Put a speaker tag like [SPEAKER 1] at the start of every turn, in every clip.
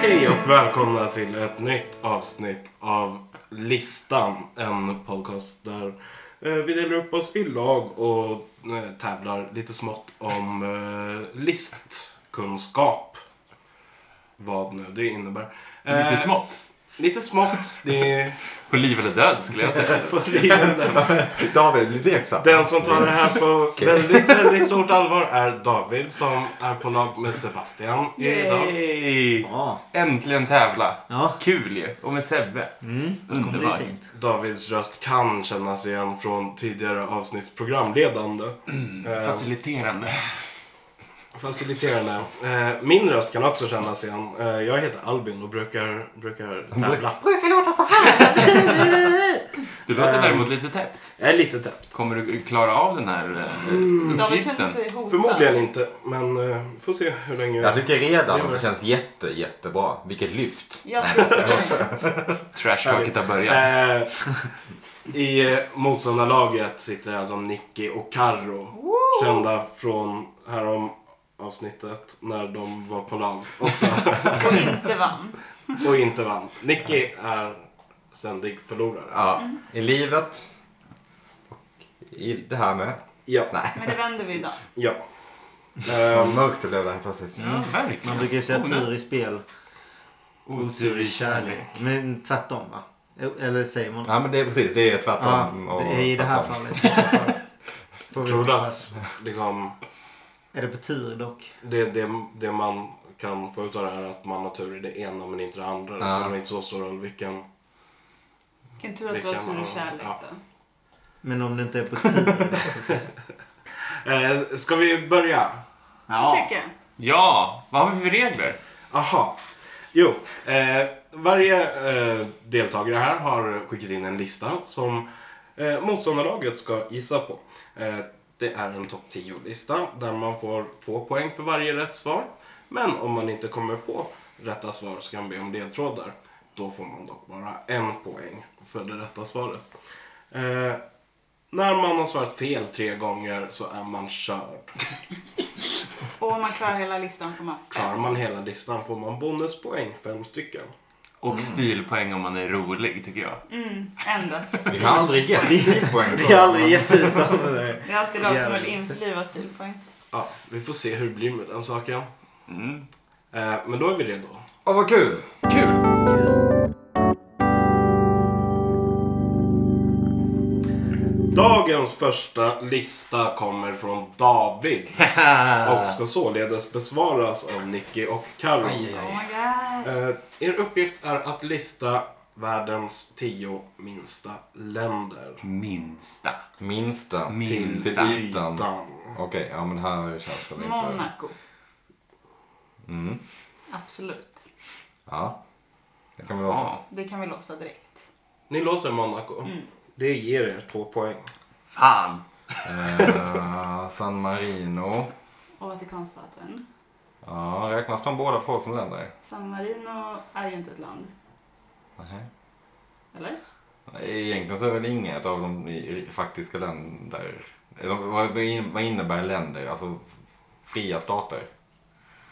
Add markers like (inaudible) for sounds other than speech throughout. [SPEAKER 1] Hej och välkomna till ett nytt avsnitt av Listan. En podcast där eh, vi delar upp oss i lag och eh, tävlar lite smått om eh, listkunskap. Vad nu det innebär. Eh,
[SPEAKER 2] Lite smått.
[SPEAKER 1] Lite smått. Det är
[SPEAKER 2] På liv eller död skulle jag säga.
[SPEAKER 1] för livet.
[SPEAKER 3] David, bli tveksam.
[SPEAKER 1] Den som tar det här på väldigt, väldigt stort allvar är David som är på lag med Sebastian idag.
[SPEAKER 2] Yay!
[SPEAKER 4] Ja,
[SPEAKER 2] Äntligen tävla.
[SPEAKER 4] ja.
[SPEAKER 2] Kul ju. Och med Sebbe.
[SPEAKER 4] det kommer
[SPEAKER 2] Underbar.
[SPEAKER 4] bli fint.
[SPEAKER 1] Davids röst kan kännas igen från tidigare avsnitts programledande. Eh,
[SPEAKER 2] Faciliterande.
[SPEAKER 1] Faciliterande. Eh, min röst kan också kännas igen. Eh, jag heter Albin och brukar, brukar tävla.
[SPEAKER 4] Brukar låta så här.
[SPEAKER 2] Du
[SPEAKER 4] Eh.
[SPEAKER 2] låter däremot lite täppt.
[SPEAKER 1] Jag är lite täppt.
[SPEAKER 2] Kommer du klara av den här eh,
[SPEAKER 4] Mm.
[SPEAKER 3] Mm.
[SPEAKER 5] David kände
[SPEAKER 2] uppgiften?
[SPEAKER 5] sig hotad.
[SPEAKER 1] Förmodligen inte, men eh, får se hur länge...
[SPEAKER 3] Jag tycker redan att det känns jätte, jättebra. Vilket lyft.
[SPEAKER 5] Jag tror det.
[SPEAKER 2] Trashtalket har börjat.
[SPEAKER 1] Eh, I eh, motståndarlaget sitter alltså Nicky och Carro. Kända från härom avsnittet när de var på lag också
[SPEAKER 5] Och
[SPEAKER 3] (laughs)
[SPEAKER 5] inte vann.
[SPEAKER 1] och inte vann. Nicky är ständig förlorare.
[SPEAKER 3] Ja. I livet. Och I det här med.
[SPEAKER 1] Ja.
[SPEAKER 5] Men det vänder vi idag.
[SPEAKER 1] ja.
[SPEAKER 3] Vad
[SPEAKER 1] Ehm,
[SPEAKER 3] mörkt det blev där helt plötsligt.
[SPEAKER 2] Ja,
[SPEAKER 4] Eh, Man
[SPEAKER 2] Mm, verkligen.
[SPEAKER 4] brukar ju säga tur i spel,
[SPEAKER 2] Otur i kärlek.
[SPEAKER 4] men tvärtom va? Eller säger man?
[SPEAKER 3] Ja men det är precis, det är
[SPEAKER 4] Ja,
[SPEAKER 3] tvärtom. och
[SPEAKER 4] det är i det här
[SPEAKER 3] tvärtom.
[SPEAKER 4] fallet. i så fall. Får vi
[SPEAKER 1] tror du
[SPEAKER 4] hoppas.
[SPEAKER 1] att liksom,
[SPEAKER 4] Är det på tur dock?
[SPEAKER 1] det, det, det man kan få ut av det här är att man har tur i det ena men inte det andra?
[SPEAKER 3] Ja.
[SPEAKER 1] Det spelar inte så stor roll vilken.
[SPEAKER 5] Vilken tur
[SPEAKER 1] Det
[SPEAKER 5] att du har
[SPEAKER 1] kan
[SPEAKER 5] tur i
[SPEAKER 1] man-
[SPEAKER 5] kärlek
[SPEAKER 1] ja.
[SPEAKER 5] då.
[SPEAKER 4] Men om det inte är på tur.
[SPEAKER 1] Eh, ska vi börja?
[SPEAKER 5] Det tycker jag.
[SPEAKER 2] Ja, vad har vi för regler?
[SPEAKER 1] Aha. Jo, eh, varje eh, deltagare här har skickat in en lista som eh, motståndarlaget ska gissa på. Eh, det är en topp 10-lista där man får två poäng för varje rätt svar. Men om man inte kommer på rätta svar så kan man be om ledtrådar. Då får man dock bara en poäng för det rätta svaret. Eh, när man har svarat fel tre gånger så är man körd.
[SPEAKER 5] Och om man klarar hela listan får man fem.
[SPEAKER 1] Klarar man hela listan får man bonuspoäng, fem stycken.
[SPEAKER 4] Mm.
[SPEAKER 2] Och stilpoäng om man är rolig tycker jag.
[SPEAKER 5] Mm, endast.
[SPEAKER 3] (laughs) Vi har aldrig gett stilpoäng.
[SPEAKER 4] Vi har aldrig gett ut av det där.
[SPEAKER 5] (laughs) Det är alltid de som
[SPEAKER 4] Jävlar.
[SPEAKER 5] vill införliva stilpoäng.
[SPEAKER 1] Ja, vi får se hur det blir med den saken.
[SPEAKER 2] Mm.
[SPEAKER 1] Eh, men då är vi redo.
[SPEAKER 3] Åh vad kul!
[SPEAKER 2] Kul!
[SPEAKER 1] Dagens första lista kommer från
[SPEAKER 2] (laughs)
[SPEAKER 1] David och ska således besvaras av Nicky och Carro.
[SPEAKER 5] Oh my god.
[SPEAKER 1] Eh, er uppgift är att lista världens tio minsta länder.
[SPEAKER 4] Mm.
[SPEAKER 2] Minsta.
[SPEAKER 3] Minsta.
[SPEAKER 2] Minsta.
[SPEAKER 3] Till ytan.
[SPEAKER 1] Ytan.
[SPEAKER 3] Okej, ja men här känns det väl inte...
[SPEAKER 5] Monaco.
[SPEAKER 3] Mm.
[SPEAKER 5] Absolut.
[SPEAKER 3] Ja. Det kan vi vara så.
[SPEAKER 2] Ja.
[SPEAKER 5] Det kan vi låsa direkt.
[SPEAKER 1] Ni låser Monaco. Det ger er två poäng.
[SPEAKER 2] Fan.
[SPEAKER 3] Eh, San Marino.
[SPEAKER 5] Och Vatikanstaten.
[SPEAKER 3] Ja, räknas de båda två som länder?
[SPEAKER 5] San Marino är ju inte ett land.
[SPEAKER 3] Nej.
[SPEAKER 5] Eller?
[SPEAKER 3] Egentligen så är väl inget av de i- faktiska länder. Eller Vad vad in- vad innebär länder? Alltså fria stater?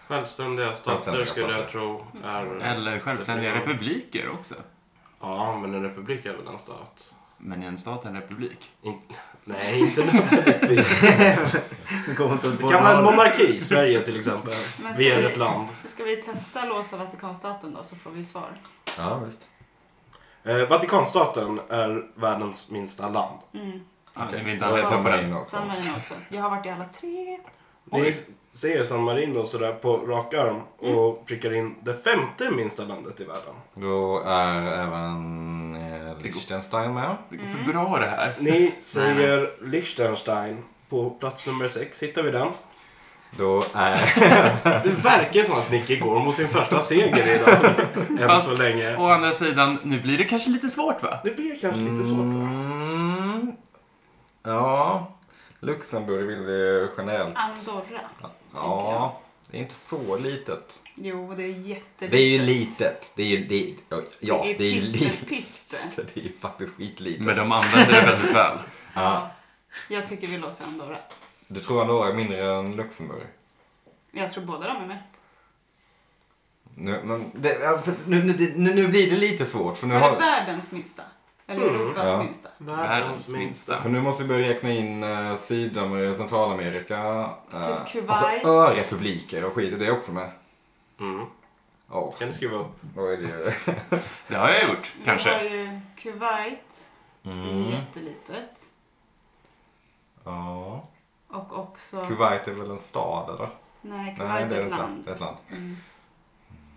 [SPEAKER 1] Självständiga stater
[SPEAKER 3] Självständiga
[SPEAKER 1] skulle jag
[SPEAKER 3] stater.
[SPEAKER 1] tro är...
[SPEAKER 2] Eller självständiga republiker också.
[SPEAKER 1] Ja, men en republik är väl en stat?
[SPEAKER 2] Men är en stat en republik?
[SPEAKER 1] In... Nej, inte (laughs) nödvändigtvis.
[SPEAKER 4] Det kommer inte att
[SPEAKER 1] Det kan vara en
[SPEAKER 4] båda-
[SPEAKER 1] monarki, Sverige till exempel.
[SPEAKER 5] Men
[SPEAKER 1] Vi är
[SPEAKER 5] ska vi-
[SPEAKER 1] ett land.
[SPEAKER 5] Ska vi testa låsa Vatikanstaten då så får vi svar.
[SPEAKER 3] Ja, visst.
[SPEAKER 1] Eh, Vatikanstaten är världens minsta land.
[SPEAKER 5] Mm.
[SPEAKER 2] Ja,
[SPEAKER 3] Okej.
[SPEAKER 2] Det vill inte
[SPEAKER 3] Då är
[SPEAKER 2] alla
[SPEAKER 3] San
[SPEAKER 2] på den.
[SPEAKER 3] Marino också.
[SPEAKER 5] San Marino också. Jag har varit i alla tre.
[SPEAKER 1] Ni ser San Marino sådär på rak arm
[SPEAKER 2] Mm.
[SPEAKER 1] och prickar in det femte minsta landet i världen.
[SPEAKER 3] Då är även eh, Liechtenstein med.
[SPEAKER 2] Det går för bra det här.
[SPEAKER 1] Ni säger Liechtenstein. På plats nummer sex hittar vi den.
[SPEAKER 3] Då är...
[SPEAKER 1] Det verkar som att Nicky går mot sin första seger idag. Än så länge.
[SPEAKER 2] Å andra sidan, nu blir det kanske lite svårt va?
[SPEAKER 1] Det blir kanske lite svårt va?
[SPEAKER 3] Mm, ja. Luxemburg vill ju generellt...
[SPEAKER 5] Andorra.
[SPEAKER 3] Ja. Det är inte så litet.
[SPEAKER 5] Jo, det är jättelitet.
[SPEAKER 3] Det är ju litet. Det är ju... Det är, ja, det är ju
[SPEAKER 5] pytte-
[SPEAKER 3] litet.
[SPEAKER 5] pytte.
[SPEAKER 3] (laughs) Det är ju faktiskt skitlitet.
[SPEAKER 2] Men de använder det väldigt väl.
[SPEAKER 3] Ja.
[SPEAKER 5] Jag tycker vi låser Andorra.
[SPEAKER 3] Du tror Andorra är mindre än Luxemburg?
[SPEAKER 5] Jag tror båda de är med.
[SPEAKER 3] Nu, men det, ja, för nu, nu, det- nu, nu blir det lite svårt för nu,
[SPEAKER 5] Var det
[SPEAKER 3] har,
[SPEAKER 5] världens minsta? Eller
[SPEAKER 1] Mm,
[SPEAKER 5] Europas
[SPEAKER 3] ja.
[SPEAKER 5] minsta?
[SPEAKER 2] Världens minsta.
[SPEAKER 3] för nu måste vi börja räkna in eh, Sydamerika, Centralamerika. eh,
[SPEAKER 5] Typ Kuwait.
[SPEAKER 3] Alltså örepubliker och skit i det också med.
[SPEAKER 1] Mm.
[SPEAKER 3] Ja,
[SPEAKER 1] Kan du skriva upp?
[SPEAKER 3] då är det ju...
[SPEAKER 5] (laughs)
[SPEAKER 2] Det har jag gjort,
[SPEAKER 5] Vi har
[SPEAKER 2] kanske.
[SPEAKER 5] ju Kuwait. Mm. Jättelitet.
[SPEAKER 3] Ja.
[SPEAKER 5] Och också...
[SPEAKER 3] Kuwait är väl en stad eller?
[SPEAKER 5] Nej, Kuwait är ett land.
[SPEAKER 3] Det är ett land.
[SPEAKER 5] Mm.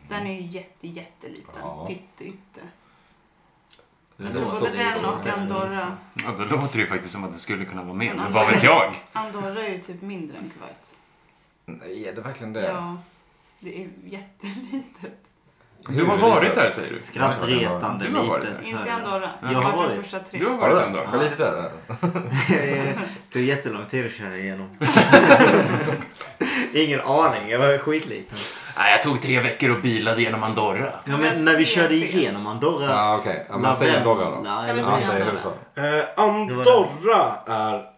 [SPEAKER 5] Den är ju jätte, jätteliten.
[SPEAKER 3] Ja.
[SPEAKER 5] Pytteytte.
[SPEAKER 3] Det
[SPEAKER 5] Jag
[SPEAKER 3] är
[SPEAKER 5] tror
[SPEAKER 3] så-
[SPEAKER 5] både den
[SPEAKER 3] så-
[SPEAKER 5] och Andorra.
[SPEAKER 2] Ja, då låter det ju faktiskt som att det skulle kunna vara med. Men vad vet jag?
[SPEAKER 5] Andorra är ju typ mindre än Kuwait.
[SPEAKER 3] Nej, är det verkligen det?
[SPEAKER 5] Ja. Det är jättelitet.
[SPEAKER 2] Du har varit där, säger du.
[SPEAKER 4] Skrattretande
[SPEAKER 2] Du har varit
[SPEAKER 4] litet.
[SPEAKER 5] Inte i Andorra.
[SPEAKER 4] Jag
[SPEAKER 5] Det
[SPEAKER 4] har
[SPEAKER 5] var
[SPEAKER 4] varit.
[SPEAKER 5] de första tre.
[SPEAKER 2] Du har
[SPEAKER 3] Har du
[SPEAKER 2] varit
[SPEAKER 3] det?
[SPEAKER 2] en dag.
[SPEAKER 3] Ja, lite där.
[SPEAKER 4] (laughs) Det tog jättelång tid att köra
[SPEAKER 5] (laughs)
[SPEAKER 4] igenom. Ingen aning, jag var skitliten.
[SPEAKER 2] Nej, jag tog tre veckor och bilade genom Andorra.
[SPEAKER 4] Ja, men när vi körde igenom Andorra.
[SPEAKER 3] Ja, okej. Ja, man säger
[SPEAKER 4] Lavendla,
[SPEAKER 3] Andorra då.
[SPEAKER 5] Jag vill
[SPEAKER 4] eller-
[SPEAKER 3] Ja,
[SPEAKER 5] säga
[SPEAKER 3] det är väl
[SPEAKER 5] Andorra.
[SPEAKER 3] så.
[SPEAKER 1] Eh, Andorra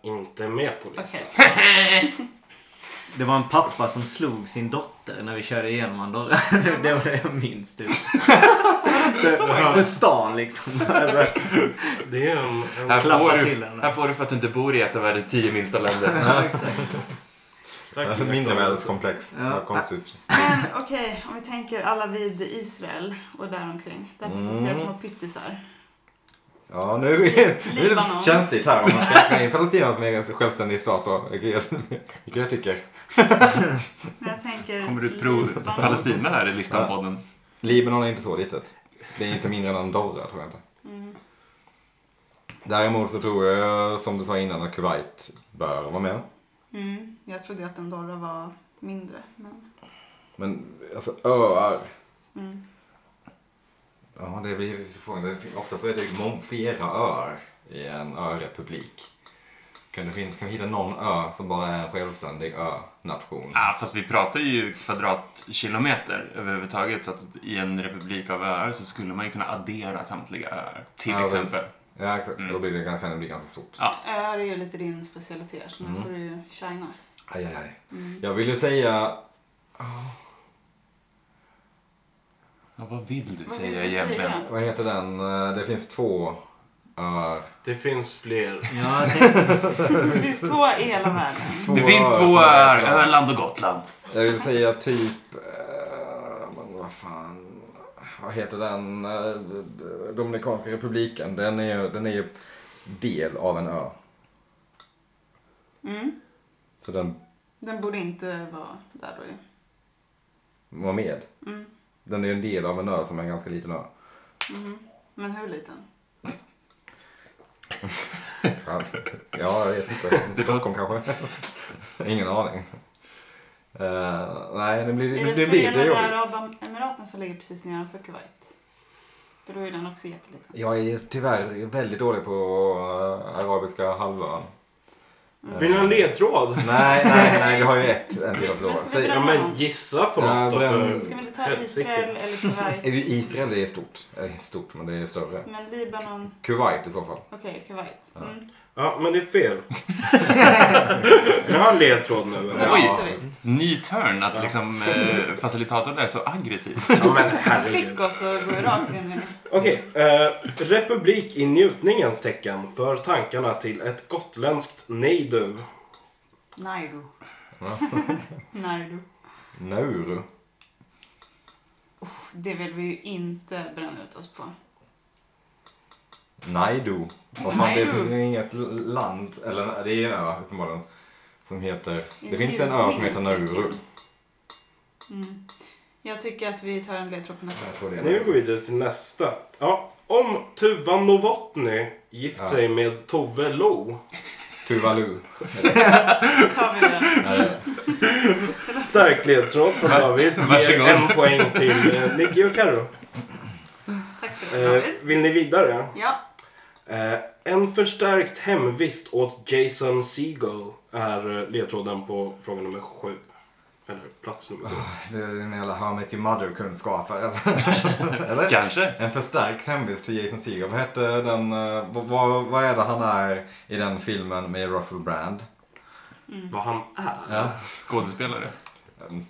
[SPEAKER 1] är inte med på listan.
[SPEAKER 5] Okej.
[SPEAKER 4] Det var en pappa som slog sin dotter när vi körde igenom Andorra. (laughs) Det var det jag minns typ. Så, på stan liksom. Alltså,
[SPEAKER 1] Det är en, en
[SPEAKER 2] Här
[SPEAKER 4] Klappa
[SPEAKER 2] får,
[SPEAKER 4] till
[SPEAKER 2] du,
[SPEAKER 4] henne.
[SPEAKER 2] här får du för att du inte bor i ett av världens tio minsta länder.
[SPEAKER 1] stark
[SPEAKER 3] (laughs) Mindervärdeskomplex.
[SPEAKER 4] Ja.
[SPEAKER 3] Vad konstigt.
[SPEAKER 5] Men okej, om vi tänker alla vid Israel och däromkring. Där finns det tre
[SPEAKER 3] Mm.
[SPEAKER 5] små pyttisar.
[SPEAKER 3] Ja, nu nu är
[SPEAKER 5] Libanon.
[SPEAKER 3] det känsligt här om man ska räkna in Palestina som egen självständig stat då. Vilket jag- vilket jag tycker.
[SPEAKER 5] Men jag tänker...
[SPEAKER 2] Kommer du pro
[SPEAKER 5] Libanon.
[SPEAKER 2] Palestina här i listan-podden?
[SPEAKER 3] Libanon är inte så litet. Det är inte mindre än Andorra tror jag inte.
[SPEAKER 5] Mm.
[SPEAKER 3] Däremot så tror jag, som du sa innan, att Kuwait bör vara med.
[SPEAKER 5] Mm. Jag trodde ju att Andorra var mindre. Men...
[SPEAKER 3] Men alltså öar.
[SPEAKER 5] Mm.
[SPEAKER 3] Ja, det blir så frågan. Det fin- Ofta så är det mång- flera öar i en örepublik. Kan, du fin- kan vi hitta någon ö som bara är en självständig ö-nation?
[SPEAKER 5] Ah.
[SPEAKER 2] Ja, fast vi pratar ju kvadratkilometer överhuvudtaget. Så att i en republik av öar så skulle man ju kunna addera samtliga öar. Till
[SPEAKER 3] Ja, men-
[SPEAKER 2] exempel.
[SPEAKER 3] Ja, exakt.
[SPEAKER 2] Mm.
[SPEAKER 3] Då blir det, kan det bli ganska stort.
[SPEAKER 5] Öar är ju lite din specialitet så nu
[SPEAKER 3] Mm.
[SPEAKER 5] får du ju shina.
[SPEAKER 3] Aj, aj, aj.
[SPEAKER 5] Mm.
[SPEAKER 3] Jag ville säga...
[SPEAKER 2] Ja, vad vill du
[SPEAKER 5] Vad
[SPEAKER 2] säga
[SPEAKER 5] vill du
[SPEAKER 2] egentligen?
[SPEAKER 5] säga?
[SPEAKER 3] Vad heter den? Eh, Det finns två öar.
[SPEAKER 1] Det finns fler.
[SPEAKER 4] ja, (laughs) jag tänkte,
[SPEAKER 5] Det finns två i hela världen.
[SPEAKER 3] Två
[SPEAKER 2] det finns
[SPEAKER 3] som
[SPEAKER 2] två
[SPEAKER 3] är
[SPEAKER 2] öar,
[SPEAKER 3] kvar.
[SPEAKER 2] Öland och Gotland.
[SPEAKER 3] Jag vill säga typ... eh, Men vad fan... Vad heter den? Eh, Dominikanska republiken. Den är, ju- den är ju del av en ö.
[SPEAKER 5] Mm.
[SPEAKER 3] Så den
[SPEAKER 5] Den borde inte vara där då ju.
[SPEAKER 3] var med.
[SPEAKER 5] Mm.
[SPEAKER 3] Den är ju en del av en ö som är en ganska liten ö.
[SPEAKER 5] Mhm. Men hur liten?
[SPEAKER 3] Ja, jag vet inte. Stockholm kanske? (laughs) Ingen aning. Eh, nej, det blir,
[SPEAKER 5] Är
[SPEAKER 3] det,
[SPEAKER 5] det
[SPEAKER 3] det blir det
[SPEAKER 5] Förenade
[SPEAKER 3] jobbigt.
[SPEAKER 5] Arabemiraten som ligger precis nedanför Kuwait? För då är den också jätteliten.
[SPEAKER 3] Jag är tyvärr väldigt dålig på eh, arabiska halvön.
[SPEAKER 1] Vill ni ha en ledtråd?
[SPEAKER 3] Nej, nej, nej, jag har ju ett, en till att
[SPEAKER 5] Men
[SPEAKER 3] förlora.
[SPEAKER 5] ska vi
[SPEAKER 3] Säg,
[SPEAKER 1] Ja, men gissa på något då.
[SPEAKER 3] Ja,
[SPEAKER 1] För...
[SPEAKER 3] men-
[SPEAKER 5] Ska vi inte ta
[SPEAKER 1] Helsike.
[SPEAKER 5] Israel eller
[SPEAKER 3] (laughs) är det
[SPEAKER 5] Kuwait?
[SPEAKER 3] Israel det är stort. Eller inte stort, men det är större.
[SPEAKER 5] Men Libanon,
[SPEAKER 3] Kuwait i så fall.
[SPEAKER 5] okej Kuwait. Mm.
[SPEAKER 1] Ja, men det är
[SPEAKER 5] (laughs)
[SPEAKER 1] fel. Ska ni ha en ledtråd nu eller?
[SPEAKER 5] Ja,
[SPEAKER 2] Oj.
[SPEAKER 5] visst, visst.
[SPEAKER 2] Ny turn att liksom eh, facilitatorn är så
[SPEAKER 1] (laughs)
[SPEAKER 2] aggressiv.
[SPEAKER 1] Ja, men
[SPEAKER 5] Han fick
[SPEAKER 1] herregud.
[SPEAKER 5] oss att gå rakt in i...
[SPEAKER 1] Okej. eh, republik i njutningens tecken för tankarna till ett gotländskt nej du.
[SPEAKER 5] Naidu. (laughs) Naidu.
[SPEAKER 3] Nauru.
[SPEAKER 5] Det vill vi ju inte bränna ut oss på.
[SPEAKER 3] Naidu. Vad fan, det
[SPEAKER 5] Naidu.
[SPEAKER 3] finns ju inget l- land, eller det är ju en ö uppenbarligen, som heter...
[SPEAKER 5] I
[SPEAKER 3] Det finns en ö som heter
[SPEAKER 5] ljusningens
[SPEAKER 3] Nauru.
[SPEAKER 5] tecken. Mm. Jag tycker att vi tar en ledtråd på nästa.
[SPEAKER 3] Jag tror det är
[SPEAKER 1] Nu går
[SPEAKER 3] Nauru.
[SPEAKER 1] vi vidare till nästa. Ja, om Tuva Novotny gift
[SPEAKER 3] Ja.
[SPEAKER 1] sig med Tove Lo.
[SPEAKER 5] (laughs)
[SPEAKER 3] Tuvalu.
[SPEAKER 5] Då tar vi den.
[SPEAKER 3] Nej,
[SPEAKER 1] Stark ledtråd från David. Ger
[SPEAKER 2] Varsågod.
[SPEAKER 1] en poäng till eh, Nicky och Carro.
[SPEAKER 5] Tack för det
[SPEAKER 1] Eh,
[SPEAKER 5] David.
[SPEAKER 1] vill ni vidare?
[SPEAKER 5] Ja,
[SPEAKER 1] Eh, en förstärkt hemvist åt Jason Segel är eh, ledtråden på fråga nummer sju. Eller plats nummer sju.
[SPEAKER 3] Det är en jävla How I Met Your Mother-kunskaper. Alltså. (laughs) Eller?
[SPEAKER 2] Kanske.
[SPEAKER 3] En förstärkt hemvist till Jason Segel. Vad hette den... eh, Vad, vad, vad är det han är i den filmen med Russell Brand?
[SPEAKER 1] Vad han är?
[SPEAKER 3] Ja.
[SPEAKER 2] Skådespelare.
[SPEAKER 3] Mm.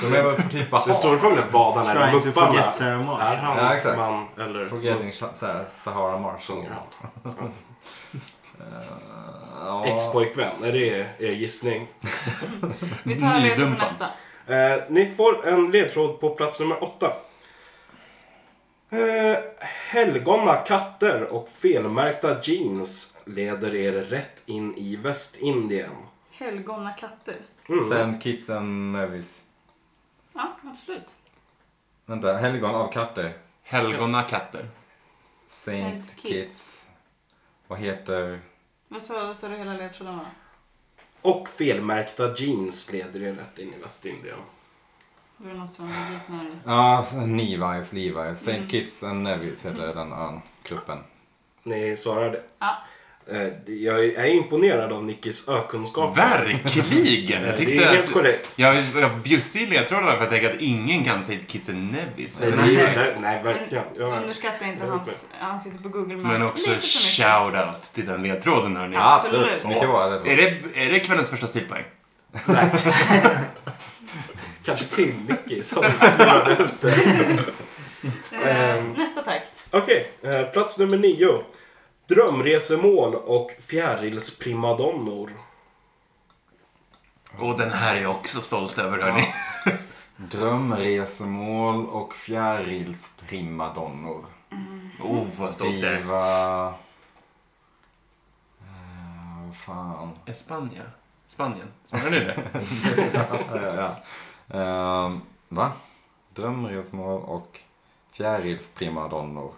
[SPEAKER 3] De är väl typ Bahat.
[SPEAKER 1] Det står förmodligen vad han är.
[SPEAKER 4] Ah, Trying to
[SPEAKER 1] Mupparna.
[SPEAKER 4] forget Sarah
[SPEAKER 1] Är
[SPEAKER 4] Marsh.
[SPEAKER 1] han
[SPEAKER 3] Ja, exakt.
[SPEAKER 1] man eller...
[SPEAKER 3] Forgetting Sa- Sa- Sahara Marshall.
[SPEAKER 1] Ja.
[SPEAKER 3] Uh,
[SPEAKER 1] Ex-pojkvän. Är det er gissning?
[SPEAKER 5] Vi tar ledtråd på
[SPEAKER 2] Nydumpan.
[SPEAKER 5] nästa.
[SPEAKER 1] Eh, ni får en ledtråd på plats nummer åtta. Eh, helgonna katter och felmärkta jeans leder er rätt in i Västindien.
[SPEAKER 5] Helgona katter.
[SPEAKER 1] Mm.
[SPEAKER 3] Sen Kids and Nevis.
[SPEAKER 5] Ja, absolut.
[SPEAKER 3] Vänta, Helgon av katter.
[SPEAKER 2] Helgona katter.
[SPEAKER 3] Saint
[SPEAKER 5] Saint Kitts.
[SPEAKER 3] Kitts. Vad heter...
[SPEAKER 5] Vad sa, vad sa du hela ledtråden var?
[SPEAKER 1] Och felmärkta jeans leder er rätt in i Västindien.
[SPEAKER 5] Var det något som liknar...
[SPEAKER 3] Ja, Levi's, Levi's. Saint Kitts and Nevis heter den ön, gruppen.
[SPEAKER 1] Ni svarade.
[SPEAKER 5] Ja.
[SPEAKER 1] Eh, jag är imponerad av Nickis ökunskap.
[SPEAKER 2] Verkligen!
[SPEAKER 1] Eh,
[SPEAKER 2] Jag
[SPEAKER 1] Det är
[SPEAKER 2] tyckte
[SPEAKER 1] helt
[SPEAKER 2] att...
[SPEAKER 1] korrekt.
[SPEAKER 2] Jag, jag bjussig i ledtrådarna för jag tänkte att ingen kan säga Kids and Nevis.
[SPEAKER 1] Nej,
[SPEAKER 2] Eller-
[SPEAKER 1] det är- nej verkligen. Jag,
[SPEAKER 5] Underskatta inte
[SPEAKER 1] Jag är
[SPEAKER 5] hans... Han sitter på Google Maps.
[SPEAKER 2] Men också
[SPEAKER 5] lite för mycket.
[SPEAKER 2] shout-out till den ledtråden hörni.
[SPEAKER 3] Ja,
[SPEAKER 5] Absolut.
[SPEAKER 3] Mycket bra
[SPEAKER 2] Är
[SPEAKER 3] ledtråd.
[SPEAKER 2] det, är det kvällens första stilpoäng?
[SPEAKER 1] kanske till Nicky som hörde efter.
[SPEAKER 5] Eh, nästa tack.
[SPEAKER 1] Okej, eh, plats nummer nio. Drömresemål och fjärilsprimadonnor.
[SPEAKER 2] Och den här är jag också stolt över hörni.
[SPEAKER 3] Drömresemål och fjärilsprimadonnor.
[SPEAKER 2] Oh vad stolt jag är.
[SPEAKER 3] Diva... Eh, Vad fan.
[SPEAKER 2] Är Spanien? Spanien? Svarar ni det? (laughs)
[SPEAKER 3] ja, ja. Ehm, va? Drömresmål och fjärilsprimadonnor.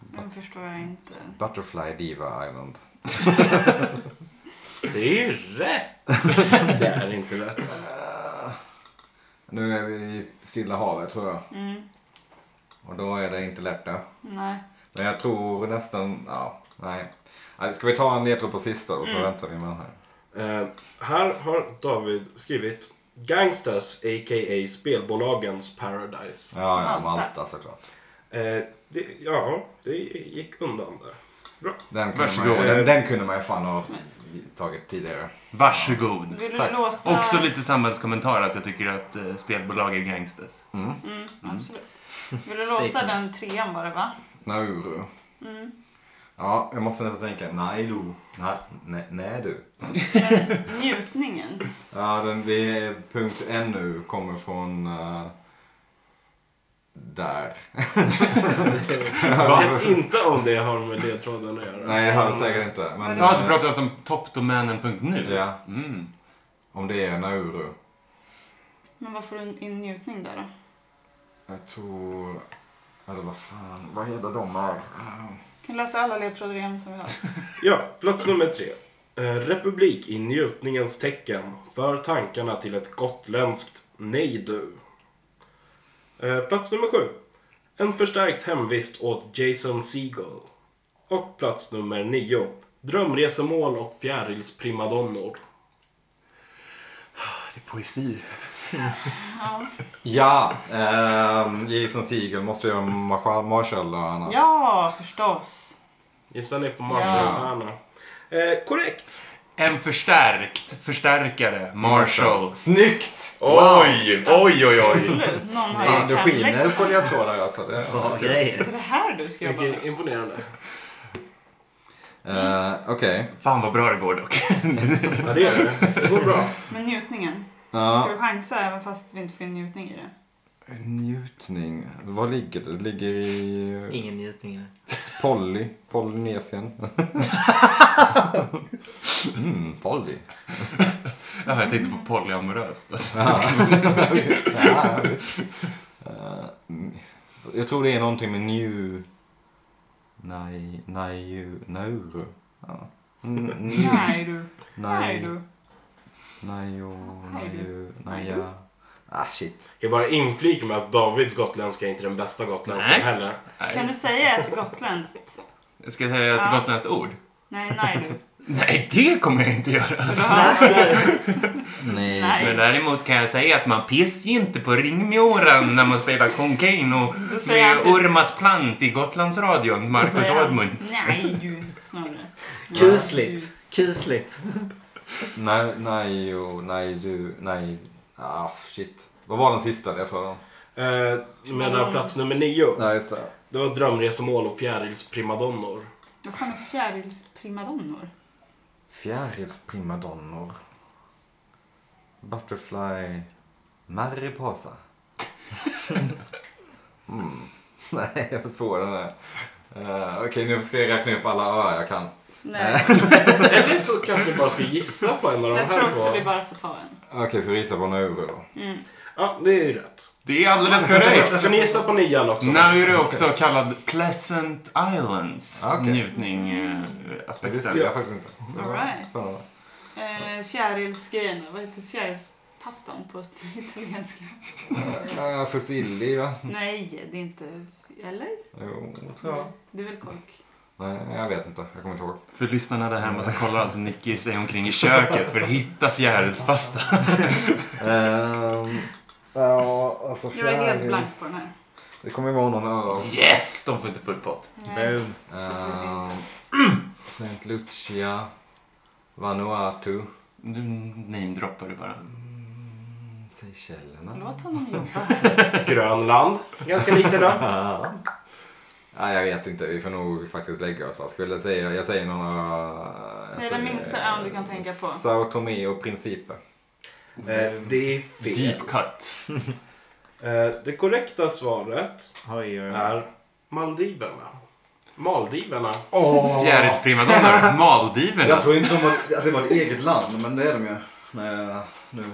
[SPEAKER 5] Den förstår jag inte.
[SPEAKER 3] Butterfly Diva Island.
[SPEAKER 1] Det är ju rätt! (laughs) Det är inte rätt.
[SPEAKER 3] Nu är vi i Stilla havet tror jag.
[SPEAKER 5] Mm,
[SPEAKER 3] Och då är det inte lätt det.
[SPEAKER 5] nej.
[SPEAKER 3] Men jag tror nästan, ja, nej. Nej, Ska vi ta en ledtråd på sista och så
[SPEAKER 5] Mm.
[SPEAKER 3] väntar vi med den här.
[SPEAKER 1] Eh, här har David skrivit Gangsters a.k.a. spelbolagens Paradise.
[SPEAKER 3] Ja, ja,
[SPEAKER 5] Malta.
[SPEAKER 3] Malta såklart.
[SPEAKER 1] Eh, det, ja, det gick undan (laughs) där. Bra.
[SPEAKER 3] Den kunde, man,
[SPEAKER 2] Varsågod.
[SPEAKER 3] ju- den, den kunde man ju fan ha tagit tidigare.
[SPEAKER 2] Varsågod.
[SPEAKER 5] Vill du
[SPEAKER 3] Tack.
[SPEAKER 5] låsa...
[SPEAKER 2] Också lite samhällskommentar att jag tycker att eh, spelbolag är gangsters.
[SPEAKER 3] Mm.
[SPEAKER 5] Mm, absolut. Vill du låsa
[SPEAKER 4] Statement.
[SPEAKER 5] den trean var det va?
[SPEAKER 3] Nauru.
[SPEAKER 5] Mm.
[SPEAKER 3] Ja, jag måste nästan tänka, nej du. Nej, nej, nej du.
[SPEAKER 5] Men Njutningens.
[SPEAKER 3] Ja, den, det är punkt NU kommer från eh, där.
[SPEAKER 1] Jag vet inte om det har med ledtråden att göra.
[SPEAKER 3] Nej, det har det säkert inte. Men,
[SPEAKER 2] Jag hade
[SPEAKER 3] eh,
[SPEAKER 2] pratat om toppdomänen.nu.
[SPEAKER 3] Ja,
[SPEAKER 2] Mm.
[SPEAKER 3] om det är Nauru.
[SPEAKER 5] Men vad får du in njutning där då?
[SPEAKER 3] Jag tror... Eller vad fan, vad heter de Ah, här?
[SPEAKER 5] Kan du läsa alla ledtrådar igen som vi har?
[SPEAKER 1] Ja, plats nummer tre. Eh, Republik i njutningens tecken för tankarna till ett gotländskt nej du. Eh, Plats nummer sju. En förstärkt hemvist åt Jason Segel. Och plats nummer nio. Drömresemål och fjärilsprimadonnor.
[SPEAKER 2] Det är poesi.
[SPEAKER 5] Ja.
[SPEAKER 3] Ja, ehm, Jason Segel måste ju vara Marshall- Marshallöarna.
[SPEAKER 5] ja, förstås.
[SPEAKER 1] Gissar ni på Marshallöarna? Eh, korrekt!
[SPEAKER 2] En förstärkt förstärkare. Marshall.
[SPEAKER 3] Snyggt!
[SPEAKER 2] Oj, oj, oj, oj.
[SPEAKER 5] Absolut. Någon har
[SPEAKER 3] Fan,
[SPEAKER 5] gjort
[SPEAKER 3] det skiner
[SPEAKER 5] hemläxan.
[SPEAKER 3] på ledtrådar alltså. Det,
[SPEAKER 4] Bra grejer.
[SPEAKER 5] Det är det här du ska jobba med.
[SPEAKER 1] Mycket imponerande.
[SPEAKER 3] Eh, Okej.
[SPEAKER 2] (laughs) Fan vad bra det går dock.
[SPEAKER 1] Ja, det är det. Det går bra.
[SPEAKER 5] Men njutningen. Ska
[SPEAKER 3] Ja,
[SPEAKER 5] du chansa även fast vi inte får in njutning i det?
[SPEAKER 3] njutning. Var ligger det? Det ligger i
[SPEAKER 4] Ingen njutning. i det.
[SPEAKER 3] Polly. Polynesien. (laughs) mm, Polly.
[SPEAKER 2] Ja, (laughs) jag tänkte på polyamoröst.
[SPEAKER 3] Ja, visst. Eh, mm. jag tror det är någonting med New... Nai... Naiu... Nauru? Ja. Mm, mm.
[SPEAKER 5] Nej du. Nej
[SPEAKER 3] Nai...
[SPEAKER 5] du.
[SPEAKER 3] Naio... Naiu... Naja... Ah, shit.
[SPEAKER 1] Jag kan bara inflika med att Davids gotländska är inte den bästa gotländskan
[SPEAKER 2] Nej.
[SPEAKER 1] heller.
[SPEAKER 5] Kan du
[SPEAKER 2] Nej.
[SPEAKER 5] säga ett gotländskt?
[SPEAKER 2] Jag ska säga ett
[SPEAKER 5] Ja.
[SPEAKER 2] gotländskt ord.
[SPEAKER 5] Nej, nej du.
[SPEAKER 2] Nej, det kommer jag inte göra.
[SPEAKER 5] För då hör jag-
[SPEAKER 3] Mm.
[SPEAKER 5] Nej.
[SPEAKER 2] Men däremot kan jag säga att man pissar ju inte på ringmjoran när man spelar Concain och
[SPEAKER 5] Då säger
[SPEAKER 2] med
[SPEAKER 5] han typ-
[SPEAKER 2] Urmas plant i Gotlandsradion,
[SPEAKER 5] då
[SPEAKER 2] Marcus
[SPEAKER 5] säger han,
[SPEAKER 2] Ådmund.
[SPEAKER 5] Nej du, snarare.
[SPEAKER 4] Kusligt. Kusligt.
[SPEAKER 3] Nej, nej, jo, nej, du, nej. Ah, shit. Vad var den sista? Jag tror den.
[SPEAKER 1] Eh, medan plats nummer nio.
[SPEAKER 3] Nej, just det.
[SPEAKER 1] Det var drömresemål och fjärilsprimadonnor.
[SPEAKER 5] Vad fan är fjärilsprimadonnor?
[SPEAKER 3] Fjärilsprimadonnor. Butterfly. Mariposa. (laughs) mm. Nej, vad svår den är. Eh, Okej, nu ska jag räkna upp alla öar jag kan.
[SPEAKER 5] Nej,
[SPEAKER 1] (laughs) Eller så kanske vi bara ska gissa på en av de
[SPEAKER 5] jag tror
[SPEAKER 1] här
[SPEAKER 5] också vi
[SPEAKER 1] två.
[SPEAKER 5] bara får ta en. Mm.
[SPEAKER 3] Okej, så gissa på Nauru då.
[SPEAKER 1] Ja, det är ju rätt.
[SPEAKER 2] Det är alldeles korrekt.
[SPEAKER 1] Ska ni gissa på nian också?
[SPEAKER 2] Nauru är också kallad Pleasant Islands eh,
[SPEAKER 3] Ah, okej. Det
[SPEAKER 2] njutning-aspekten.
[SPEAKER 3] visste jag faktiskt inte. Så det var
[SPEAKER 5] All right.
[SPEAKER 3] spännande.
[SPEAKER 5] Eh, fjärilsgrejerna, vad heter fjärilspastan på (laughs) italienska?
[SPEAKER 3] Eh, Fusilli, va?
[SPEAKER 5] Nej, det är inte... Eller?
[SPEAKER 3] Jo, tror jag.
[SPEAKER 5] Det är väl kork?
[SPEAKER 3] Nej, jag vet inte. Jag kommer inte ihåg.
[SPEAKER 2] För lyssnarna där hemma så kollar alltså Nicky sig omkring i köket för att hitta fjärilspasta.
[SPEAKER 3] Ehm, ja, alltså
[SPEAKER 5] Jag är helt
[SPEAKER 3] fjärils-
[SPEAKER 5] blank på den här.
[SPEAKER 3] Det kommer ju vara någon ö också.
[SPEAKER 2] Yes! De får inte full pott.
[SPEAKER 5] Nej.
[SPEAKER 4] Boom.
[SPEAKER 5] Troligtvis
[SPEAKER 3] Ehm, Saint Lucia, Vanuatu,
[SPEAKER 2] Nu namedroppar du bara.
[SPEAKER 3] Seychellerna.
[SPEAKER 5] Låt honom jobba här.
[SPEAKER 1] Grönland. Ganska likt idag.
[SPEAKER 3] Nej, Ah, jag vet inte. Vi får nog faktiskt lägga oss. Jag, skulle säga, jag säger någon ö. jag
[SPEAKER 5] Säg den
[SPEAKER 3] säger-
[SPEAKER 5] minsta ön du kan tänka på.
[SPEAKER 3] Sao Tomé och Principe.
[SPEAKER 1] (laughs) Eh, det är fel.
[SPEAKER 2] Deep cut.
[SPEAKER 1] Eh, det korrekta svaret
[SPEAKER 4] Oj, oj, oj.
[SPEAKER 1] är Maldiverna. Maldiverna.
[SPEAKER 2] Fjärilsprimadonnor. Maldiverna.
[SPEAKER 6] Jag tror inte de var, att det var ett eget land, men det är de ju. När jag nu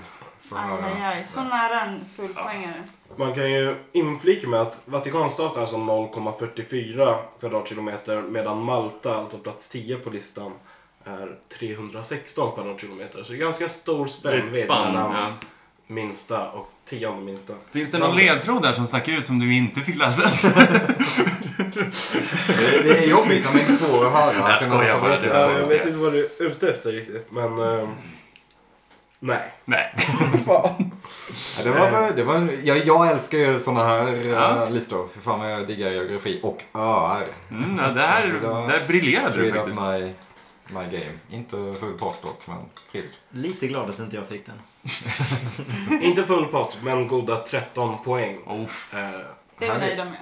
[SPEAKER 6] får
[SPEAKER 5] Aj, aj,
[SPEAKER 6] höra.
[SPEAKER 5] aj. Så nära en fullpoängare.
[SPEAKER 1] Man kan ju inflika med att Vatikanstaten är alltså som 0,44 kvadratkilometer medan Malta, alltså plats 10 på listan, är 316 kvadratkilometer. Så det är ganska stor
[SPEAKER 2] Ett
[SPEAKER 1] spännvidd
[SPEAKER 2] spann.
[SPEAKER 1] mellan
[SPEAKER 2] Ja.
[SPEAKER 1] minsta och tionde minsta.
[SPEAKER 2] Finns det någon ledtråd där som stack ut som du inte fick läsa?
[SPEAKER 3] Det, det är jobbigt när man inte får höra
[SPEAKER 2] Jag skojar bara.
[SPEAKER 3] favoriter.
[SPEAKER 2] Det
[SPEAKER 1] Ja, jag
[SPEAKER 2] var
[SPEAKER 1] vet inte vad du är ute efter riktigt, men... eh, nej.
[SPEAKER 2] (laughs) Nej.
[SPEAKER 3] Ja, det var, det var, ja, jag älskar ju såna här eh,
[SPEAKER 2] Eh. Ja.
[SPEAKER 3] listor. För fan vad jag diggar geografi och öar.
[SPEAKER 2] Mm, ja, där, där briljerade du
[SPEAKER 3] Straight up
[SPEAKER 2] faktiskt.
[SPEAKER 3] my, my game. Inte full pott dock, men trist.
[SPEAKER 4] Lite glad att inte jag fick den.
[SPEAKER 1] Inte full pott, men goda 13 poäng.
[SPEAKER 2] Oh,
[SPEAKER 1] Eh,
[SPEAKER 5] Det är vi
[SPEAKER 3] Härligt.
[SPEAKER 5] nöjda med.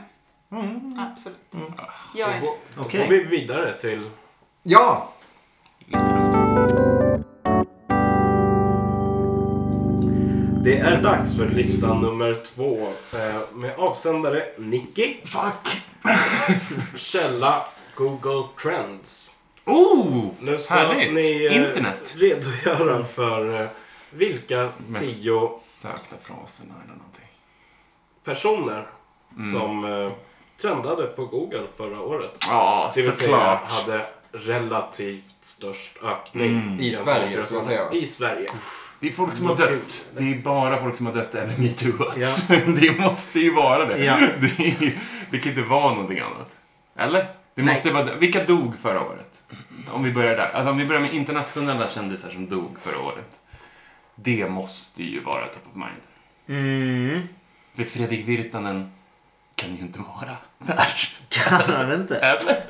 [SPEAKER 5] Absolut. Jag är
[SPEAKER 1] och gå-
[SPEAKER 4] Okej.
[SPEAKER 1] går vi vidare till...
[SPEAKER 3] Ja!
[SPEAKER 1] Det är dags för lista nummer två eh, med avsändare Nicky.
[SPEAKER 2] fuck!
[SPEAKER 1] Källa Google Trends.
[SPEAKER 2] Oh!
[SPEAKER 1] Nu ska
[SPEAKER 2] Härligt.
[SPEAKER 1] ni eh,
[SPEAKER 2] Internet.
[SPEAKER 1] redogöra för eh, vilka
[SPEAKER 2] Mest-
[SPEAKER 1] tio
[SPEAKER 2] Sökta fraserna eller någonting.
[SPEAKER 1] personer som eh, trendade på Google förra året.
[SPEAKER 2] Mm. Ja,
[SPEAKER 1] Det vill säga
[SPEAKER 2] såklart.
[SPEAKER 1] hade relativt störst ökning.
[SPEAKER 2] Mm.
[SPEAKER 3] I
[SPEAKER 1] jämfört
[SPEAKER 3] Sverige,
[SPEAKER 1] med
[SPEAKER 3] ska jag säga.
[SPEAKER 1] I Sverige.
[SPEAKER 2] Det är folk som har dött. Det är bara folk som har dött eller metooats. (laughs) Det måste ju vara det.
[SPEAKER 4] Ja.
[SPEAKER 2] (laughs) Det, är, ju- det kan inte vara någonting annat. Eller? Det måste vara, vilka dog förra året? Om vi börjar där. Alltså om vi börjar med internationella kändisar som dog förra året. Det måste ju vara top of mind.
[SPEAKER 4] Mm.
[SPEAKER 2] För Fredrik Virtanen kan ju inte vara där.
[SPEAKER 4] Kan han inte?
[SPEAKER 2] Eller?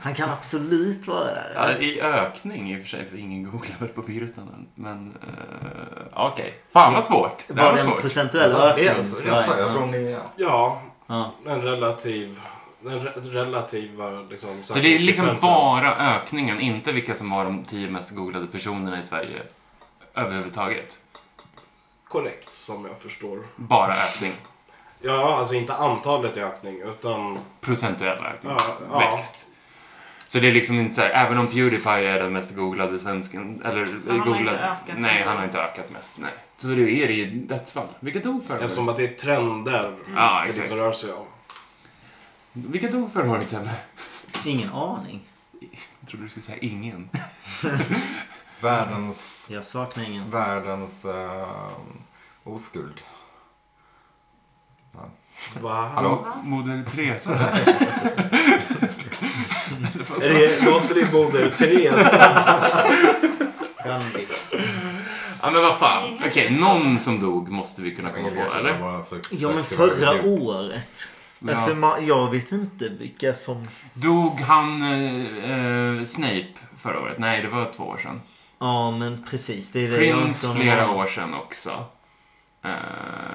[SPEAKER 4] Han kan absolut vara där.
[SPEAKER 2] Ja, I ökning i och för sig, för ingen googlar väl på Virtanen. Men eh, okej. Fan vad svårt. Det här
[SPEAKER 4] Var
[SPEAKER 2] var
[SPEAKER 4] det en
[SPEAKER 2] svårt.
[SPEAKER 4] procentuell
[SPEAKER 3] det
[SPEAKER 4] ökning?
[SPEAKER 3] är alltså, rätt så. Jag tror ni... Ja.
[SPEAKER 1] Ja,
[SPEAKER 4] Ja.
[SPEAKER 1] en relativ... Den re- relativa liksom,
[SPEAKER 2] Så det är liksom
[SPEAKER 1] sökningsfrekvensen.
[SPEAKER 2] bara ökningen, inte vilka som var de tio mest googlade personerna i Sverige överhuvudtaget.
[SPEAKER 1] korrekt som jag förstår.
[SPEAKER 2] Bara ökning.
[SPEAKER 1] Ja, alltså inte antalet i ökning utan...
[SPEAKER 2] Procentuell ökning.
[SPEAKER 1] Ja, ja.
[SPEAKER 2] Växt. Så det är liksom inte så här, även om Pewdiepie är den mest googlade svensken, eller
[SPEAKER 5] han har
[SPEAKER 2] googlad...
[SPEAKER 5] inte ökat
[SPEAKER 2] nej,
[SPEAKER 5] ändå.
[SPEAKER 2] han har inte ökat mest. Nej. Så då är det ju dödsfall. Vilket dog förra året?
[SPEAKER 1] Eftersom att det är trender
[SPEAKER 2] Ja,
[SPEAKER 1] det
[SPEAKER 2] exakt.
[SPEAKER 1] liksom rör sig om.
[SPEAKER 2] Vilket Mm. dog förra året, Sebbe?
[SPEAKER 4] Ingen aning.
[SPEAKER 2] Jag trodde du skulle säga ingen.
[SPEAKER 3] Världens...
[SPEAKER 4] Jag saknar ingen.
[SPEAKER 3] Världens... eh, oskuld.
[SPEAKER 1] Va?
[SPEAKER 3] Hallå?
[SPEAKER 2] Moder Teresa. (laughs)
[SPEAKER 1] Är det Rosalie Moder Teresa?
[SPEAKER 4] Gandhi.
[SPEAKER 2] ja, men vad fan. Okej, någon som dog måste vi kunna komma på, eller?
[SPEAKER 4] Ja men förra året. Alltså, ma- jag vet inte vilka som...
[SPEAKER 2] Dog han eh, eh, Snape förra året? Nej, det var två år sedan.
[SPEAKER 4] Ja, men precis. Det är det jag inte
[SPEAKER 2] Prince
[SPEAKER 4] har någon
[SPEAKER 2] flera
[SPEAKER 4] aning om.
[SPEAKER 2] år sedan också. Eh,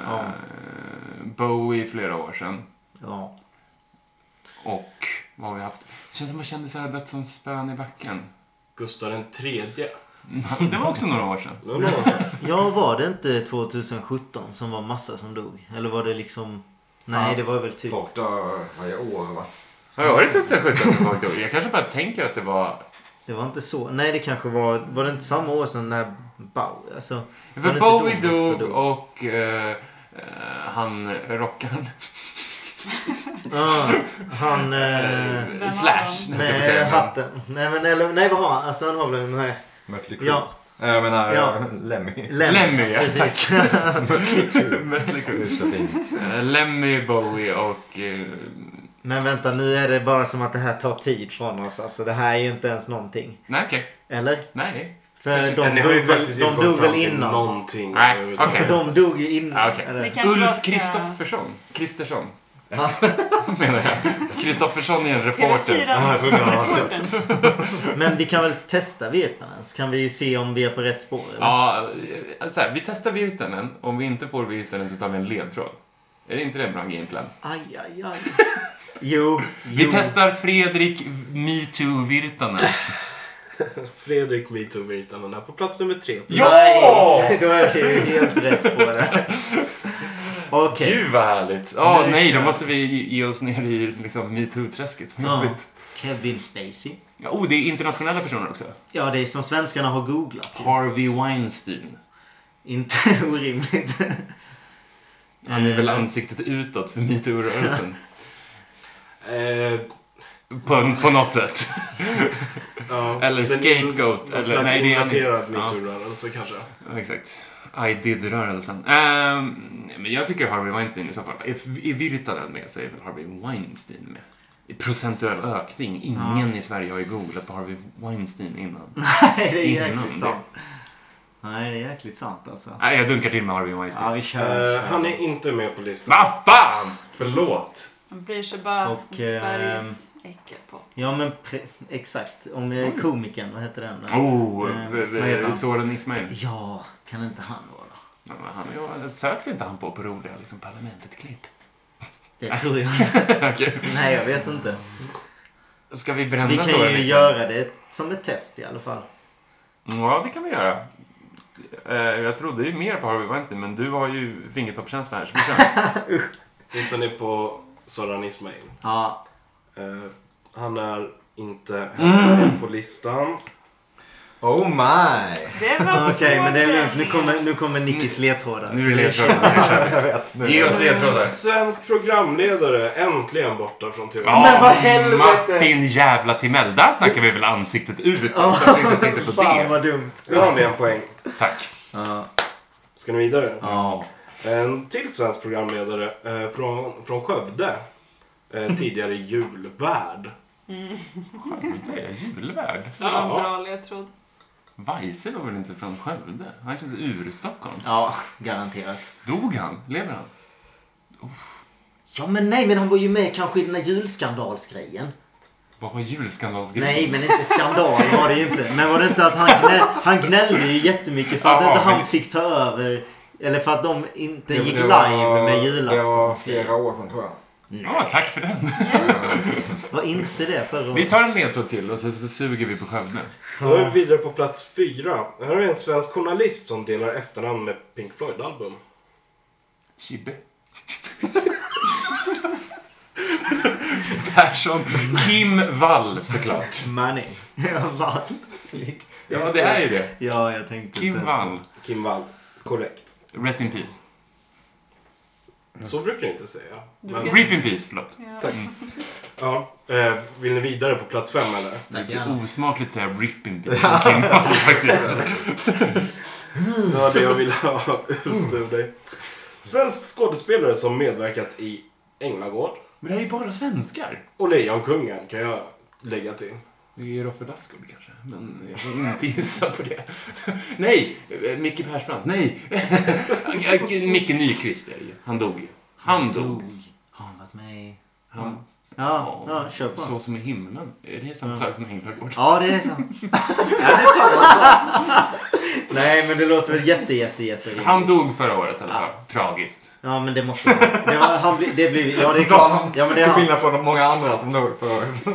[SPEAKER 4] Ja.
[SPEAKER 2] Bowie flera år sedan.
[SPEAKER 4] Ja.
[SPEAKER 2] Och vad har vi haft? Det känns som att kändisar har dött som spön i (laughs) backen.
[SPEAKER 1] Gustav den tredje.
[SPEAKER 2] Det var också några år sedan.
[SPEAKER 1] Det var någon som-
[SPEAKER 4] ja, var det inte 2017 som var massa som dog? Eller var det liksom... Nej, det var väl typ...
[SPEAKER 3] Folk dör varje år va?
[SPEAKER 2] Har jag varit ute sen 17 Jag kanske bara tänker att det var...
[SPEAKER 4] Det var inte så. Nej, det kanske var... Var det inte samma år som när Bowie... Alltså... var det
[SPEAKER 2] För Bowie
[SPEAKER 4] inte då Bowie
[SPEAKER 2] dog och eh, eh, han rockaren.
[SPEAKER 4] Ja, han... Eh,
[SPEAKER 2] (laughs) Eh,
[SPEAKER 5] var
[SPEAKER 2] slash. höll jag på att
[SPEAKER 4] med
[SPEAKER 2] säga.
[SPEAKER 4] hatten. Nej, men eller... Nej, vad har han? Alltså, han har väl den här...
[SPEAKER 3] Mötley Crüe.
[SPEAKER 4] Ja,
[SPEAKER 3] Eh, Jag menar
[SPEAKER 4] Ja.
[SPEAKER 3] eh, Lemmy.
[SPEAKER 4] Lemmy.
[SPEAKER 2] Lemmy, ja,
[SPEAKER 4] Precis.
[SPEAKER 3] Mötley Crüe.
[SPEAKER 2] Mötley Crüe.
[SPEAKER 3] Ursäkta, fint.
[SPEAKER 2] Eh, Lemmy, Bowie och... eh,
[SPEAKER 4] (laughs) men vänta, nu är det bara som att det här tar tid från oss. Alltså, det här är ju inte ens någonting.
[SPEAKER 2] nej, okej.
[SPEAKER 4] Eller?
[SPEAKER 2] Nej.
[SPEAKER 4] För
[SPEAKER 1] (laughs)
[SPEAKER 4] de
[SPEAKER 1] Men ni har ju
[SPEAKER 4] dog väl,
[SPEAKER 1] faktiskt
[SPEAKER 4] de
[SPEAKER 1] inte kommit
[SPEAKER 4] dog
[SPEAKER 1] fram
[SPEAKER 4] väl
[SPEAKER 1] till
[SPEAKER 4] innan?
[SPEAKER 1] någonting.
[SPEAKER 2] Nej,
[SPEAKER 1] överhuvudtaget.
[SPEAKER 2] okej.
[SPEAKER 4] De dog ju
[SPEAKER 2] Ja,
[SPEAKER 4] innan.
[SPEAKER 2] okej.
[SPEAKER 4] eller?
[SPEAKER 5] Det kanske bara
[SPEAKER 2] Ulf
[SPEAKER 5] ska-
[SPEAKER 2] Kristoffersson. Kristersson. (laughs) Menar jag. Kristoffersson är en reporter.
[SPEAKER 4] (laughs)
[SPEAKER 5] TV4
[SPEAKER 3] jag trodde han
[SPEAKER 1] (laughs)
[SPEAKER 3] hade
[SPEAKER 5] Reportern.
[SPEAKER 4] Men vi kan väl testa vietnamen så kan vi se om vi är på rätt spår. Eller?
[SPEAKER 2] Ja, eh, så här, vi testar Virtanen. Om vi inte får Virtanen så tar vi en ledtråd. Är inte det en bra gameplan?
[SPEAKER 4] Aj, aj, aj. Jo,
[SPEAKER 2] Vi
[SPEAKER 4] jo.
[SPEAKER 2] testar Fredrik Metoo Virtanen.
[SPEAKER 1] Fredrik Metoo Virtanen är på plats nummer tre.
[SPEAKER 2] Ja!
[SPEAKER 4] Nice! (laughs) Då är vi ju helt rätt
[SPEAKER 2] (laughs)
[SPEAKER 4] på det. Okej.
[SPEAKER 2] Gud vad härligt! Ja,
[SPEAKER 4] Nu
[SPEAKER 2] nej, då
[SPEAKER 4] kör
[SPEAKER 2] måste vi ge oss ner i liksom, metoo-träsket. Vad
[SPEAKER 4] Ja.
[SPEAKER 2] jobbigt.
[SPEAKER 4] Kevin Spacey.
[SPEAKER 2] Ja, oh, det är internationella personer också.
[SPEAKER 4] Ja, det är som svenskarna har googlat.
[SPEAKER 2] Harvey Weinstein.
[SPEAKER 4] Inte (laughs) orimligt.
[SPEAKER 2] Han
[SPEAKER 4] Eh.
[SPEAKER 2] är väl ansiktet utåt för metoo-rörelsen. (laughs)
[SPEAKER 1] Eh,
[SPEAKER 2] på, på något sätt.
[SPEAKER 1] ja,
[SPEAKER 2] Eller
[SPEAKER 1] men-
[SPEAKER 2] scapegoat,
[SPEAKER 1] Någon
[SPEAKER 2] eller-
[SPEAKER 1] slags
[SPEAKER 2] nej, det är en-
[SPEAKER 1] inverterad
[SPEAKER 2] ja.
[SPEAKER 1] metoo-rörelse kanske.
[SPEAKER 2] Ja, exakt. I did-rörelsen. Ehm, men jag tycker Harvey Weinstein i så fall. Är, är Virtanen med så är väl Harvey Weinstein med. I procentuell ökning. Ingen i Sverige har ju googlat på Harvey Weinstein
[SPEAKER 4] Mm.
[SPEAKER 2] innan.
[SPEAKER 4] Nej, det är
[SPEAKER 2] Innan
[SPEAKER 4] jäkligt
[SPEAKER 2] det.
[SPEAKER 4] sant. Nej, det är jäkligt sant alltså.
[SPEAKER 2] Nej, jag dunkar till med Harvey
[SPEAKER 4] Ja,
[SPEAKER 2] Weinstein.
[SPEAKER 4] vi kör.
[SPEAKER 1] Eh,
[SPEAKER 4] kör.
[SPEAKER 1] han är inte med på listan.
[SPEAKER 2] Vad fan! Förlåt.
[SPEAKER 5] De bryr sig bara om
[SPEAKER 4] Och, ehm,
[SPEAKER 5] Sveriges äckelpop.
[SPEAKER 4] Ja, men pre- exakt. Om eh, komikern, vad heter den? då?
[SPEAKER 2] Oh,
[SPEAKER 4] Eh,
[SPEAKER 2] v-
[SPEAKER 4] vad heter
[SPEAKER 2] v-
[SPEAKER 4] han?
[SPEAKER 2] Soran Ismail.
[SPEAKER 4] Ja, kan inte han vara?
[SPEAKER 2] Ja, men Han, ja, söks inte han på på roliga liksom, Parlamentet-klipp?
[SPEAKER 4] Det tror (laughs) jag inte. Nej, jag vet inte.
[SPEAKER 2] Ska vi bränna
[SPEAKER 4] Vi kan
[SPEAKER 2] Soran
[SPEAKER 4] ju
[SPEAKER 2] Ismail? Mm,
[SPEAKER 4] göra det som ett test i alla fall.
[SPEAKER 2] Ja, det kan vi göra. Eh, jag trodde ju mer på Harvey Weinstein, men du har ju fingertoppskänsla här. Så vi kör.
[SPEAKER 4] (laughs)
[SPEAKER 1] Gissar ni på Soran Ismail?
[SPEAKER 4] Ja,
[SPEAKER 1] Eh, han är inte
[SPEAKER 2] Mm.
[SPEAKER 1] heller med på listan.
[SPEAKER 3] Oh my!
[SPEAKER 5] Det
[SPEAKER 4] (laughs)
[SPEAKER 5] var
[SPEAKER 4] okej, men det är lugnt. Nu
[SPEAKER 5] två
[SPEAKER 4] kommer, nu kommer Nickis ledtrådar.
[SPEAKER 2] Nu
[SPEAKER 4] Så
[SPEAKER 2] är
[SPEAKER 4] det-
[SPEAKER 2] ledtrådar.
[SPEAKER 3] Jag vet. Nu.
[SPEAKER 2] Ge oss ledtrådar.
[SPEAKER 1] Svensk programledare, äntligen borta från TV.
[SPEAKER 2] (laughs) Ja,
[SPEAKER 4] Men vad helvete!
[SPEAKER 2] Martin jävla Timell. Där snackar vi väl ansiktet ut. Jag tänkte- tänkte på
[SPEAKER 4] (laughs) Fan
[SPEAKER 2] det.
[SPEAKER 4] vad dumt.
[SPEAKER 1] Nu har ni en poäng.
[SPEAKER 2] Tack.
[SPEAKER 1] Ska ni vidare?
[SPEAKER 4] Ja.
[SPEAKER 1] En till svensk programledare eh, från, från Skövde. Eh, tidigare julvärd.
[SPEAKER 2] Skövde är julvärd. Ja.
[SPEAKER 5] Bra ledtråd.
[SPEAKER 2] Weise var väl inte från Skövde? Han känns ur-Stockholm.
[SPEAKER 4] Ja, garanterat.
[SPEAKER 2] Dog han? Lever han?
[SPEAKER 4] Ja men nej, men han var ju med kanske i den där julskandalsgrejen.
[SPEAKER 2] Vad var julskandalsgrejen?
[SPEAKER 4] Nej, men inte skandal var det ju inte. Men var det inte att han, gnä, han gnällde ju jättemycket för att
[SPEAKER 2] Ja,
[SPEAKER 4] inte han
[SPEAKER 2] men-
[SPEAKER 4] fick ta över. Eller för att de inte
[SPEAKER 3] Det-
[SPEAKER 4] gick
[SPEAKER 3] det var-
[SPEAKER 4] live med
[SPEAKER 3] Det var
[SPEAKER 4] julaftonsgrejen.
[SPEAKER 3] flera år sedan tror jag.
[SPEAKER 2] Ja, tack för den.
[SPEAKER 4] Var inte det förra
[SPEAKER 2] Vi
[SPEAKER 4] året?
[SPEAKER 2] tar en ledtråd till och så, så suger vi på Skövde.
[SPEAKER 1] Då är vi vidare på plats fyra. Här har vi en svensk journalist som delar efternamn med Pink Floyd-album.
[SPEAKER 2] Kibbe. Persson. Kim Wall såklart.
[SPEAKER 4] Money. (laughs) Ja, vad snyggt.
[SPEAKER 2] Ja, det är ju det.
[SPEAKER 4] Ja, jag tänkte
[SPEAKER 2] Kim
[SPEAKER 4] inte.
[SPEAKER 2] Wall.
[SPEAKER 1] Kim Wall. Korrekt.
[SPEAKER 2] Rest in peace.
[SPEAKER 1] Så brukar jag inte säga. Men,
[SPEAKER 2] Reap in peace, förlåt.
[SPEAKER 5] Ja.
[SPEAKER 1] ja, eh, vill ni vidare på plats fem eller?
[SPEAKER 4] Tack,
[SPEAKER 2] Det
[SPEAKER 4] gärna.
[SPEAKER 2] är osmakligt att säga rip in peace om Kim Wall faktiskt.
[SPEAKER 1] Det var det jag ville ha (laughs) ut ur dig. Svensk skådespelare som medverkat i Änglagård
[SPEAKER 2] Men det här är ju bara svenskar.
[SPEAKER 1] och Lejonkungen kan jag lägga till.
[SPEAKER 2] Det är Roffe Bassgård kanske, men jag får inte gissa på det. Nej, eh, Micke Persbrandt. Nej, (laughs) Micke Nyqvist är det ju. Han dog ju. Han dog.
[SPEAKER 4] Har han varit med i...
[SPEAKER 2] Han,
[SPEAKER 4] Ja, ja kör på.
[SPEAKER 2] Så som i himlen. Är det samma
[SPEAKER 4] Ja.
[SPEAKER 2] sak som himlagård?
[SPEAKER 4] Ja, det är så. ja, det är samma sak. (laughs) Nej, men det låter väl jätte, jätte, jätte rimligt.
[SPEAKER 2] Han dog förra året i alla fall. Tragiskt.
[SPEAKER 4] Ja, men det måste vara- det var, han. blir- Det blir, ja, det är
[SPEAKER 3] Klart.
[SPEAKER 4] klart. Ja, men det är
[SPEAKER 3] Till
[SPEAKER 4] han.
[SPEAKER 3] skillnad från de många andra som dog förra året.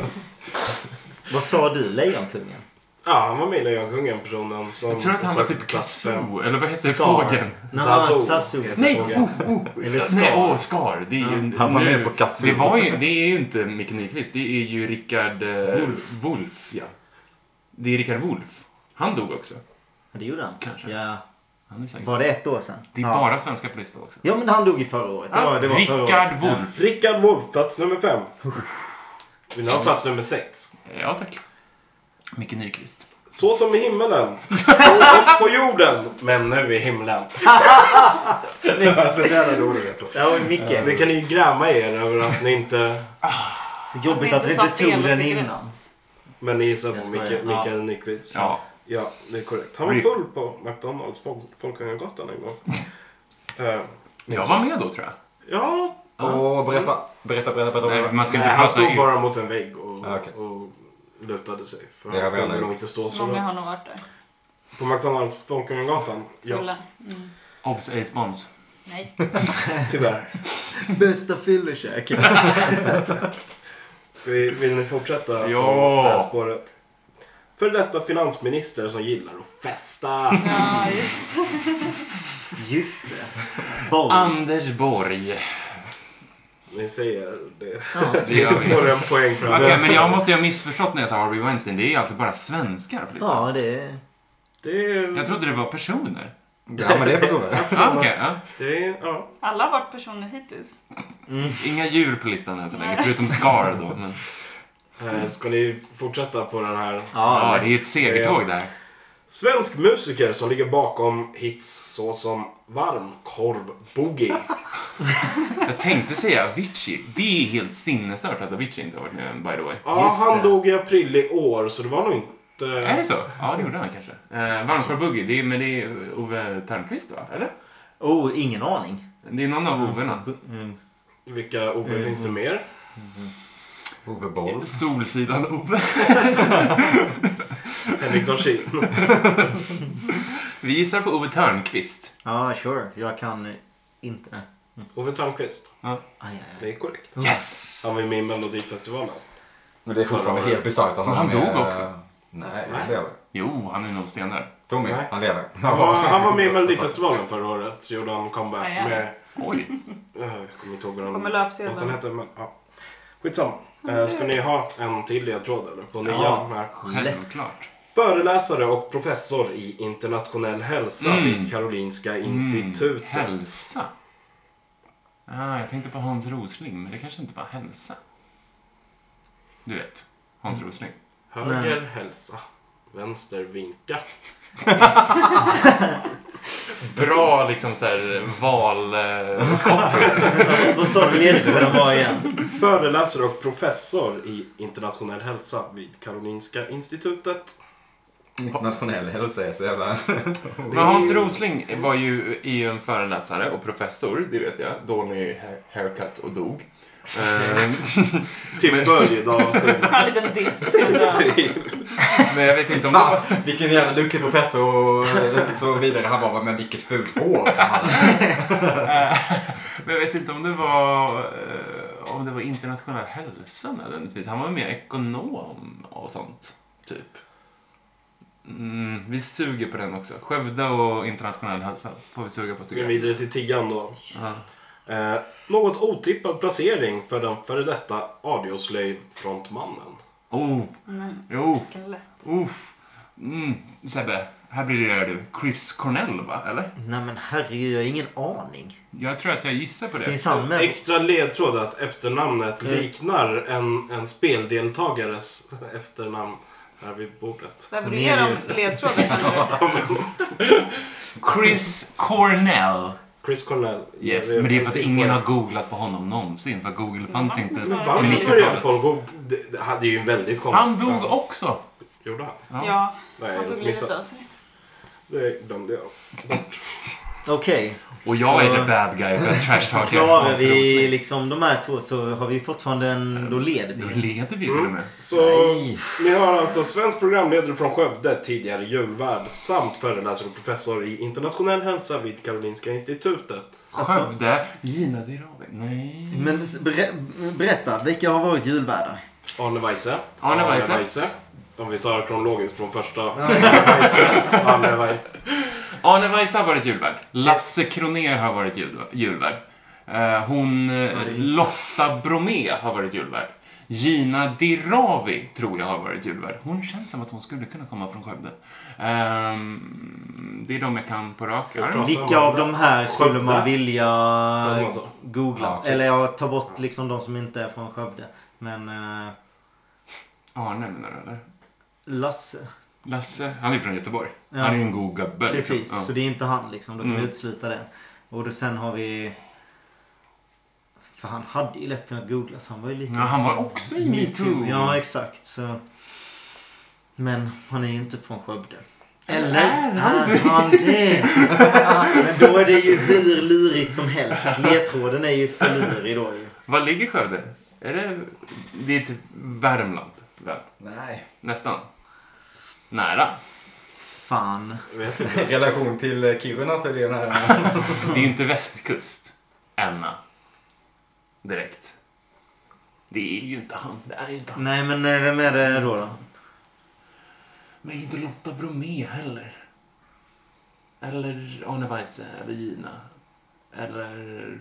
[SPEAKER 4] Vad sa du, Lejonkungen?
[SPEAKER 1] Ja, han var med i Lejonkungen, personen som...
[SPEAKER 2] Jag tror att han var
[SPEAKER 1] sökte
[SPEAKER 2] typ
[SPEAKER 1] plats fem.
[SPEAKER 2] Kazoo, eller vad hette
[SPEAKER 4] Scar.
[SPEAKER 2] fågeln?
[SPEAKER 4] Naha,
[SPEAKER 1] Zazu.
[SPEAKER 4] Sasu.
[SPEAKER 2] Nej,
[SPEAKER 1] Fågeln.
[SPEAKER 2] oh, oh.
[SPEAKER 4] Eller
[SPEAKER 2] Nej,
[SPEAKER 4] Scar.
[SPEAKER 2] åh, Scar. Det är ju,
[SPEAKER 3] Han var
[SPEAKER 2] nu-
[SPEAKER 3] med på Kazoo.
[SPEAKER 2] Det, var ju, det är ju inte Micke Nyqvist, det är ju Rickard eh, Wolf. ja. Det är Rickard Wolf. Han dog också.
[SPEAKER 4] Ja, det gjorde han.
[SPEAKER 2] Kanske.
[SPEAKER 4] Ja.
[SPEAKER 2] Han är säkert.
[SPEAKER 4] Var det ett år sedan?
[SPEAKER 2] Det är
[SPEAKER 4] ja.
[SPEAKER 2] bara svenska på listan också.
[SPEAKER 4] Ja, men han dog ju förra året. Det var, det var förra
[SPEAKER 2] Rickard
[SPEAKER 4] året.
[SPEAKER 2] Wolf.
[SPEAKER 1] Rickard Wolff, plats nummer fem. Vill ni ha plats nummer sex?
[SPEAKER 2] Ja, tack. Micke Nyqvist.
[SPEAKER 1] Så som i himmelen, så upp på jorden, men nu i himlen.
[SPEAKER 3] Alltså, det är roligt.
[SPEAKER 4] Ja, och Micke.
[SPEAKER 1] Det kan ni ju gräma er över att ni inte...
[SPEAKER 4] Så jobbigt att vi
[SPEAKER 5] sa
[SPEAKER 4] inte
[SPEAKER 5] fel
[SPEAKER 4] tog
[SPEAKER 5] och
[SPEAKER 4] den
[SPEAKER 5] fick rätt.
[SPEAKER 4] innan.
[SPEAKER 1] Men ni gissar
[SPEAKER 4] Jag
[SPEAKER 1] på
[SPEAKER 4] skojar.
[SPEAKER 1] Mikael, Mikael Nyqvist.
[SPEAKER 2] Ja.
[SPEAKER 1] Ja, det är korrekt. Han var full på McDonalds Folk- Folkungagatan
[SPEAKER 2] (laughs)
[SPEAKER 1] en gång. Eh,
[SPEAKER 2] Jag var med då, tror jag.
[SPEAKER 1] ja,
[SPEAKER 3] Åh, berätta, berätta, berätta, berätta.
[SPEAKER 2] Nej, man ska
[SPEAKER 1] nej,
[SPEAKER 2] inte
[SPEAKER 1] han
[SPEAKER 2] prata
[SPEAKER 1] stod
[SPEAKER 2] i... Ah,
[SPEAKER 1] bara mot en vägg och,
[SPEAKER 3] Ja, okej.
[SPEAKER 1] och lutade sig. För
[SPEAKER 3] Det har
[SPEAKER 1] han
[SPEAKER 3] vi alla
[SPEAKER 1] kunde nog
[SPEAKER 3] gjort.
[SPEAKER 1] inte stå så
[SPEAKER 5] Många
[SPEAKER 1] långt.
[SPEAKER 5] har nog varit där.
[SPEAKER 1] På McDonalds Folkungagatan? Ja,
[SPEAKER 5] Fulla. Mm.
[SPEAKER 2] Obs, ej spons.
[SPEAKER 1] (laughs)
[SPEAKER 5] Nej.
[SPEAKER 1] tyvärr.
[SPEAKER 4] Bästa fyllekäk.
[SPEAKER 1] Ska vi, vill ni fortsätta på
[SPEAKER 2] Ja.
[SPEAKER 1] det här spåret? För detta finansminister som gillar att festa.
[SPEAKER 5] Ja, just
[SPEAKER 4] (laughs) Just det. Borg.
[SPEAKER 2] Anders Borg.
[SPEAKER 1] Ni säger det.
[SPEAKER 2] Det gör
[SPEAKER 1] (laughs) Vi
[SPEAKER 2] vi.
[SPEAKER 1] får en poäng för
[SPEAKER 2] (laughs)
[SPEAKER 1] det.
[SPEAKER 2] Okej, men jag måste ju ha missförstått när jag sa Harvey Weinstein. Det är alltså bara svenskar på listan.
[SPEAKER 4] Ja, det är...
[SPEAKER 1] Det är...
[SPEAKER 2] Jag trodde det var personer.
[SPEAKER 3] Ja, men det är personer.
[SPEAKER 2] Ah, okej, ja.
[SPEAKER 1] Det är... Ja.
[SPEAKER 5] Alla har varit personer hittills.
[SPEAKER 2] Inga djur på listan än så länge, förutom Scar då. Men,
[SPEAKER 1] Eh, Ska ni fortsätta på den här?
[SPEAKER 2] ja,
[SPEAKER 4] Ja,
[SPEAKER 2] det är ett segertåg där.
[SPEAKER 1] Svensk musiker som ligger bakom hits såsom Varm korv boogie.
[SPEAKER 2] Jag tänkte säga Avicii. Det är helt sinnesstört att Avicii inte har varit med, by the way.
[SPEAKER 1] Ja,
[SPEAKER 4] Just
[SPEAKER 1] han
[SPEAKER 4] det.
[SPEAKER 1] dog i april i år så det var nog inte...
[SPEAKER 2] Är det så? Ja, det gjorde han kanske. Eh, Varmsjö Boogie, det är, men det är Ove Thörnqvist va? Eller?
[SPEAKER 4] oh, ingen aning.
[SPEAKER 2] Det är någon av Ovena.
[SPEAKER 1] Vilka Ove finns det mer?
[SPEAKER 3] Ove Boll.
[SPEAKER 2] Solsidan-Ove.
[SPEAKER 1] Henrik Dorsin. (laughs)
[SPEAKER 2] Vi gissar på Ove Thörnqvist.
[SPEAKER 4] Ja, sure. Jag kan eh, inte.
[SPEAKER 1] Ove Thörnqvist.
[SPEAKER 4] Aj, aj, aj.
[SPEAKER 1] Det är korrekt.
[SPEAKER 2] Yes!
[SPEAKER 1] Han var ju med i Melodifestivalen.
[SPEAKER 3] Men det är fortfarande helt bisarrt att han
[SPEAKER 2] Han
[SPEAKER 3] är med-
[SPEAKER 2] dog också.
[SPEAKER 3] Nej,
[SPEAKER 1] Nej.
[SPEAKER 3] han lever.
[SPEAKER 2] Jo, han är nog stendöd.
[SPEAKER 3] Tommy,
[SPEAKER 1] Nej.
[SPEAKER 3] han lever.
[SPEAKER 1] Han var, han var med i Melodifestivalen förra året. Så gjorde han comeback
[SPEAKER 5] Ja, ja.
[SPEAKER 1] med...
[SPEAKER 2] Oj.
[SPEAKER 1] eh, Jag kommer inte ihåg vad
[SPEAKER 5] Kommer
[SPEAKER 1] han-
[SPEAKER 5] löpsedeln.
[SPEAKER 1] vad han hette. Men, ja. Skitsamma. Eh, Ska ni ha en till ledtråd eller? På nian
[SPEAKER 4] Ja.
[SPEAKER 1] här.
[SPEAKER 2] Självklart.
[SPEAKER 1] Föreläsare och professor i internationell hälsa
[SPEAKER 2] Mm.
[SPEAKER 1] vid Karolinska institutet.
[SPEAKER 2] Hälsa. Ah, jag tänkte på Hans Rosling, men det kanske inte var hälsa. Du vet, Hans Rosling.
[SPEAKER 1] Höger hälsa. Vänster vinka.
[SPEAKER 2] Bra liksom såhär eh. (laughs) valkoppling. (laughs)
[SPEAKER 4] Vad sa du ledtråden var igen?
[SPEAKER 1] Föreläsare och professor i internationell hälsa vid Karolinska institutet.
[SPEAKER 2] (laughs)
[SPEAKER 3] Internationell hälsa är så (laughs) jävla...
[SPEAKER 2] men Hans Rosling var ju, är ju en föreläsare och professor, det vet jag. Dålig hair- haircut och dog. Eh,
[SPEAKER 1] Till
[SPEAKER 2] (laughs)
[SPEAKER 1] följd av sin...
[SPEAKER 5] En liten diss till
[SPEAKER 1] (laughs)
[SPEAKER 5] det.
[SPEAKER 2] men jag vet inte om det
[SPEAKER 3] Fan,
[SPEAKER 2] var...
[SPEAKER 3] vilken jävla duktig professor och så vidare. Han bara, men vilket fult hår han hade.
[SPEAKER 2] Eh, Men jag vet inte om det var... eh, Om det var internationell hälsa nödvändigtvis. Han var mer ekonom och sånt. Typ. Mm, vi suger på den också. Skövde och internationell hälsa får vi suga på
[SPEAKER 1] Vi går
[SPEAKER 2] tycker jag.
[SPEAKER 1] vidare till tian då.
[SPEAKER 2] Ja.
[SPEAKER 1] Eh, något otippad placering för den före detta Audioslave-frontmannen.
[SPEAKER 2] Oh,
[SPEAKER 5] Men
[SPEAKER 2] jo,
[SPEAKER 5] vilken lätt.
[SPEAKER 2] uff. Mm, Sebbe, här blir det du. Chris Cornell va? Eller?
[SPEAKER 4] Nej, men herregud, jag har ingen aning.
[SPEAKER 2] Jag tror att jag gissar på det.
[SPEAKER 4] Finns han med?
[SPEAKER 1] Extra ledtråd är att efternamnet
[SPEAKER 4] Mm.
[SPEAKER 1] liknar en, en speldeltagares efternamn här vid bordet.
[SPEAKER 5] Behöver du ge dem ledtrådar känner
[SPEAKER 1] (laughs)
[SPEAKER 5] du?
[SPEAKER 2] Chris Cornell.
[SPEAKER 1] Chris Cornell.
[SPEAKER 2] Yes,
[SPEAKER 1] Jag vet
[SPEAKER 2] men det är för att
[SPEAKER 1] inte
[SPEAKER 2] ingen
[SPEAKER 1] på
[SPEAKER 2] har googlat på honom någonsin. För Google fanns inte på
[SPEAKER 1] det. Varför
[SPEAKER 2] 90-talet.
[SPEAKER 1] började folk gå... Det det hade ju en väldigt konstig...
[SPEAKER 2] Mm. Han dog också.
[SPEAKER 1] Gjorde han?
[SPEAKER 5] Ja,
[SPEAKER 1] (laughs) Nej,
[SPEAKER 5] han tog
[SPEAKER 1] jag
[SPEAKER 5] livet
[SPEAKER 1] missade.
[SPEAKER 5] av sig.
[SPEAKER 1] Det glömde jag.
[SPEAKER 4] Okej,
[SPEAKER 2] Och jag är
[SPEAKER 4] Så-
[SPEAKER 2] the bad guy för
[SPEAKER 4] (laughs)
[SPEAKER 2] jag trashtalkar
[SPEAKER 4] klarar
[SPEAKER 2] Hans
[SPEAKER 4] vi
[SPEAKER 2] Rosling.
[SPEAKER 4] liksom de här två så har vi fortfarande en... Då leder
[SPEAKER 2] Då
[SPEAKER 4] vi.
[SPEAKER 2] leder vi till och med.
[SPEAKER 1] Så
[SPEAKER 3] Nej.
[SPEAKER 1] ni har alltså svensk programledare från Skövde, tidigare julvärd, samt föreläsare och professor i internationell hälsa vid Karolinska Institutet.
[SPEAKER 4] Alltså-
[SPEAKER 2] Skövde. Gina Dirawi. Nej.
[SPEAKER 4] Men s- berä- berätta, vilka har varit julvärdar?
[SPEAKER 1] Arne Weise.
[SPEAKER 2] Arne Weise.
[SPEAKER 1] Om vi tar kronologiskt från första. (laughs) Arne Weise.
[SPEAKER 2] Arne Weise har varit julvärd. Lasse Kroner har varit jul- julvärd. Eh, Hon, eh, Lotta Bromé har varit julvärd. Gina Dirawi tror jag har varit julvärd. Hon känns som att hon skulle kunna komma från Skövde. Ehm, det är de jag kan på rak arm.
[SPEAKER 4] Vilka av de här skulle
[SPEAKER 1] Skövde?
[SPEAKER 4] man vilja
[SPEAKER 1] det var så.
[SPEAKER 4] googla?
[SPEAKER 3] Ja, okej.
[SPEAKER 2] typ.
[SPEAKER 4] Eller ja, ta bort liksom de som inte är från Skövde. Men eh,
[SPEAKER 2] Arne menar du eller?
[SPEAKER 4] Lasse.
[SPEAKER 2] Lasse, han är från Göteborg.
[SPEAKER 4] Ja.
[SPEAKER 2] Han är ju en god gubbe. liksom.
[SPEAKER 4] Precis,
[SPEAKER 2] Ja.
[SPEAKER 4] så det är inte han liksom. Då kan
[SPEAKER 2] Mm.
[SPEAKER 4] vi utesluta det. Och då, sen har vi... För han hade ju lätt kunnat googlas. Han var ju lite...
[SPEAKER 2] Ja, han var också i metoo.
[SPEAKER 4] Ja, exakt. Så... Men han är ju inte från Skövde. Eller
[SPEAKER 2] Är han
[SPEAKER 4] är han det? Ja, Men då är det ju hur lurigt som helst. Ledtråden är ju för lurig då ju.
[SPEAKER 2] Var ligger Skövde? Är det... Det är typ Värmland. Väl?
[SPEAKER 6] Nej.
[SPEAKER 2] Nästan. Nära.
[SPEAKER 4] Fan.
[SPEAKER 1] Jag vet inte.
[SPEAKER 3] (laughs) I relation till eh, Kiruna så är det ju den här...
[SPEAKER 2] Det är ju inte västkust. Enna. Direkt. Det är ju inte han. Det är ju inte han.
[SPEAKER 4] Nej, men eh, vem är det då? då?
[SPEAKER 2] Men det är inte Lotta Bromé heller. Eller Arne Weise eller Gina. Eller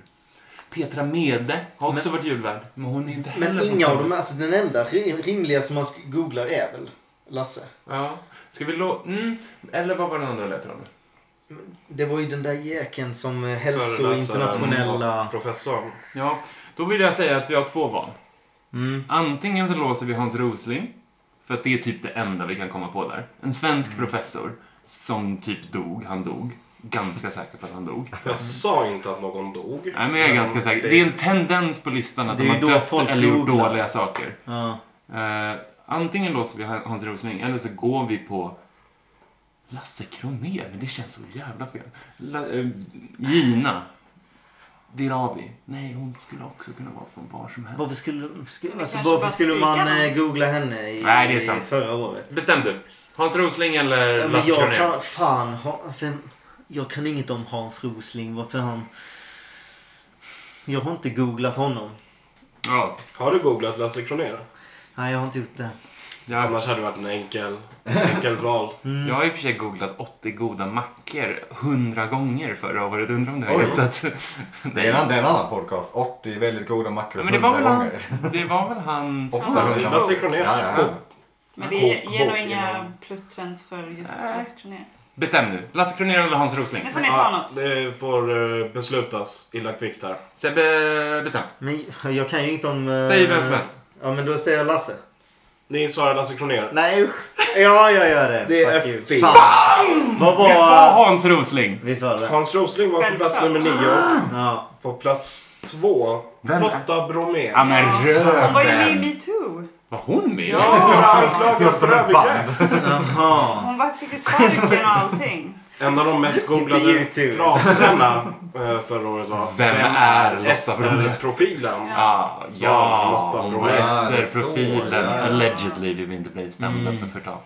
[SPEAKER 2] Petra Mede har också varit julvärd. Men hon är inte heller...
[SPEAKER 4] Men
[SPEAKER 2] från
[SPEAKER 4] inga av
[SPEAKER 2] Skövde.
[SPEAKER 4] dem, alltså den enda rim- rimliga som man sk- googlar är väl Lasse?
[SPEAKER 2] Ja. Ska vi låta... Mm. Eller vad var den andra ledtråden?
[SPEAKER 4] Det var ju den där jäkeln som eh,
[SPEAKER 1] Föreläsaren
[SPEAKER 4] hälsointernationella...
[SPEAKER 1] och Professorn.
[SPEAKER 2] Ja, då vill jag säga att vi har två val.
[SPEAKER 4] Mm.
[SPEAKER 2] Antingen så låser vi Hans Rosling, för att det är typ det enda vi kan komma på där. En svensk
[SPEAKER 4] Mm.
[SPEAKER 2] professor som typ dog, han dog. Ganska säker på att han dog.
[SPEAKER 1] Jag sa inte att någon dog.
[SPEAKER 2] Nej, men jag är ganska säker. Det är en tendens på listan att
[SPEAKER 4] Det
[SPEAKER 2] de
[SPEAKER 4] är
[SPEAKER 2] har
[SPEAKER 4] då
[SPEAKER 2] dött
[SPEAKER 4] folk
[SPEAKER 2] eller gjort
[SPEAKER 4] googlar.
[SPEAKER 2] dåliga saker.
[SPEAKER 4] Ja.
[SPEAKER 2] Eh, antingen låser vi Hans Rosling, eller så går vi på Lasse Kronér, men det känns så jävla fel. La, eh, Gina Dirawi. Nej, hon skulle också kunna vara från var som helst.
[SPEAKER 4] Varför skulle, skulle, alltså,
[SPEAKER 5] kanske
[SPEAKER 4] varför
[SPEAKER 5] bara
[SPEAKER 4] skulle
[SPEAKER 5] spikar
[SPEAKER 4] man
[SPEAKER 5] dem.
[SPEAKER 4] eh, googla henne i,
[SPEAKER 2] Nej, det är
[SPEAKER 4] i
[SPEAKER 2] sant.
[SPEAKER 4] förra året?
[SPEAKER 2] Bestäm du. Hans Rosling eller
[SPEAKER 4] Ja, Men
[SPEAKER 2] Lasse
[SPEAKER 4] jag
[SPEAKER 2] Kronér?
[SPEAKER 4] kan, fan, ha- vem, jag kan inget om Hans Rosling. Varför han... Jag har inte googlat honom.
[SPEAKER 2] Ja.
[SPEAKER 1] Har du googlat Lasse Kronér?
[SPEAKER 4] Nej, jag har inte gjort det.
[SPEAKER 2] Jag,
[SPEAKER 1] Annars hade det varit en enkel, enkel val.
[SPEAKER 2] jag har i och för sig googlat 80 goda mackor 100 gånger förra året. Undrar om det
[SPEAKER 3] Oj.
[SPEAKER 2] var rätt. så att-
[SPEAKER 3] Det är en annan- det är en annan podcast. 80 väldigt goda mackor.
[SPEAKER 2] Ja, men det var väl
[SPEAKER 3] 100
[SPEAKER 2] han,
[SPEAKER 3] gånger.
[SPEAKER 2] det var väl hans...
[SPEAKER 5] Och-
[SPEAKER 3] Åtta.
[SPEAKER 1] Lasse Kronér.
[SPEAKER 3] Ja, ja, ja.
[SPEAKER 5] Men det
[SPEAKER 1] Kok-
[SPEAKER 5] ger nog
[SPEAKER 1] bok
[SPEAKER 5] inga
[SPEAKER 1] innan.
[SPEAKER 5] plustrends för just
[SPEAKER 2] Nej.
[SPEAKER 5] Lasse Kronér.
[SPEAKER 2] Bestäm nu. Lasse Kronér eller Hans Rosling?
[SPEAKER 5] Nu får ni ta
[SPEAKER 1] Ja,
[SPEAKER 5] något.
[SPEAKER 1] det får eh, beslutas illa kvickt här.
[SPEAKER 2] Sebbe, bestäm.
[SPEAKER 4] Men jag kan ju inte om... eh,
[SPEAKER 2] Säg vem som helst.
[SPEAKER 4] Ja, men då säger jag Lasse.
[SPEAKER 1] Ni svarar Lasse Kronér.
[SPEAKER 4] Nej, usch. Ja, jag gör det.
[SPEAKER 1] Det är
[SPEAKER 4] Fuck you.
[SPEAKER 1] fel.
[SPEAKER 4] Fan. Vad
[SPEAKER 2] Vi sa
[SPEAKER 4] var...
[SPEAKER 2] Hans Rosling!
[SPEAKER 4] Vi sa det.
[SPEAKER 1] Hans Rosling var på plats nummer
[SPEAKER 5] Självklart.
[SPEAKER 1] nio.
[SPEAKER 4] Ja.
[SPEAKER 1] På plats två,
[SPEAKER 2] Vem är-
[SPEAKER 1] Lotta Bromé.
[SPEAKER 2] Ja men
[SPEAKER 5] Hon var ju med i
[SPEAKER 2] röven!
[SPEAKER 5] metoo.
[SPEAKER 2] Var hon med?
[SPEAKER 5] (laughs)
[SPEAKER 1] Anklagad för övergrepp.
[SPEAKER 4] Jaha.
[SPEAKER 5] Hon var, fick ju sparken och allting.
[SPEAKER 1] En av de mest googlade
[SPEAKER 4] Inte YouTube.
[SPEAKER 1] fraserna eh, förra året var
[SPEAKER 2] Vem är Lotta Bromé?"
[SPEAKER 1] SR-profilen?
[SPEAKER 2] Ah,
[SPEAKER 1] Svarade
[SPEAKER 2] ja,
[SPEAKER 1] Lotta
[SPEAKER 2] hon
[SPEAKER 1] Bromé.
[SPEAKER 2] var
[SPEAKER 3] Ja, så,
[SPEAKER 2] SR-profilen.
[SPEAKER 3] ja.
[SPEAKER 2] Allegedly, vi vill inte bli stämda för förtal.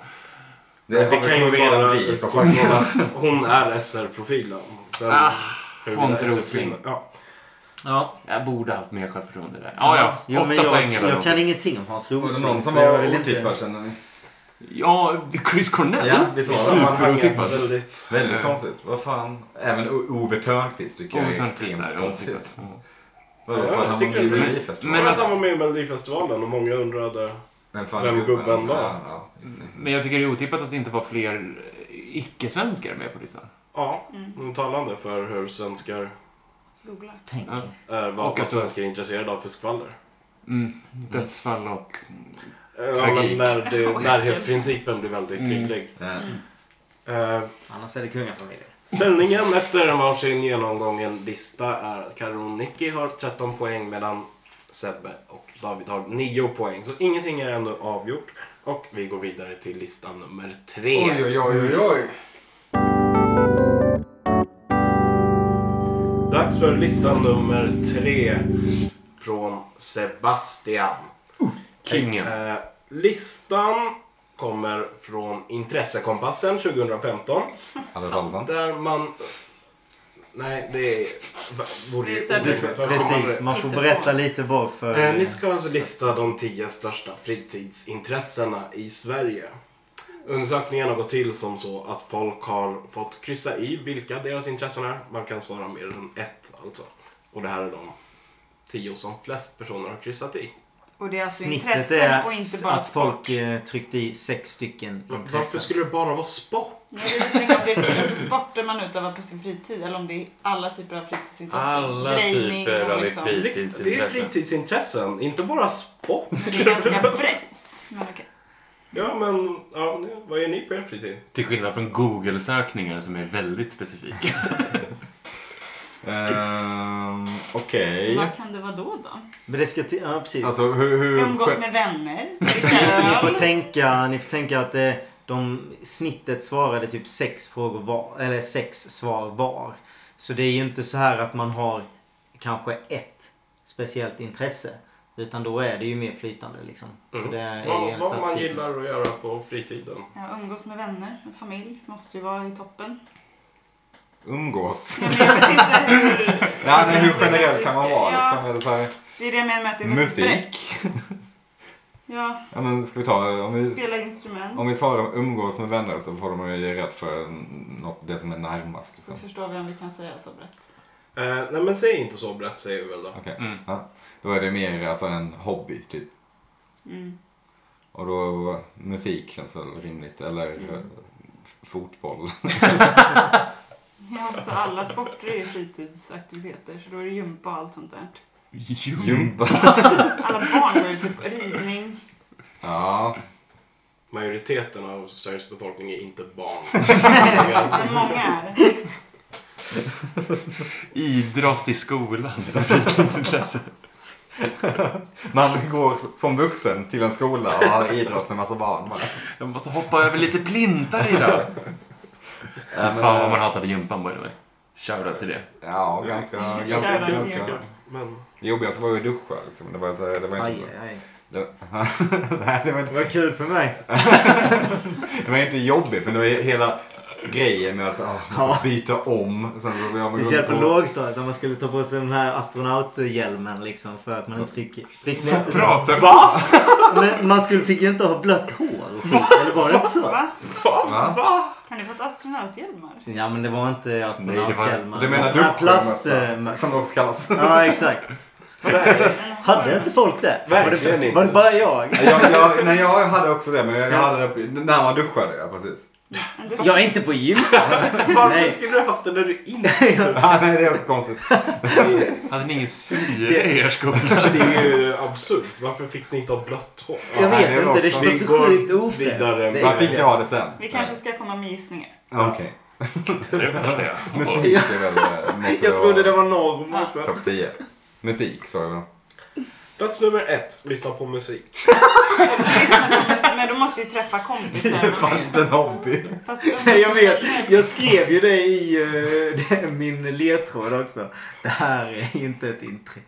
[SPEAKER 3] Det har
[SPEAKER 1] Vi kan ju
[SPEAKER 3] vi redan
[SPEAKER 1] bara
[SPEAKER 3] bli.
[SPEAKER 1] utgå från att hon är SR-profilen. Sen
[SPEAKER 2] Ah,
[SPEAKER 1] huruvida
[SPEAKER 2] Hans
[SPEAKER 1] SR
[SPEAKER 2] Rosling.
[SPEAKER 1] finner- Ja.
[SPEAKER 4] Ja.
[SPEAKER 2] Jag borde haft mer självförtroende där. Ah, ja,
[SPEAKER 4] Jo,
[SPEAKER 2] åtta
[SPEAKER 4] men jag,
[SPEAKER 2] poäng eller
[SPEAKER 4] Jag kan
[SPEAKER 2] någonting.
[SPEAKER 4] ingenting om Hans
[SPEAKER 3] Var det
[SPEAKER 4] Rosling.
[SPEAKER 3] någon som
[SPEAKER 4] så jag
[SPEAKER 3] var
[SPEAKER 4] vill
[SPEAKER 3] otippad
[SPEAKER 4] inte-
[SPEAKER 3] känner ni?
[SPEAKER 2] Ja, Chris Cornell.
[SPEAKER 3] Ja, det sa jag.
[SPEAKER 1] Sammanhanget
[SPEAKER 2] Superotippat.
[SPEAKER 1] var väldigt...
[SPEAKER 3] Väldigt
[SPEAKER 2] Ja.
[SPEAKER 3] konstigt. Vad fan. Även O- Ove Thörnqvist tycker jag är extremt konstigt.
[SPEAKER 2] Mm.
[SPEAKER 3] Vadå,
[SPEAKER 1] Ja,
[SPEAKER 3] för
[SPEAKER 1] jag
[SPEAKER 3] att han var
[SPEAKER 1] tycker
[SPEAKER 3] med i
[SPEAKER 1] det är-
[SPEAKER 2] Men
[SPEAKER 1] Men
[SPEAKER 3] Melodifestivalen?
[SPEAKER 1] att han var med i Melodifestivalen och många undrade.
[SPEAKER 3] Vem fan
[SPEAKER 1] Vem
[SPEAKER 3] är
[SPEAKER 1] gubben var?
[SPEAKER 3] Ja, ja, just det.
[SPEAKER 2] Men jag tycker det är otippat att det inte var fler eh, icke-svenskar med på listan.
[SPEAKER 1] Ja, mm. talande för hur svenskar
[SPEAKER 5] Googla.
[SPEAKER 4] Tänk.
[SPEAKER 2] Ja.
[SPEAKER 1] är, Eh, vad
[SPEAKER 2] Och
[SPEAKER 1] vad
[SPEAKER 2] att-
[SPEAKER 1] svenskar är intresserade av för skvaller.
[SPEAKER 2] Mm. Dödsfall och...
[SPEAKER 1] Eh, Ja,
[SPEAKER 2] Tragik.
[SPEAKER 1] men när det, närhetsprincipen blir väldigt tydlig.
[SPEAKER 3] Ja.
[SPEAKER 5] Mm.
[SPEAKER 1] Eh,
[SPEAKER 4] Annars är det kungafamiljen.
[SPEAKER 1] Ställningen efter en varsin genomgången lista är att Karo och Nicky har 13 poäng medan Sebbe och David har 9 poäng. Så ingenting är ännu avgjort. Och vi går vidare till lista nummer 3.
[SPEAKER 6] Oj, oj, oj, oj, oj.
[SPEAKER 1] dags för lista nummer tre från Sebastian.
[SPEAKER 2] Kingen.
[SPEAKER 1] Eh, listan kommer från Intressekompassen 2015.
[SPEAKER 3] Hade Karlsson.
[SPEAKER 1] Där man... Nej, det är- va- vore ju
[SPEAKER 5] Det är så-
[SPEAKER 1] orimligt. Varför skulle man-
[SPEAKER 4] Precis, man får
[SPEAKER 5] Inte
[SPEAKER 4] berätta
[SPEAKER 5] på.
[SPEAKER 4] lite varför.
[SPEAKER 1] Eh, Ni ska alltså lista de tio största fritidsintressena i Sverige. Undersökningen har gått till som så att folk har fått kryssa i vilka deras intressen är. Man kan svara mer än ett alltså. Och det här är de tio som flest personer har kryssat i.
[SPEAKER 5] Och det är alltså
[SPEAKER 4] Snittet
[SPEAKER 5] intressen
[SPEAKER 4] är
[SPEAKER 5] och inte bara
[SPEAKER 4] att
[SPEAKER 5] sport.
[SPEAKER 4] folk eh, tryckte i sex stycken
[SPEAKER 1] Men varför
[SPEAKER 4] intressen.
[SPEAKER 1] skulle det bara vara sport?
[SPEAKER 5] Jag vet inte om det är alltså sporter man utövar på sin fritid eller om det är alla typer av fritidsintressen. liksom.
[SPEAKER 2] Alla
[SPEAKER 5] Drejning och
[SPEAKER 2] typer av
[SPEAKER 1] Det,
[SPEAKER 2] fritid.
[SPEAKER 1] det är fritidsintressen, inte bara sport.
[SPEAKER 5] Det är ganska brett. Men okej.
[SPEAKER 1] (laughs) Ja, men ja, vad gör ni på er fritid?
[SPEAKER 2] Till skillnad från Google-sökningar som är väldigt specifika.
[SPEAKER 3] Ehm, Okej.
[SPEAKER 5] Vad kan det vara då då?
[SPEAKER 4] Men det ska till, ja precis.
[SPEAKER 3] Alltså hur... hur
[SPEAKER 5] Umgås
[SPEAKER 4] (laughs)
[SPEAKER 5] med vänner?
[SPEAKER 4] Ni
[SPEAKER 5] dricka
[SPEAKER 4] får
[SPEAKER 5] öl?
[SPEAKER 4] tänka, ni får tänka att eh, de snittet svarade typ sex frågor var, eller sex svar var. Så det är ju inte så här att man har kanske ett speciellt intresse. Utan då är det ju mer flytande liksom.
[SPEAKER 3] Mm.
[SPEAKER 4] Så det är ju
[SPEAKER 1] Vad,
[SPEAKER 4] en
[SPEAKER 1] vad man
[SPEAKER 4] statistik.
[SPEAKER 1] gillar att göra på fritiden.
[SPEAKER 5] Ja, umgås med vänner, en familj måste ju vara i toppen.
[SPEAKER 3] Umgås.
[SPEAKER 5] Ja, men Jag vet inte hur...
[SPEAKER 3] Nej, men hur generellt kan man vara
[SPEAKER 5] Ja.
[SPEAKER 3] liksom? Eller så här,
[SPEAKER 5] Det är det jag menar med att det är väldigt
[SPEAKER 3] Musik.
[SPEAKER 5] brett. Ja,
[SPEAKER 3] ja, men ska vi ta... Om vi,
[SPEAKER 5] spela instrument.
[SPEAKER 3] om vi svarar umgås med vänner så får de ju rätt för något, det som är närmast.
[SPEAKER 5] Så
[SPEAKER 3] Liksom.
[SPEAKER 5] förstår vi om vi kan säga så brett.
[SPEAKER 1] Eh, nej, men säg inte så brett säger vi väl då.
[SPEAKER 3] Okej.
[SPEAKER 2] Mm.
[SPEAKER 3] Ja. Då är det mer alltså en hobby typ.
[SPEAKER 5] Mm.
[SPEAKER 3] Och då musik känns väl rimligt. Eller eh,
[SPEAKER 5] Mm.
[SPEAKER 3] f- fotboll.
[SPEAKER 5] Ja, så alla sporter är ju fritidsaktiviteter så då är det gympa och allt sånt där. Mm. (laughs)
[SPEAKER 3] Jumpa.
[SPEAKER 5] Alla barn går ju typ ridning.
[SPEAKER 3] Ja.
[SPEAKER 1] Majoriteten av Sveriges befolkning är inte (laughs) barn.
[SPEAKER 5] Men många är.
[SPEAKER 2] Idrott i skolan som fritidsintresse.
[SPEAKER 3] Man går s- som vuxen till en skola och har idrott med massa barn. bara.
[SPEAKER 2] Jag måste hoppa över lite plintar idag.
[SPEAKER 3] Ja, men,
[SPEAKER 2] Fan vad man
[SPEAKER 3] eh,
[SPEAKER 2] hatade gympan by the way. Shoutout till det.
[SPEAKER 3] Ja, ganska... ganska,
[SPEAKER 5] Kära
[SPEAKER 3] ganska.
[SPEAKER 1] Men
[SPEAKER 3] Det jobbigaste var ju att duscha. Liksom. Det var, så, här- det var (laughs) inte
[SPEAKER 4] Aj,
[SPEAKER 3] så...
[SPEAKER 4] aj, aj.
[SPEAKER 3] Det, nej, det, var inte,
[SPEAKER 4] Det var kul för mig.
[SPEAKER 3] det var inte jobbigt, men det var ju hela grejen med att så, ah, man ska byta om. Sen så, ja, man går
[SPEAKER 4] Speciellt på
[SPEAKER 3] på-
[SPEAKER 4] lågstadiet när man skulle ta på sig den här astronauthjälmen liksom för att man inte fick... fick man, inte,
[SPEAKER 2] Prata Va?
[SPEAKER 4] men man skulle, fick ju inte ha blött hår och skit, eller var det inte så?
[SPEAKER 5] Va?
[SPEAKER 3] Va?
[SPEAKER 5] Har ni fått astronauthjälmar?
[SPEAKER 4] Ja men det var inte astronauthjälmar.
[SPEAKER 3] Du menar
[SPEAKER 4] Såna här
[SPEAKER 3] duschmössa?
[SPEAKER 4] plast... eh,
[SPEAKER 3] Som det också kallas.
[SPEAKER 4] Ja exakt. Hade inte folk det?
[SPEAKER 1] Verkligen
[SPEAKER 4] var det,
[SPEAKER 1] inte.
[SPEAKER 4] Var det bara jag?
[SPEAKER 3] jag, jag, nej, jag hade också det, men jag hade det när man duschade. Ja, precis.
[SPEAKER 5] Men du-
[SPEAKER 4] Jag är inte på gym.
[SPEAKER 1] (laughs) varför
[SPEAKER 4] Nej.
[SPEAKER 1] skulle du haft det när du inte...
[SPEAKER 3] Ah, nej, det är också konstigt.
[SPEAKER 2] Hade ni ingen syre i er
[SPEAKER 3] (laughs)
[SPEAKER 2] skola?
[SPEAKER 1] (laughs) Det är ju absurt. Varför fick ni inte ha blött hår?
[SPEAKER 4] Jag
[SPEAKER 3] Nej, det
[SPEAKER 4] vet
[SPEAKER 3] var
[SPEAKER 4] inte, det
[SPEAKER 3] också-
[SPEAKER 4] känns
[SPEAKER 1] Vi
[SPEAKER 4] så
[SPEAKER 1] går
[SPEAKER 4] sjukt ofräscht.
[SPEAKER 1] vidare.
[SPEAKER 4] Det är-
[SPEAKER 3] Man fick ju ha det sen.
[SPEAKER 5] Vi kanske ska komma med gissningar.
[SPEAKER 3] Ja, Okej.
[SPEAKER 2] Det är det värsta jag har.
[SPEAKER 3] Musik är väl... eh, Måste
[SPEAKER 4] Jag trodde det Alltså-
[SPEAKER 3] vara
[SPEAKER 4] var norm också.
[SPEAKER 3] Topp 10. Musik, sa jag väl.
[SPEAKER 1] Plats nummer ett. Lyssna på musik.
[SPEAKER 5] Men då måste ju träffa kompisar.
[SPEAKER 3] (laughs) Fan, en hobby.
[SPEAKER 5] Fast
[SPEAKER 4] Nej, Jag vet, jag skrev ju det i eh, (laughs) det- min ledtråd också. Det här är inte ett intre.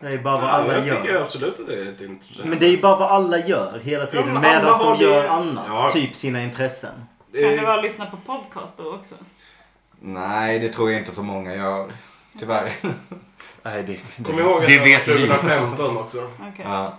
[SPEAKER 4] Det är bara vad alla
[SPEAKER 1] jag tycker
[SPEAKER 4] gör.
[SPEAKER 1] absolut att det är ett intresse.
[SPEAKER 4] Men det är ju bara vad alla gör hela
[SPEAKER 1] Ja,
[SPEAKER 4] tiden
[SPEAKER 1] men alla
[SPEAKER 4] medan
[SPEAKER 1] har
[SPEAKER 4] de
[SPEAKER 1] det-
[SPEAKER 4] gör annat.
[SPEAKER 1] Ja.
[SPEAKER 4] Typ sina intressen.
[SPEAKER 5] Kan det
[SPEAKER 1] Eh,
[SPEAKER 5] vara att lyssna på podcast då också?
[SPEAKER 3] Nej, det tror jag inte så många gör. Tyvärr.
[SPEAKER 2] Nej, det,
[SPEAKER 1] Kom ihåg att
[SPEAKER 2] det
[SPEAKER 1] det var
[SPEAKER 2] vet vi.
[SPEAKER 1] 2015 också.
[SPEAKER 5] Okej.
[SPEAKER 3] Ja.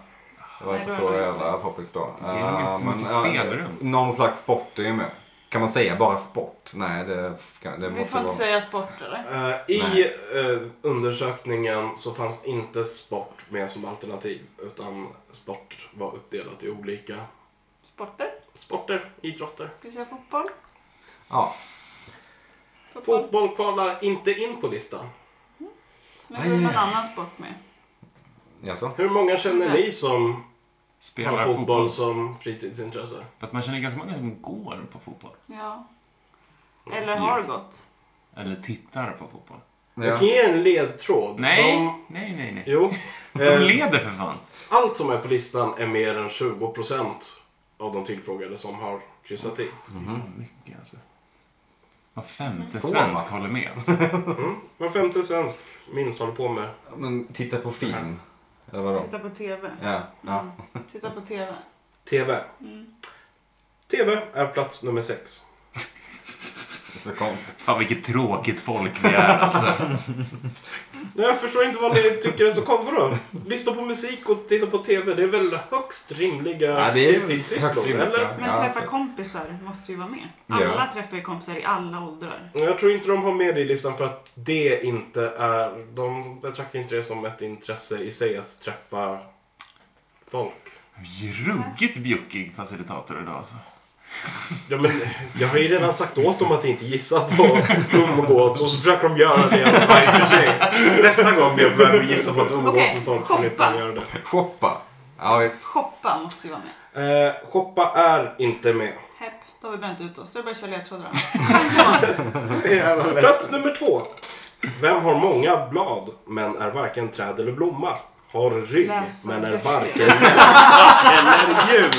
[SPEAKER 3] Det var
[SPEAKER 5] Nej,
[SPEAKER 3] inte
[SPEAKER 5] då
[SPEAKER 3] så
[SPEAKER 5] var det
[SPEAKER 3] jävla poppis då.
[SPEAKER 2] Det är inte så
[SPEAKER 3] Ja,
[SPEAKER 2] mycket
[SPEAKER 3] men, ja,
[SPEAKER 2] spelrum.
[SPEAKER 3] Någon slags sport är ju med. Kan man säga bara sport? Nej, det, kan, det
[SPEAKER 5] Vi
[SPEAKER 3] måste
[SPEAKER 5] får inte
[SPEAKER 3] vara...
[SPEAKER 5] säga sport eller?
[SPEAKER 1] Eh, I
[SPEAKER 3] Nej.
[SPEAKER 1] eh, undersökningen så fanns inte sport med som alternativ. Utan sport var uppdelat i olika
[SPEAKER 5] Sporter?
[SPEAKER 1] sporter, idrotter.
[SPEAKER 5] Ska vi säga fotboll?
[SPEAKER 3] Ja.
[SPEAKER 5] Fotboll?
[SPEAKER 1] Fotboll kvalar inte in på listan.
[SPEAKER 5] Men då är någon annan sport med.
[SPEAKER 3] Jaså?
[SPEAKER 1] Hur många känner ni som
[SPEAKER 2] Spelar
[SPEAKER 1] har fotboll,
[SPEAKER 2] fotboll.
[SPEAKER 1] som fritidsintresse?
[SPEAKER 2] Fast man känner ganska många som går på fotboll.
[SPEAKER 5] Ja. Eller har gått.
[SPEAKER 2] Eller tittar på fotboll.
[SPEAKER 1] Jag
[SPEAKER 3] Ja.
[SPEAKER 1] kan ge er en ledtråd.
[SPEAKER 2] Nej,
[SPEAKER 1] De,
[SPEAKER 2] nej, nej. nej.
[SPEAKER 1] jo.
[SPEAKER 2] (laughs) De
[SPEAKER 1] Eh,
[SPEAKER 2] leder för fan.
[SPEAKER 1] allt som är på listan är mer än 20% av de tillfrågade som har kryssat i.
[SPEAKER 2] Det är fan mycket alltså. Var femte
[SPEAKER 3] Så,
[SPEAKER 2] svensk
[SPEAKER 3] va?
[SPEAKER 2] håller med.
[SPEAKER 1] Var femte svensk minst håller på med.
[SPEAKER 3] Men titta på film. Eller vadå?
[SPEAKER 5] Titta på TV.
[SPEAKER 3] Ja. ja.
[SPEAKER 5] Mm. Titta på TV.
[SPEAKER 1] TV.
[SPEAKER 5] Mm.
[SPEAKER 1] TV är plats nummer sex.
[SPEAKER 3] Det är så konstigt.
[SPEAKER 2] Fan vilket tråkigt folk vi är alltså.
[SPEAKER 1] Nej, jag förstår inte vad ni tycker är så konstigt. Vadå? Lyssna på musik och titta på TV. Det är väl högst rimliga
[SPEAKER 3] Ja, det är
[SPEAKER 1] fritidssysslor,
[SPEAKER 3] högst rimligt.
[SPEAKER 1] eller?
[SPEAKER 3] ja.
[SPEAKER 5] Men
[SPEAKER 3] Ja,
[SPEAKER 5] träffa
[SPEAKER 3] så-
[SPEAKER 5] kompisar måste ju vara med.
[SPEAKER 3] Ja.
[SPEAKER 5] Alla träffar ju kompisar i alla åldrar.
[SPEAKER 1] Jag tror inte de har med det i listan för att det inte är... De betraktar inte det som ett intresse i sig att träffa folk.
[SPEAKER 2] Ruggigt bjuckig facilitator idag alltså.
[SPEAKER 1] Ja, men jag har ju redan sagt åt dem att inte gissa på umgås och så försöker de göra det varje för sig. Nästa gång vi är på väg att gissa på att umgås
[SPEAKER 5] Okej,
[SPEAKER 1] med folk ska ni fan göra det.
[SPEAKER 3] Shoppa. Ja, visst.
[SPEAKER 5] Shoppa måste ju vara med.
[SPEAKER 1] Eh, shoppa är inte med.
[SPEAKER 5] Hepp, då har vi bränt ut oss. Då är det bara att köra
[SPEAKER 3] (laughs)
[SPEAKER 5] ledtrådar.
[SPEAKER 1] Plats nummer två. Vem har många blad men är varken träd eller blomma? Har rygg
[SPEAKER 5] Läs.
[SPEAKER 1] men är varken människa eller djur.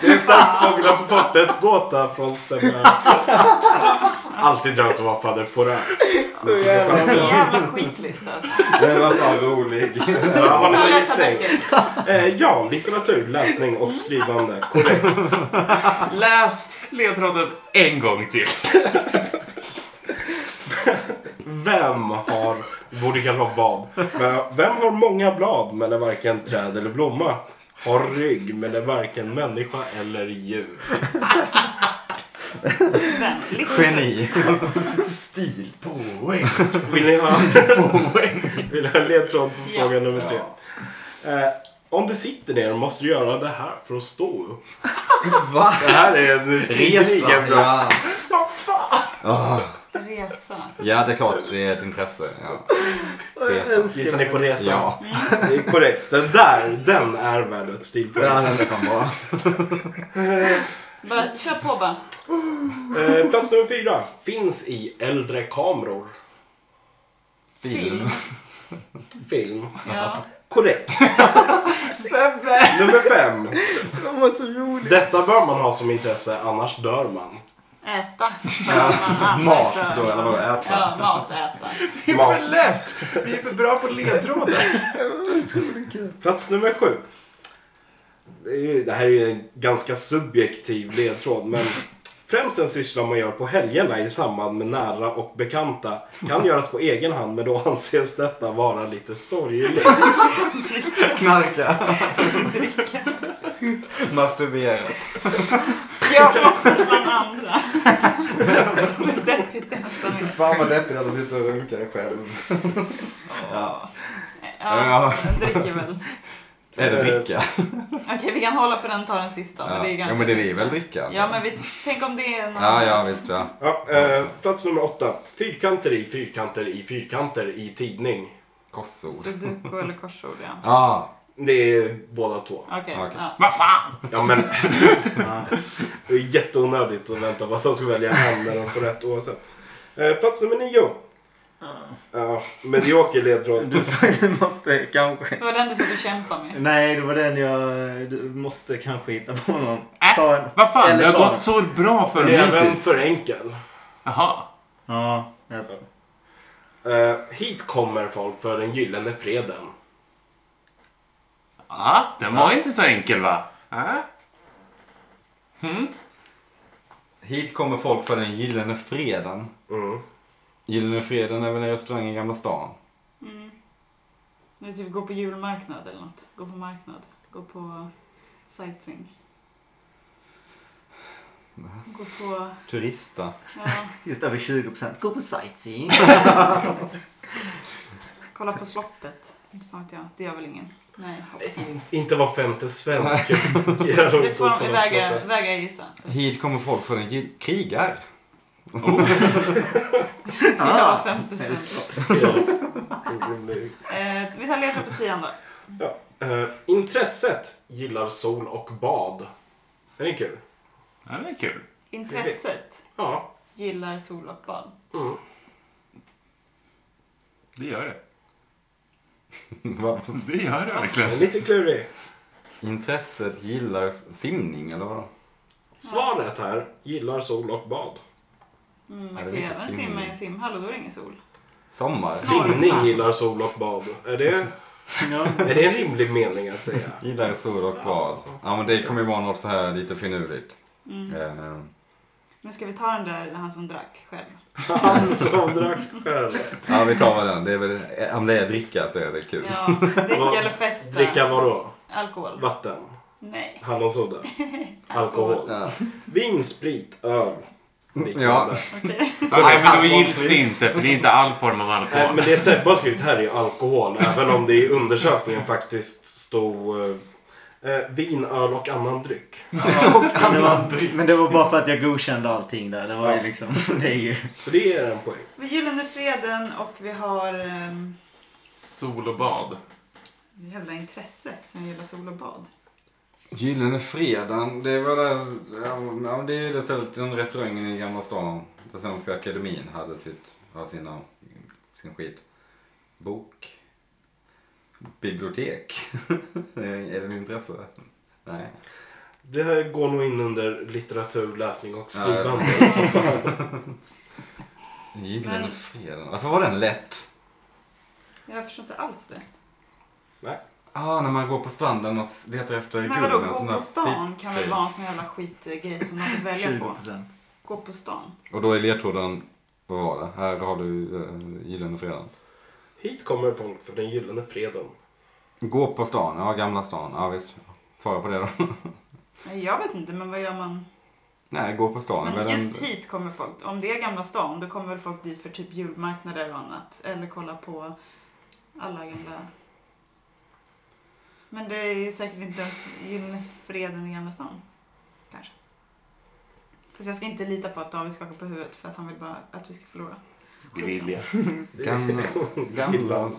[SPEAKER 1] Det är starkt Fåglarna på fortet-gåta från Semmer. Alltid drömt om att vara fader Forell.
[SPEAKER 5] Jävla skitlista alltså.
[SPEAKER 3] Den var fan rolig.
[SPEAKER 1] Har ni
[SPEAKER 5] Ta
[SPEAKER 1] någon
[SPEAKER 5] läsa
[SPEAKER 1] gissning?
[SPEAKER 5] böcker.
[SPEAKER 1] Eh, ja, litteratur, läsning och skrivande. Korrekt.
[SPEAKER 2] Läs ledtråden en gång till.
[SPEAKER 1] Vem har... Borde kalla dem vad. Men Vem har många blad men är varken träd eller blomma? Har rygg men är varken människa eller djur.
[SPEAKER 5] Vänligt.
[SPEAKER 4] Geni.
[SPEAKER 3] Stil på en.
[SPEAKER 1] Vill ni ha, (laughs) Vill ni ha ledtråd på
[SPEAKER 5] Ja.
[SPEAKER 1] fråga nummer tre? Eh, om du sitter ner måste du göra det här för att stå upp.
[SPEAKER 3] Va?
[SPEAKER 1] Det här är en
[SPEAKER 3] Resa.
[SPEAKER 1] synnerligen bra.
[SPEAKER 3] Ja.
[SPEAKER 5] Resa.
[SPEAKER 3] ja, det är klart. Det är ett intresse. Ja. Resa.
[SPEAKER 1] Gissar ni på resa?
[SPEAKER 3] Ja.
[SPEAKER 1] Det är korrekt. Den där, den är värd ett stilpoäng.
[SPEAKER 3] Ja, den är fan bra.
[SPEAKER 5] Bara, kör på bara.
[SPEAKER 1] Eh, plats nummer fyra. Finns i äldre kameror.
[SPEAKER 3] Film.
[SPEAKER 1] Film.
[SPEAKER 5] Ja.
[SPEAKER 1] Korrekt.
[SPEAKER 4] (laughs) Sebbe!
[SPEAKER 1] Nummer fem.
[SPEAKER 4] De var så roliga.
[SPEAKER 1] Detta bör man ha som intresse, annars dör man.
[SPEAKER 5] Äta.
[SPEAKER 3] (laughs) (laughs) Mat då, eller vad äta?
[SPEAKER 5] Ja, mat, äta.
[SPEAKER 1] Det är för lätt!
[SPEAKER 2] Vi är för bra på ledtrådar.
[SPEAKER 1] Plats nummer sju. Det, är ju, det här är ju en ganska subjektiv ledtråd, men främst en syssla man gör på helgerna i samband med nära och bekanta kan göras på egen hand, men då anses detta vara lite sorgligt.
[SPEAKER 4] Knarka.
[SPEAKER 3] Masturbera.
[SPEAKER 5] Gör något bland andra. (laughs) typ Deppigt ensam.
[SPEAKER 6] Fan vad deppigt att sitta och runka själv.
[SPEAKER 5] Ja, jag dricker väl.
[SPEAKER 3] Eller dricka.
[SPEAKER 5] Okej, vi kan hålla på den och ta den sista. Men
[SPEAKER 3] Ja.
[SPEAKER 5] det är
[SPEAKER 3] ja,
[SPEAKER 5] ganska
[SPEAKER 3] men det är väl dricka?
[SPEAKER 5] Ja, men vi, tänk om det är någon...
[SPEAKER 3] Ja, ja, visst ja.
[SPEAKER 1] Ja, eh, plats nummer åtta. Fyrkanter i fyrkanter i fyrkanter i tidning.
[SPEAKER 3] Korsord.
[SPEAKER 5] Sudoku eller korsord, ja.
[SPEAKER 3] Ja,
[SPEAKER 1] Det är båda två.
[SPEAKER 5] Okej,
[SPEAKER 3] Okej.
[SPEAKER 5] ja.
[SPEAKER 2] Vad fan!
[SPEAKER 1] Ja, men... (laughs) det är jätteonödigt att vänta på att de ska välja namn när de får rätt oavsett. Eh, plats nummer nio. Ja, medioker ledtråd.
[SPEAKER 4] Du måste kanske...
[SPEAKER 5] Det var den du satt och kämpade med.
[SPEAKER 4] Nej, det var den jag... Du måste kanske hitta på någon.
[SPEAKER 2] Äh,
[SPEAKER 4] Ta en.
[SPEAKER 2] Vad fan,
[SPEAKER 4] Eller
[SPEAKER 2] det har
[SPEAKER 4] ta
[SPEAKER 2] gått så bra för
[SPEAKER 1] Det
[SPEAKER 2] mig
[SPEAKER 1] är även
[SPEAKER 2] hittills.
[SPEAKER 1] för enkel.
[SPEAKER 2] Jaha.
[SPEAKER 4] Ja. jag-
[SPEAKER 1] Eh, hit kommer folk för den gyllene freden.
[SPEAKER 2] Ja, den var inte så enkel va? Ja.
[SPEAKER 3] Hit kommer folk för den gyllene freden.
[SPEAKER 1] Mm.
[SPEAKER 3] Gyllene freden är väl en restaurang i Gamla stan?
[SPEAKER 5] Det är typ gå på julmarknad eller något. Gå på marknad. Gå på sightseeing. Gå på...
[SPEAKER 3] Turista.
[SPEAKER 5] Ja,
[SPEAKER 4] Just över 20%. Gå på sightseeing.
[SPEAKER 5] kolla på slottet. Inte fan vet jag. Det gör väl ingen. Nej, hoppas jag.
[SPEAKER 1] In, inte var femte svensk. Gillar de
[SPEAKER 5] Det får
[SPEAKER 1] inte
[SPEAKER 5] de
[SPEAKER 1] att
[SPEAKER 5] väga,
[SPEAKER 1] prata.
[SPEAKER 5] väga gissa. Så.
[SPEAKER 3] Hit kommer folk för den gyll- krigar. (laughs)
[SPEAKER 5] Det var femte
[SPEAKER 4] Ah, det är
[SPEAKER 5] svensk.
[SPEAKER 1] Yes. Orimligt.
[SPEAKER 5] Eh, vi tar ledtråd på tian då.
[SPEAKER 1] Ja. Eh, intresset gillar sol och bad. Den är kul.
[SPEAKER 2] Ja, det är kul.
[SPEAKER 5] Intresset
[SPEAKER 1] Ja.
[SPEAKER 5] gillar sol och bad.
[SPEAKER 1] Mm.
[SPEAKER 2] Det gör det.
[SPEAKER 3] Va?
[SPEAKER 2] Det gör det
[SPEAKER 1] Den är
[SPEAKER 2] verkligen.
[SPEAKER 1] Lite klurig.
[SPEAKER 3] Intresset gillar s- simning eller vadå?
[SPEAKER 1] Svaret här, gillar sol och bad.
[SPEAKER 5] Mm,
[SPEAKER 3] Nej,
[SPEAKER 5] man
[SPEAKER 3] det
[SPEAKER 5] kan
[SPEAKER 3] är
[SPEAKER 5] även
[SPEAKER 3] inte simning.
[SPEAKER 5] simma i en simhall och då är det ingen sol.
[SPEAKER 3] Sommar.
[SPEAKER 1] Simning gillar sol och bad. Är det, är det en rimlig mening att säga?
[SPEAKER 3] Gillar sol och bad. Ja men det kommer ju vara något så här lite finurligt. Eh,
[SPEAKER 5] Men ska vi ta den där, han som drack
[SPEAKER 3] (laughs)
[SPEAKER 5] själv?
[SPEAKER 1] Han som drack själv.
[SPEAKER 3] Ja vi tar väl den. Det är väl, eh, om det är dricka så är det kul.
[SPEAKER 5] Ja,
[SPEAKER 1] Vad-
[SPEAKER 5] dricka eller festa.
[SPEAKER 1] Dricka vadå?
[SPEAKER 5] Alkohol.
[SPEAKER 1] Vatten?
[SPEAKER 5] Nej.
[SPEAKER 1] Hallonsoda? Alkohol?
[SPEAKER 3] Ja.
[SPEAKER 1] Vin, sprit, öl? liknande.
[SPEAKER 3] Ja.
[SPEAKER 5] Okej.
[SPEAKER 2] Okej, men då gills det inte för det är inte all form av
[SPEAKER 1] Nej,
[SPEAKER 2] alkohol.
[SPEAKER 1] men det Sebbe har skrivit här är ju alkohol, även om det i undersökningen faktiskt stod eh, eh, vin, öl och annan dryck.
[SPEAKER 4] Men det, var, men det var bara för att jag godkände allting där. Det var ju liksom... (laughs) Det är ju...
[SPEAKER 1] Så det är en poäng.
[SPEAKER 5] Vi Gyllene Freden och vi har um,
[SPEAKER 2] Sol och bad.
[SPEAKER 5] jävla intresse som gillar sol och bad.
[SPEAKER 3] Gyllene Fredagen, det var där, ja, ja, det är ju det stället, den restaurangen i Gamla stan. Där Svenska Akademin hade sitt, har sina, sin skit. Bok. Bibliotek. (laughs) är det ett intresse? Nej.
[SPEAKER 1] Det här går nog in under litteratur, läsning och
[SPEAKER 3] Ja, jag
[SPEAKER 1] skrivande. så
[SPEAKER 3] Gyllene
[SPEAKER 5] Men-
[SPEAKER 3] Fredagen, varför var den lätt?
[SPEAKER 5] Jag förstår inte alls det.
[SPEAKER 3] Ah, när man går på stranden och s- letar efter
[SPEAKER 5] Men vadå,
[SPEAKER 3] en sån typ
[SPEAKER 5] gå
[SPEAKER 3] där
[SPEAKER 5] på stan
[SPEAKER 3] pip-
[SPEAKER 5] kan väl vara en sån jävla skitgrej som man vill välja på.
[SPEAKER 4] 20%.
[SPEAKER 5] Gå på stan.
[SPEAKER 3] Och då är ledtråden, vad var det? Här har du uh, Gyllene Fredagen.
[SPEAKER 1] Hit kommer folk för den gyllene freden.
[SPEAKER 3] Gå på stan, ja Gamla stan, ja visst. Svara på det då. (laughs)
[SPEAKER 5] Nej, jag vet inte, men vad gör man?
[SPEAKER 3] Nej, gå på stan.
[SPEAKER 5] Men
[SPEAKER 3] väl
[SPEAKER 5] just typ- hit kommer folk. Om det är Gamla stan, då kommer väl folk dit för typ julmarknader och annat. Eller kolla på alla gamla... Men det är säkert inte ens Gyllene Freden i Gamla stan. Kanske. Fast jag ska inte lita på att David skakar på huvudet för att han vill bara att vi ska förlora.
[SPEAKER 2] Det vill jag.
[SPEAKER 3] Gamla... Gamla...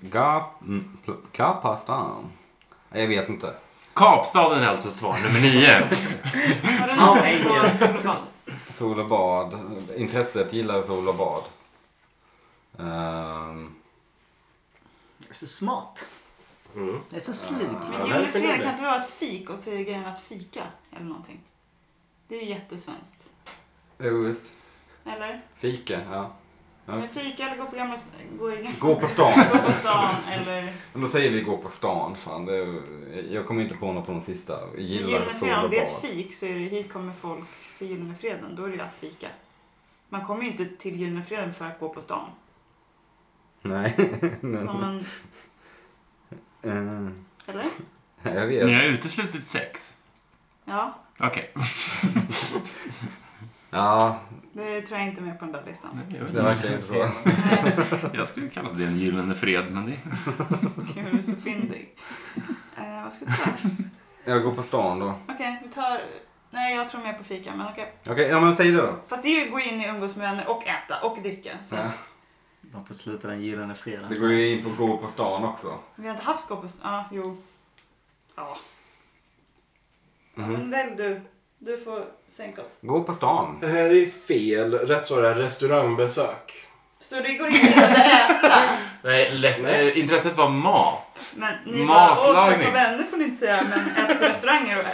[SPEAKER 3] Ga... mm, pl- Kapastan. Nej, Jag vet inte.
[SPEAKER 2] Kapstaden är alltså svar nummer nio.
[SPEAKER 5] Har du
[SPEAKER 4] Fan,
[SPEAKER 5] någon
[SPEAKER 4] vad
[SPEAKER 5] poäng på
[SPEAKER 4] enkelt.
[SPEAKER 5] solbad?
[SPEAKER 3] Sol och bad. Intresset gillar sol och bad. Ehm,
[SPEAKER 4] Det är så smart.
[SPEAKER 1] Mm.
[SPEAKER 4] Det är så slug.
[SPEAKER 1] Ja,
[SPEAKER 5] Men
[SPEAKER 1] det är
[SPEAKER 5] Gyllene Freden
[SPEAKER 1] finurligt.
[SPEAKER 5] kan inte vara ett fik och så är grejen att fika eller någonting. Det är ju jättesvenskt.
[SPEAKER 3] Jo, visst.
[SPEAKER 5] Eller?
[SPEAKER 3] Fika, ja. Ja.
[SPEAKER 5] Men fika eller gå på gamla... Gå i...
[SPEAKER 3] Gå på stan.
[SPEAKER 5] (laughs) Gå på stan eller...
[SPEAKER 3] Men då säger vi gå på stan. Fan, det är, jag kommer inte på något på de sista. (laughs) Gillar
[SPEAKER 5] Gyllene
[SPEAKER 3] sol
[SPEAKER 5] Freden,
[SPEAKER 3] och
[SPEAKER 5] om det är ett
[SPEAKER 3] bad.
[SPEAKER 5] fik så är det hit kommer folk för Gyllene Freden. Då är det ju att fika. Man kommer ju inte till Gyllene Freden för att gå på stan.
[SPEAKER 3] Nej. (laughs)
[SPEAKER 5] Så man...
[SPEAKER 3] Ehm,
[SPEAKER 5] Eller?
[SPEAKER 3] Eh, jag vet.
[SPEAKER 2] Ni har uteslutit sex.
[SPEAKER 5] Ja,
[SPEAKER 2] Okej.
[SPEAKER 3] Ja,
[SPEAKER 5] det tror jag inte är med på den där listan.
[SPEAKER 3] det verkar inte så.
[SPEAKER 5] Nej,
[SPEAKER 2] Jag skulle kalla det en gyllene fred, men det...
[SPEAKER 5] gud, du är så fyndig. Eh, vad ska vi ta?
[SPEAKER 3] Jag går på stan då.
[SPEAKER 5] Okej, vi tar... Nej, jag tror mer på fika, men okej.
[SPEAKER 3] Okej, ja men säg det då.
[SPEAKER 5] Fast det är ju gå in i umgås med vänner och äta och dricka. Så
[SPEAKER 3] Ja.
[SPEAKER 4] De får sluta den gyllene fredagen.
[SPEAKER 3] Det går ju in på gå på stan också.
[SPEAKER 5] Vi har inte haft gå på... Ja, ah, jo. Ja. Ja, men välj du. Du får sänka oss.
[SPEAKER 3] Gå på stan.
[SPEAKER 1] Det här är fel. Rätt svar är restaurangbesök.
[SPEAKER 5] Så det går inte att äta.
[SPEAKER 2] Nej, les- eh, intresset var mat.
[SPEAKER 5] Men ni bara, åh,
[SPEAKER 2] Matlagning.
[SPEAKER 5] träffa vänner får ni inte säga, men äta på restauranger och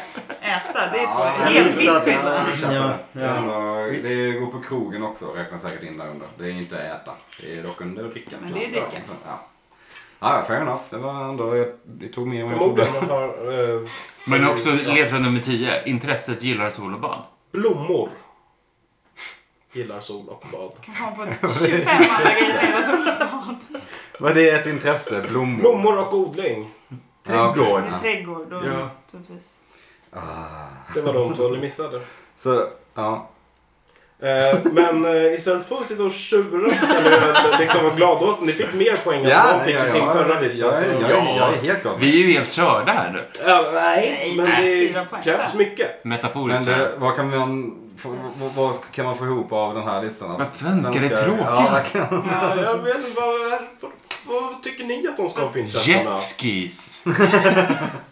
[SPEAKER 5] äta, det är två
[SPEAKER 3] Ja,
[SPEAKER 5] helt
[SPEAKER 4] visst
[SPEAKER 5] vitt
[SPEAKER 4] att-
[SPEAKER 5] skilda.
[SPEAKER 4] Ja,
[SPEAKER 3] Ja,
[SPEAKER 4] ja.
[SPEAKER 3] Det är gå på krogen också, räknas säkert in där under. Det är inte äta. Det är dock under dricka.
[SPEAKER 5] Men det är dricka.
[SPEAKER 3] Ja. Ja, fair enough. Det var ändå, jag, det tog
[SPEAKER 4] Mm.
[SPEAKER 3] mer än jag
[SPEAKER 1] Förmodligen
[SPEAKER 3] trodde.
[SPEAKER 1] man har eh,
[SPEAKER 2] Men också ledtråd nummer tio. Intresset gillar sol och bad.
[SPEAKER 1] blommor. Gillar sol och bad.
[SPEAKER 5] Kan komma på 25 andra grejer som gillar solbad.
[SPEAKER 3] Men det är ett intresse, blommor.
[SPEAKER 1] Blommor och odling.
[SPEAKER 3] Ja, okej.
[SPEAKER 5] Det är trädgård och
[SPEAKER 2] Ja.
[SPEAKER 5] naturligtvis.
[SPEAKER 1] Det var de två ni missade.
[SPEAKER 3] Så, ja.
[SPEAKER 1] Eh, men eh, istället för att sitta och tjura så kan ni väl liksom vara glada åt Ni fick mer poäng än vad de fick i sin förra lista.
[SPEAKER 3] jag,
[SPEAKER 1] så-
[SPEAKER 3] är- jag, är- jag är helt klar.
[SPEAKER 2] Vi är ju helt körda här nu.
[SPEAKER 1] Ja, nej,
[SPEAKER 5] Nej,
[SPEAKER 1] men
[SPEAKER 5] nej,
[SPEAKER 1] det
[SPEAKER 5] fyra poäng.
[SPEAKER 1] krävs mycket.
[SPEAKER 2] Metaforiskt
[SPEAKER 3] Men
[SPEAKER 2] körda.
[SPEAKER 3] det, vad, kan man, få- vad, vad kan man få ihop av den här listan?
[SPEAKER 2] Att svenskar är tråkiga.
[SPEAKER 3] Ja, verkligen.
[SPEAKER 1] Ja, jag vet inte, vad, är- vad, vad tycker ni att de ska ha för intressen? av?
[SPEAKER 2] Jetskis.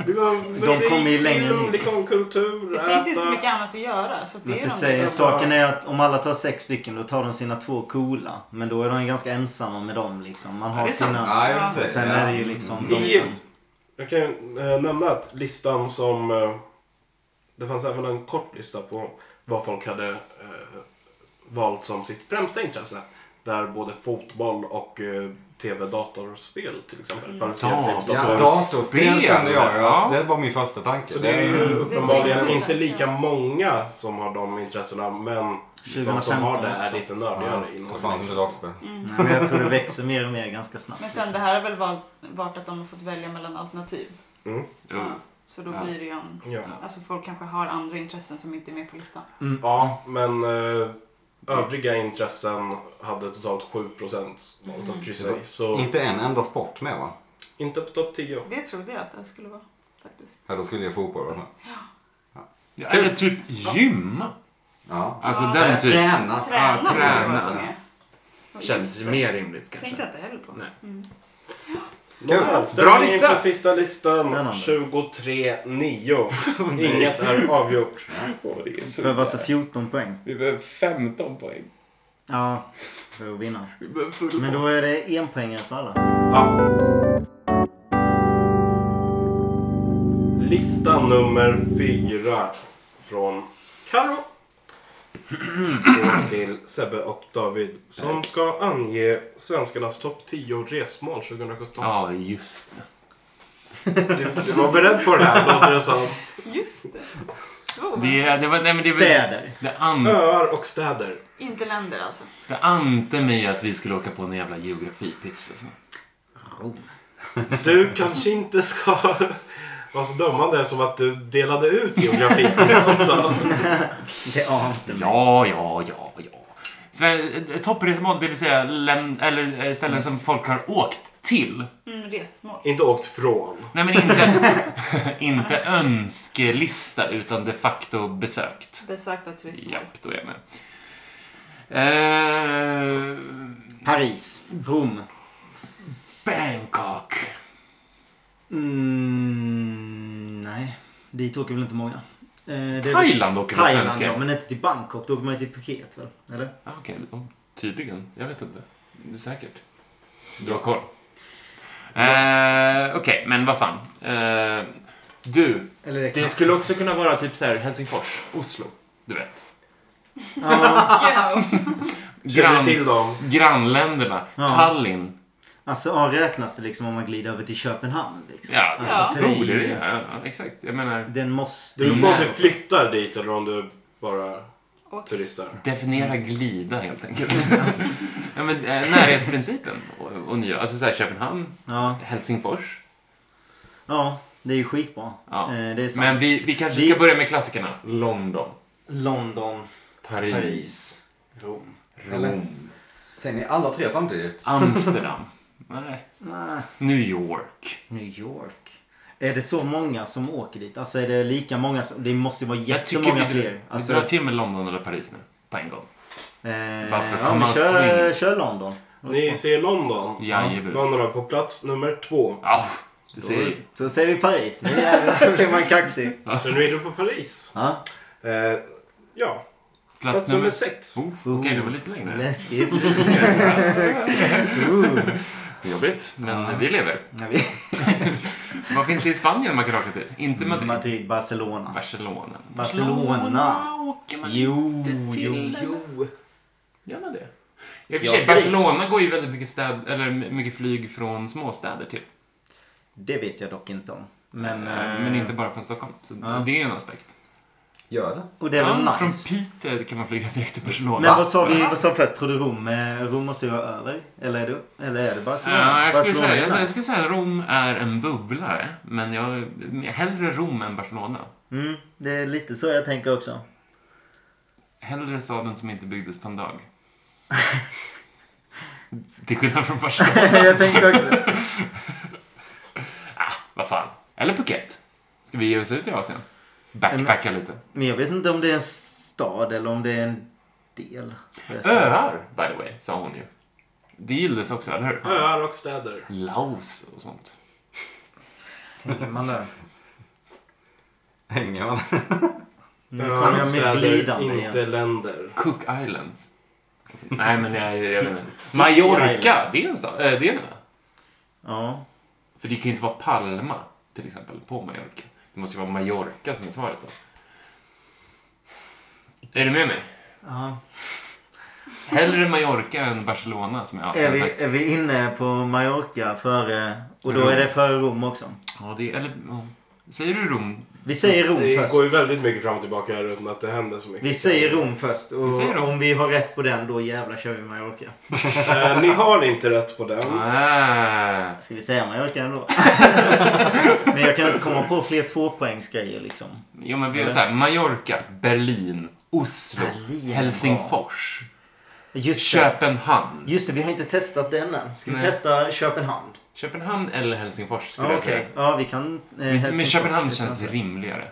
[SPEAKER 1] Liksom, musik,
[SPEAKER 4] kommer ju längre
[SPEAKER 1] film,
[SPEAKER 4] ner.
[SPEAKER 1] liksom kultur,
[SPEAKER 5] Det
[SPEAKER 1] äta.
[SPEAKER 5] finns ju inte så mycket annat att göra. Så det
[SPEAKER 4] Men
[SPEAKER 5] är
[SPEAKER 4] för
[SPEAKER 5] ju
[SPEAKER 4] sig,
[SPEAKER 5] de
[SPEAKER 4] saken är att om alla tar sex stycken då tar de sina två coola. Men då är de ganska ensamma med dem liksom. Man har
[SPEAKER 5] det är sant.
[SPEAKER 4] sina...
[SPEAKER 3] Ja, i och för sig,
[SPEAKER 4] Och sen
[SPEAKER 3] ja.
[SPEAKER 4] är det ju liksom de
[SPEAKER 1] I-
[SPEAKER 4] som...
[SPEAKER 1] Jag kan ju, eh, nämna att listan som... Eh, det fanns även en kort lista på vad folk hade eh, valt som sitt främsta intresse. Där både fotboll och eh, tv-datorspel till exempel kvalificerar sig för
[SPEAKER 2] Ja,
[SPEAKER 3] Ja,
[SPEAKER 1] dator.
[SPEAKER 3] datorspel kände jag ju att
[SPEAKER 2] Ja.
[SPEAKER 3] det var min första tanke.
[SPEAKER 1] Så det är ju
[SPEAKER 3] Mm.
[SPEAKER 5] Det
[SPEAKER 1] uppenbarligen
[SPEAKER 5] är
[SPEAKER 1] inte
[SPEAKER 5] ett
[SPEAKER 1] lika
[SPEAKER 5] intresse.
[SPEAKER 1] många som har de intressena men de som
[SPEAKER 4] 2015
[SPEAKER 1] har det är
[SPEAKER 4] också.
[SPEAKER 1] lite
[SPEAKER 3] Ja,
[SPEAKER 1] nördigare
[SPEAKER 3] det
[SPEAKER 1] inom sina
[SPEAKER 3] fanns inte
[SPEAKER 1] intressen.
[SPEAKER 3] datorspel.
[SPEAKER 5] Mm.
[SPEAKER 4] Nej, men jag tror det växer mer och mer ganska snabbt.
[SPEAKER 5] Men sen det
[SPEAKER 4] liksom.
[SPEAKER 5] här har väl val- varit att de har fått välja mellan alternativ.
[SPEAKER 1] Mm.
[SPEAKER 5] Ja.
[SPEAKER 2] Ja.
[SPEAKER 5] Så då
[SPEAKER 2] Ja.
[SPEAKER 5] blir det ju en...
[SPEAKER 1] Ja.
[SPEAKER 5] Alltså folk kanske har andra intressen som inte är med på listan.
[SPEAKER 4] Mm.
[SPEAKER 1] ja, men eh, övriga intressen hade totalt 7% valt att kryssa i. Så
[SPEAKER 3] Inte en enda sport med va?
[SPEAKER 1] inte på topp 10.
[SPEAKER 5] Det trodde jag att det skulle vara faktiskt.
[SPEAKER 3] Ja, då skulle jag fotboll vara med.
[SPEAKER 2] Ja, Eller typ gymma.
[SPEAKER 3] Ja.
[SPEAKER 2] Alltså
[SPEAKER 5] Ja.
[SPEAKER 2] den typen.
[SPEAKER 3] Träna.
[SPEAKER 5] Träna borde
[SPEAKER 2] träna.
[SPEAKER 5] ha varit med. Och
[SPEAKER 2] Känns
[SPEAKER 5] just
[SPEAKER 2] ju
[SPEAKER 5] det.
[SPEAKER 2] mer rimligt kanske.
[SPEAKER 5] Tänkte jag inte heller på.
[SPEAKER 2] Nej.
[SPEAKER 5] Mm.
[SPEAKER 1] Nåväl,
[SPEAKER 2] Bra
[SPEAKER 1] ställningen
[SPEAKER 2] lista.
[SPEAKER 1] inför sista listan. (laughs)
[SPEAKER 4] Spännande.
[SPEAKER 1] 23-9. Inget är avgjort.
[SPEAKER 4] För vad så 14 poäng.
[SPEAKER 2] Vi behöver 15 poäng.
[SPEAKER 4] Ja, för att vinna.
[SPEAKER 2] Vi behöver full
[SPEAKER 4] Men då är det en poäng för alla.
[SPEAKER 1] Ja. Lista nummer fyra från Karo. Går till Sebbe och David som ska ange svenskarnas topp 10 resmål 2017.
[SPEAKER 2] Ja, just det.
[SPEAKER 1] Du, du var beredd på det här, låter det som.
[SPEAKER 5] Just det. det. var
[SPEAKER 2] Det, är- det, var, nej, men det, var,
[SPEAKER 4] Städer.
[SPEAKER 2] det, an,
[SPEAKER 1] Öar och städer.
[SPEAKER 5] Inte länder alltså.
[SPEAKER 2] det ante mig att vi skulle åka på en jävla geografipiss. Alltså.
[SPEAKER 1] Du kanske inte ska (laughs) vara så dömande som att du delade
[SPEAKER 2] (laughs)
[SPEAKER 1] ut geografiquiz också.
[SPEAKER 4] Det ante mig.
[SPEAKER 2] Ja, ja, ja, ja. Sve- eh, Toppresmål, det vill säga läm- eller eh, ställen som folk har åkt till.
[SPEAKER 5] Mm, resmål.
[SPEAKER 1] Inte åkt från.
[SPEAKER 2] Nej, men inte, (laughs) inte önskelista, utan de facto besökt.
[SPEAKER 5] Besökta turistmål.
[SPEAKER 2] Japp, då är jag med. Eh,
[SPEAKER 4] Paris. Rom.
[SPEAKER 2] Bangkok.
[SPEAKER 4] Mm, nej, dit åker väl inte många. Eh, det är väl-
[SPEAKER 2] Thailand åker väl
[SPEAKER 4] Thailand,
[SPEAKER 2] svenskar?
[SPEAKER 4] ja, men inte till Bangkok. Då åker man ju till Phuket väl? Eller?
[SPEAKER 2] Ja, Okej, oh, tydligen. Jag vet inte. Det är säkert. Du har koll. Eh, Okej, men vad fan. Eh, du,
[SPEAKER 4] Eller det,
[SPEAKER 2] det
[SPEAKER 4] kan-
[SPEAKER 2] skulle också kunna vara typ så här Helsingfors, Oslo. Du vet.
[SPEAKER 4] Ja,
[SPEAKER 5] Ja.
[SPEAKER 1] Känner du
[SPEAKER 2] Grann,
[SPEAKER 1] till dem?
[SPEAKER 2] grannländerna.
[SPEAKER 4] Ja.
[SPEAKER 2] Tallinn.
[SPEAKER 4] alltså ja, räknas det liksom om man glider över till Köpenhamn? Liksom.
[SPEAKER 2] Ja,
[SPEAKER 4] alltså,
[SPEAKER 5] ja.
[SPEAKER 4] för det är
[SPEAKER 2] Borde det?
[SPEAKER 4] ju-
[SPEAKER 2] Ja, ja, exakt. Jag menar,
[SPEAKER 4] Den måste
[SPEAKER 1] Det beror på om du
[SPEAKER 2] Nej.
[SPEAKER 1] flyttar dit eller om du bara
[SPEAKER 5] Och-
[SPEAKER 1] turistar.
[SPEAKER 2] definiera glida helt enkelt. ja, men, eh, närhetsprincipen. Och, och nya. Alltså så här, Köpenhamn,
[SPEAKER 4] Ja,
[SPEAKER 2] Helsingfors.
[SPEAKER 4] ja, det är ju skitbra.
[SPEAKER 2] Ja.
[SPEAKER 4] Eh, det är sant.
[SPEAKER 2] Men vi, vi kanske
[SPEAKER 4] Vi-
[SPEAKER 2] ska börja med klassikerna. London.
[SPEAKER 4] London,
[SPEAKER 2] Paris.
[SPEAKER 4] Paris, Rom.
[SPEAKER 2] Rom.
[SPEAKER 3] Säger ni alla tre samtidigt?
[SPEAKER 2] Amsterdam. (laughs) Nej.
[SPEAKER 4] Nej,
[SPEAKER 2] New York.
[SPEAKER 4] New York. Är det så många som åker dit? Alltså är det lika många? Som, det måste ju vara jättemånga
[SPEAKER 2] vi,
[SPEAKER 4] fler. Alltså,
[SPEAKER 2] vi drar till med London eller Paris nu. På en gång.
[SPEAKER 4] eh,
[SPEAKER 2] Bara för att
[SPEAKER 4] ja,
[SPEAKER 2] komma
[SPEAKER 4] men
[SPEAKER 2] åt
[SPEAKER 4] kör,
[SPEAKER 2] swing.
[SPEAKER 4] kör London.
[SPEAKER 1] Ni ser London.
[SPEAKER 2] Mm. Jajebus.
[SPEAKER 1] London är på plats nummer två.
[SPEAKER 2] Ja, du ser
[SPEAKER 4] Så,
[SPEAKER 2] ju.
[SPEAKER 4] så säger vi Paris. Nu jävlar blir man kaxig.
[SPEAKER 2] Ah.
[SPEAKER 1] Men nu är du på Paris.
[SPEAKER 4] Ja,
[SPEAKER 1] Eh, ja,
[SPEAKER 2] Plats
[SPEAKER 1] plats nummer
[SPEAKER 2] nummer...
[SPEAKER 1] sex.
[SPEAKER 2] Oh, Okej, det var lite längre. (laughs)
[SPEAKER 4] läskigt.
[SPEAKER 2] Jobbigt, men vi lever.
[SPEAKER 4] Ja, vi-
[SPEAKER 2] Vad finns det i Spanien man kan åka till? Inte Madrid.
[SPEAKER 4] Mm, Madrid, Barcelona.
[SPEAKER 2] Barcelona.
[SPEAKER 4] Barcelona.
[SPEAKER 2] åker man
[SPEAKER 4] Jo,
[SPEAKER 2] inte
[SPEAKER 4] jo,
[SPEAKER 2] till.
[SPEAKER 4] jo.
[SPEAKER 2] Gör man det? I och för
[SPEAKER 4] Jag
[SPEAKER 2] sig,
[SPEAKER 4] ska dit.
[SPEAKER 2] Barcelona går ju väldigt mycket, städ, eller mycket flyg från småstäder till.
[SPEAKER 4] Det vet jag dock inte om. Men,
[SPEAKER 2] Eh,
[SPEAKER 4] eh,
[SPEAKER 2] Men inte bara från Stockholm. Så
[SPEAKER 4] Ja.
[SPEAKER 2] det är en aspekt.
[SPEAKER 3] Gör det.
[SPEAKER 4] Och det är väl
[SPEAKER 2] Ja,
[SPEAKER 4] nice.
[SPEAKER 2] Från Piteå kan man flyga direkt till Barcelona.
[SPEAKER 4] Men vad sa vi vad sa vi först? Tror du Rom, eh, Rom måste ju vara över? Eller är det, eller är det Barcelona?
[SPEAKER 2] Ja, jag, skulle
[SPEAKER 4] Barcelona
[SPEAKER 2] säga,
[SPEAKER 4] är
[SPEAKER 2] jag, jag
[SPEAKER 4] nice.
[SPEAKER 2] skulle säga att Rom är en bubblare, men jag hellre Rom än Barcelona.
[SPEAKER 4] mm, det är lite så jag tänker också. (laughs)
[SPEAKER 2] Hellre staden som inte byggdes på en (laughs) dag. Till skillnad från Barcelona.
[SPEAKER 4] jag tänkte också.
[SPEAKER 2] Vad fan. Eller Phuket. Ska vi ge oss ut i Asien? Backpacka lite.
[SPEAKER 4] Men jag vet inte om det är en stad eller om det är en del.
[SPEAKER 2] Öar, by the way, sa hon ju. Det gillades också, eller hur?
[SPEAKER 1] Öar och städer.
[SPEAKER 2] Laos och sånt.
[SPEAKER 4] Tänker man där.
[SPEAKER 3] Hänger
[SPEAKER 1] Eh.
[SPEAKER 3] man?
[SPEAKER 4] Nu
[SPEAKER 1] Öar och
[SPEAKER 4] kommer jag med ett
[SPEAKER 1] städer,
[SPEAKER 4] glidande igen.
[SPEAKER 1] inte länder.
[SPEAKER 2] Cook Islands. Och så- Nej, men jag, jag vet inte. Mallorca, det är en stad. eh, Det är en ö.
[SPEAKER 4] Ja.
[SPEAKER 2] För det kan ju inte vara Palma, till exempel, på Mallorca. Det måste ju vara Mallorca som är svaret då. Är du med mig?
[SPEAKER 4] ja.
[SPEAKER 2] Hellre Mallorca än Barcelona som jag
[SPEAKER 4] Är
[SPEAKER 2] alltid
[SPEAKER 4] vi,
[SPEAKER 2] har sagt.
[SPEAKER 4] är vi inne på Mallorca före... Och
[SPEAKER 2] Mm.
[SPEAKER 4] då är det före Rom också.
[SPEAKER 2] Ja, det är, eller, ja. Säger du Rom?
[SPEAKER 4] Vi säger Rom
[SPEAKER 1] det
[SPEAKER 4] först.
[SPEAKER 1] går ju väldigt mycket fram och tillbaka här utan att det händer så
[SPEAKER 4] (laughs)
[SPEAKER 1] mycket.
[SPEAKER 4] Vi säger Rom först. Och
[SPEAKER 2] Vi säger Rom.
[SPEAKER 4] om vi har rätt på den, då jävlar kör vi Mallorca.
[SPEAKER 1] Eh, ni har inte rätt på den.
[SPEAKER 2] Ah.
[SPEAKER 4] Ska vi säga
[SPEAKER 2] (laughs)
[SPEAKER 4] Mallorca ändå? Men jag kan inte komma på fler tvåpoängsgrejer liksom.
[SPEAKER 2] Jo, men vi är så här, Mallorca, Berlin, Oslo,
[SPEAKER 4] Berlin,
[SPEAKER 2] Helsingfors,
[SPEAKER 4] Just det.
[SPEAKER 2] Köpenhamn.
[SPEAKER 4] Just det, vi har inte testat den än. Ska vi
[SPEAKER 2] Nej.
[SPEAKER 4] testa Köpenhamn?
[SPEAKER 2] Köpenhamn eller Helsingfors skulle
[SPEAKER 4] Ja,
[SPEAKER 2] jag säga.
[SPEAKER 4] Okej, ja vi kan... Eh,
[SPEAKER 2] Men, men
[SPEAKER 4] Helsingfors
[SPEAKER 2] Köpenhamn
[SPEAKER 4] utan-
[SPEAKER 2] känns rimligare.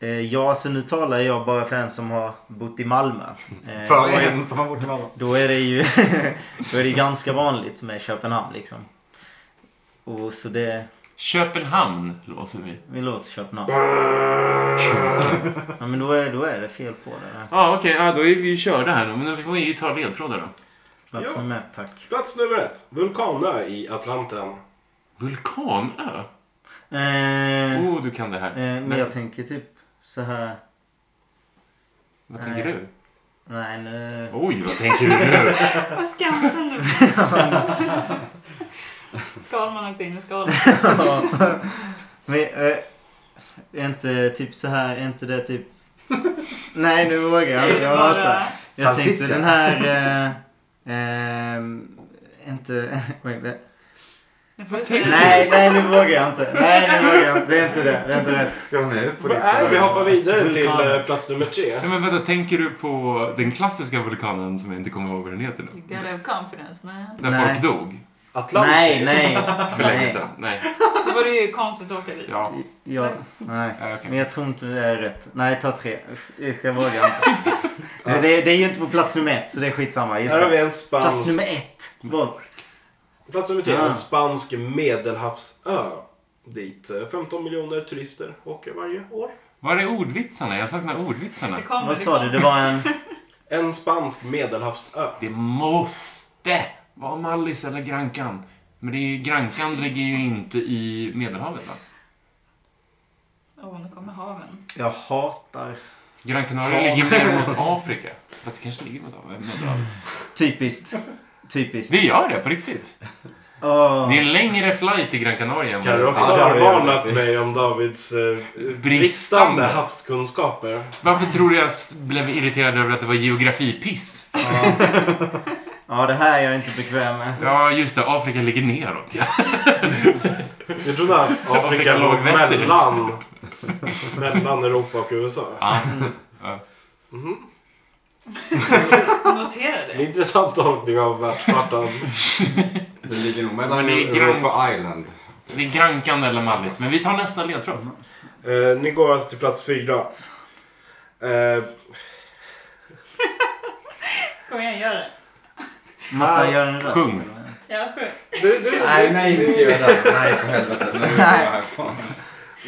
[SPEAKER 4] Eh, ja, alltså nu talar jag bara för en som har bott i Malmö. Eh, då
[SPEAKER 3] För
[SPEAKER 4] är-
[SPEAKER 3] en som har bott i Malmö.
[SPEAKER 4] Då är det ju (laughs) då är det ganska vanligt med Köpenhamn liksom. Och så det,
[SPEAKER 2] Köpenhamn låser vi.
[SPEAKER 4] vi låser Köpenhamn. Ja, men då är, då är det fel på det.
[SPEAKER 2] Ja, okej. ja, då är vi ju körda här då. Men vi får ju ta ledtrådar då.
[SPEAKER 4] Plats
[SPEAKER 1] Ja.
[SPEAKER 4] nummer ett, tack.
[SPEAKER 1] Plats nummer ett. Vulkanö i Atlanten.
[SPEAKER 2] Vulkanö?
[SPEAKER 4] Eh,
[SPEAKER 2] Oh, du kan det här.
[SPEAKER 4] eh, men jag tänker typ så här.
[SPEAKER 2] Vad tänker
[SPEAKER 4] nej.
[SPEAKER 2] du?
[SPEAKER 4] Nej, nu...
[SPEAKER 2] Oj, vad tänker du
[SPEAKER 4] (laughs)
[SPEAKER 2] nu?
[SPEAKER 5] Vad skamsen nu. Skalman åkte in i skalet.
[SPEAKER 4] (laughs) men, eh, är inte typ så här, är inte det typ... Nej, nu vågar jag inte. Jag hatar. Jag tänkte
[SPEAKER 3] Salsiccia.
[SPEAKER 4] den här... Eh, ehm, inte... (laughs)
[SPEAKER 5] Nu får du säga
[SPEAKER 4] Nej, nej nu vågar jag inte. Nej, nu vågar jag inte. Det är inte det. Det är inte rätt.
[SPEAKER 3] Ska ni upp på
[SPEAKER 1] Vad är det? Vi hoppar vidare till
[SPEAKER 4] Vulkan.
[SPEAKER 1] eh, plats nummer tre.
[SPEAKER 2] Nej, men vänta, tänker du på den klassiska vulkanen som jag inte kommer ihåg vad den heter nu?
[SPEAKER 5] Get a confidence man.
[SPEAKER 2] Där
[SPEAKER 4] Nej.
[SPEAKER 2] folk dog
[SPEAKER 1] Atlantis.
[SPEAKER 4] Nej, nej.
[SPEAKER 2] för länge
[SPEAKER 4] nej.
[SPEAKER 2] sedan. Nej.
[SPEAKER 5] Då var det ju konstigt att åka dit.
[SPEAKER 2] Ja, Eh,
[SPEAKER 4] Ja, nej.
[SPEAKER 2] okej.
[SPEAKER 4] Men jag tror inte det är rätt. Nej, ta tre. Usch, usch, jag vågar (laughs) inte. Men Det, det är ju inte på plats nummer ett, så det är skitsamma. Just
[SPEAKER 1] Här har
[SPEAKER 4] det.
[SPEAKER 1] vi en
[SPEAKER 4] Plats
[SPEAKER 1] spansk...
[SPEAKER 4] nummer ett. Var?
[SPEAKER 1] Plats nummer tre.
[SPEAKER 4] Ah.
[SPEAKER 1] En spansk medelhavsö. Dit eh, 15 miljoner turister åker varje år.
[SPEAKER 2] Var är ordvitsarna? Jag saknar ordvitsarna.
[SPEAKER 5] Det kommer,
[SPEAKER 4] Vad
[SPEAKER 5] det
[SPEAKER 4] sa
[SPEAKER 5] kommer.
[SPEAKER 4] du? Det var en...
[SPEAKER 1] En spansk medelhavsö.
[SPEAKER 2] Det måste vara Mallis eller Grankan. Men det är, Grankan ligger ju inte i Medelhavet va?
[SPEAKER 5] Åh, nu kommer haven.
[SPEAKER 4] Jag hatar.
[SPEAKER 2] Gran Canaria
[SPEAKER 4] Ja.
[SPEAKER 2] ligger mer mot Afrika. Fast det kanske ligger mot Afrika. Medelhavet.
[SPEAKER 4] Typiskt. Typiskt.
[SPEAKER 2] Det gör det på riktigt.
[SPEAKER 4] Åh.
[SPEAKER 2] Det är en längre flight till Gran Canaria än
[SPEAKER 1] Kan
[SPEAKER 2] vad
[SPEAKER 1] du
[SPEAKER 2] det
[SPEAKER 1] ha
[SPEAKER 2] är till-
[SPEAKER 3] Ja, det har vi
[SPEAKER 1] förvarnat
[SPEAKER 3] gjort.
[SPEAKER 1] mig om Davids eh, bristande
[SPEAKER 2] Bristande.
[SPEAKER 1] havskunskaper?
[SPEAKER 2] Varför tror du jag s- blev irriterad över att det var geografipiss?
[SPEAKER 4] Ja, det här är jag inte bekväm med.
[SPEAKER 2] Ja, just det. Afrika ligger neråt. Ja.
[SPEAKER 1] Jag trodde att (laughs) Afrika
[SPEAKER 2] Afrika låg
[SPEAKER 1] låg
[SPEAKER 2] västerut.
[SPEAKER 1] (laughs) mellan, mellan Europa och USA. Mhm.
[SPEAKER 2] Ja.
[SPEAKER 5] Notera
[SPEAKER 1] En
[SPEAKER 5] det.
[SPEAKER 1] intressant tolkning av världskartan.
[SPEAKER 3] Det ligger nog
[SPEAKER 2] Men
[SPEAKER 3] mellan
[SPEAKER 2] det är
[SPEAKER 3] Europa Island.
[SPEAKER 2] Det är Grankan eller Mallis. Men vi tar nästa ledtråd.
[SPEAKER 1] Eh, ni går alltså till plats fyra. Eh,
[SPEAKER 5] Kom igen, gör det.
[SPEAKER 4] Måste han göra en röst?
[SPEAKER 2] Sjung.
[SPEAKER 5] Jag är sjuk.
[SPEAKER 1] du, du,
[SPEAKER 3] Nej, nej, inte skriva där. Nej, för helvete. Nu är jag härifrån.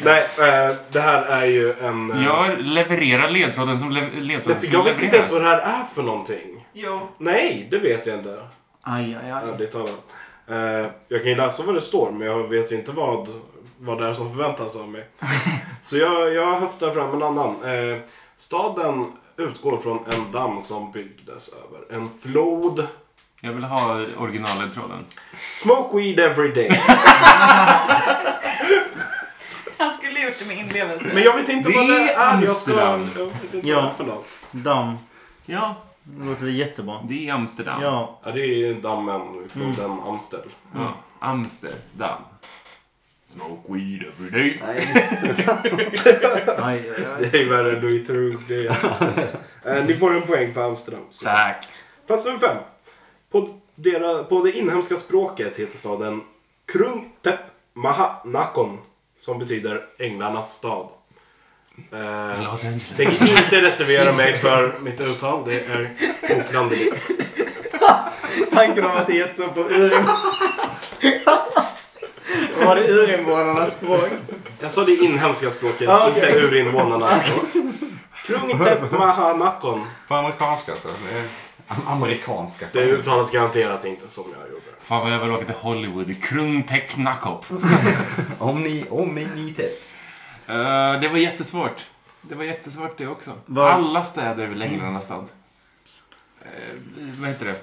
[SPEAKER 1] nej eh, det här är ju en... eh,
[SPEAKER 2] Jag levererar ledtråden som lev- ledtråden
[SPEAKER 1] därför jag vet inte ens vad det här är för någonting.
[SPEAKER 5] Jo.
[SPEAKER 1] Nej, det vet jag inte.
[SPEAKER 4] Aj, aj, aj.
[SPEAKER 1] Ärligt talat. Eh, jag kan ju läsa vad det står, men jag vet ju inte vad, vad det är som förväntas
[SPEAKER 2] (laughs)
[SPEAKER 1] av mig. Så jag, jag höftar fram en annan. Eh, staden utgår från en damm som byggdes över en flod.
[SPEAKER 2] Jag vill ha originalledtråden.
[SPEAKER 1] Smoke weed every day.
[SPEAKER 5] Han skulle gjort det med inlevelse.
[SPEAKER 1] Men jag vet inte
[SPEAKER 2] Det
[SPEAKER 1] vad det
[SPEAKER 2] är
[SPEAKER 1] är. Jag, ska, jag
[SPEAKER 2] Amsterdam.
[SPEAKER 1] vet inte
[SPEAKER 4] Ja.
[SPEAKER 1] vad det är för något.
[SPEAKER 4] Dam.
[SPEAKER 2] Ja,
[SPEAKER 4] Det låter väl jättebra.
[SPEAKER 2] det är Amsterdam.
[SPEAKER 4] Ja.
[SPEAKER 1] Ja, det är ju dammen, floden Amstel.
[SPEAKER 2] Ja, Amsterdam. Smoke weed every day.
[SPEAKER 4] Aj, aj, aj.
[SPEAKER 1] Det är ju värre än Louis Theroux, det är. Eh, Ni får en poäng för Amsterdam. Så.
[SPEAKER 2] Tack.
[SPEAKER 1] Plats nummer fem. På, dera, på det inhemska språket heter staden Krungtep Mahanakon. Som betyder änglarnas stad. Eh,
[SPEAKER 2] Los Angeles.
[SPEAKER 1] tänker inte reservera mig för mitt uttal. Det är oklanderligt.
[SPEAKER 4] Tanken om att det är så på (laughs) urin... Var det urinvånarnas språk?
[SPEAKER 1] Jag sa det inhemska språket,
[SPEAKER 4] Ah, okej.
[SPEAKER 1] inte urinvånarnas språk. Krungtep Mahanakon.
[SPEAKER 3] På amerikanska så. Det är am- amerikanska.
[SPEAKER 1] Det uttalas garanterat inte som jag gjorde.
[SPEAKER 2] Fan vad jag vill åka till Hollywood. Krungtek Nakop.
[SPEAKER 3] Om ni, om ni, ni till.
[SPEAKER 2] Eh, det var jättesvårt. Det var jättesvårt det också.
[SPEAKER 4] Vad-
[SPEAKER 2] Alla städer är väl änglarnas stad? eh, vad heter det?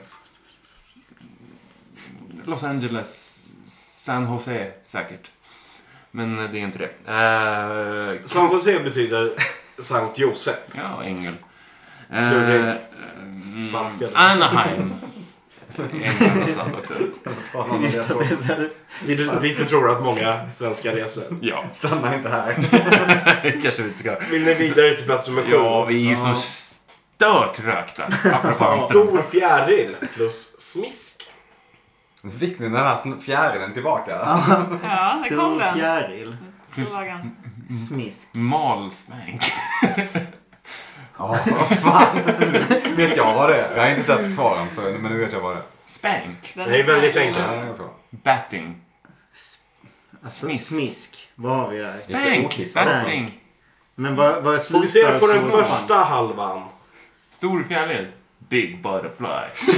[SPEAKER 2] Los Angeles, San Jose säkert. Men eh, det är inte det. Eh,
[SPEAKER 1] San Jose betyder Sankt Josef.
[SPEAKER 2] Ja, ängel.
[SPEAKER 1] Klurig.
[SPEAKER 2] Eh, eh,
[SPEAKER 1] Spanska.
[SPEAKER 2] Anaheim. England någonstans också.
[SPEAKER 6] Talar man
[SPEAKER 4] Just att det är
[SPEAKER 6] det
[SPEAKER 4] så här,
[SPEAKER 1] Dit dit du tror att många svenskar reser.
[SPEAKER 2] Ja,
[SPEAKER 6] Stanna inte här.
[SPEAKER 2] kanske vi inte ska.
[SPEAKER 1] Vill ni vidare till plats nummer sju?
[SPEAKER 2] Ja, vi är ju så stört rökta. Apropå Amsterdam.
[SPEAKER 1] Stor fjäril plus smisk.
[SPEAKER 3] Nu fick ni den här sn- fjärilen tillbaka.
[SPEAKER 5] Ja, där kom
[SPEAKER 4] Stor
[SPEAKER 5] den.
[SPEAKER 4] fjäril.
[SPEAKER 5] Så var ganska-
[SPEAKER 4] Smisk.
[SPEAKER 2] Mal spank.
[SPEAKER 3] Ja, vad fan. vet jag vad det är? Jag har inte sett svaren, så, men nu vet jag vad det är.
[SPEAKER 2] Spank.
[SPEAKER 5] Den
[SPEAKER 1] Det är väldigt
[SPEAKER 5] snäll.
[SPEAKER 1] enkelt.
[SPEAKER 3] Ja, det är så.
[SPEAKER 2] Batting.
[SPEAKER 4] Alltså,
[SPEAKER 2] Smisk.
[SPEAKER 4] smisk. Vad har vi där?
[SPEAKER 2] Spank.
[SPEAKER 3] okissat.
[SPEAKER 2] Batting.
[SPEAKER 4] Men vad, vad slutar
[SPEAKER 1] Fokusera på den
[SPEAKER 4] så-
[SPEAKER 1] första halvan.
[SPEAKER 2] Stor fjäril. Big butterfly.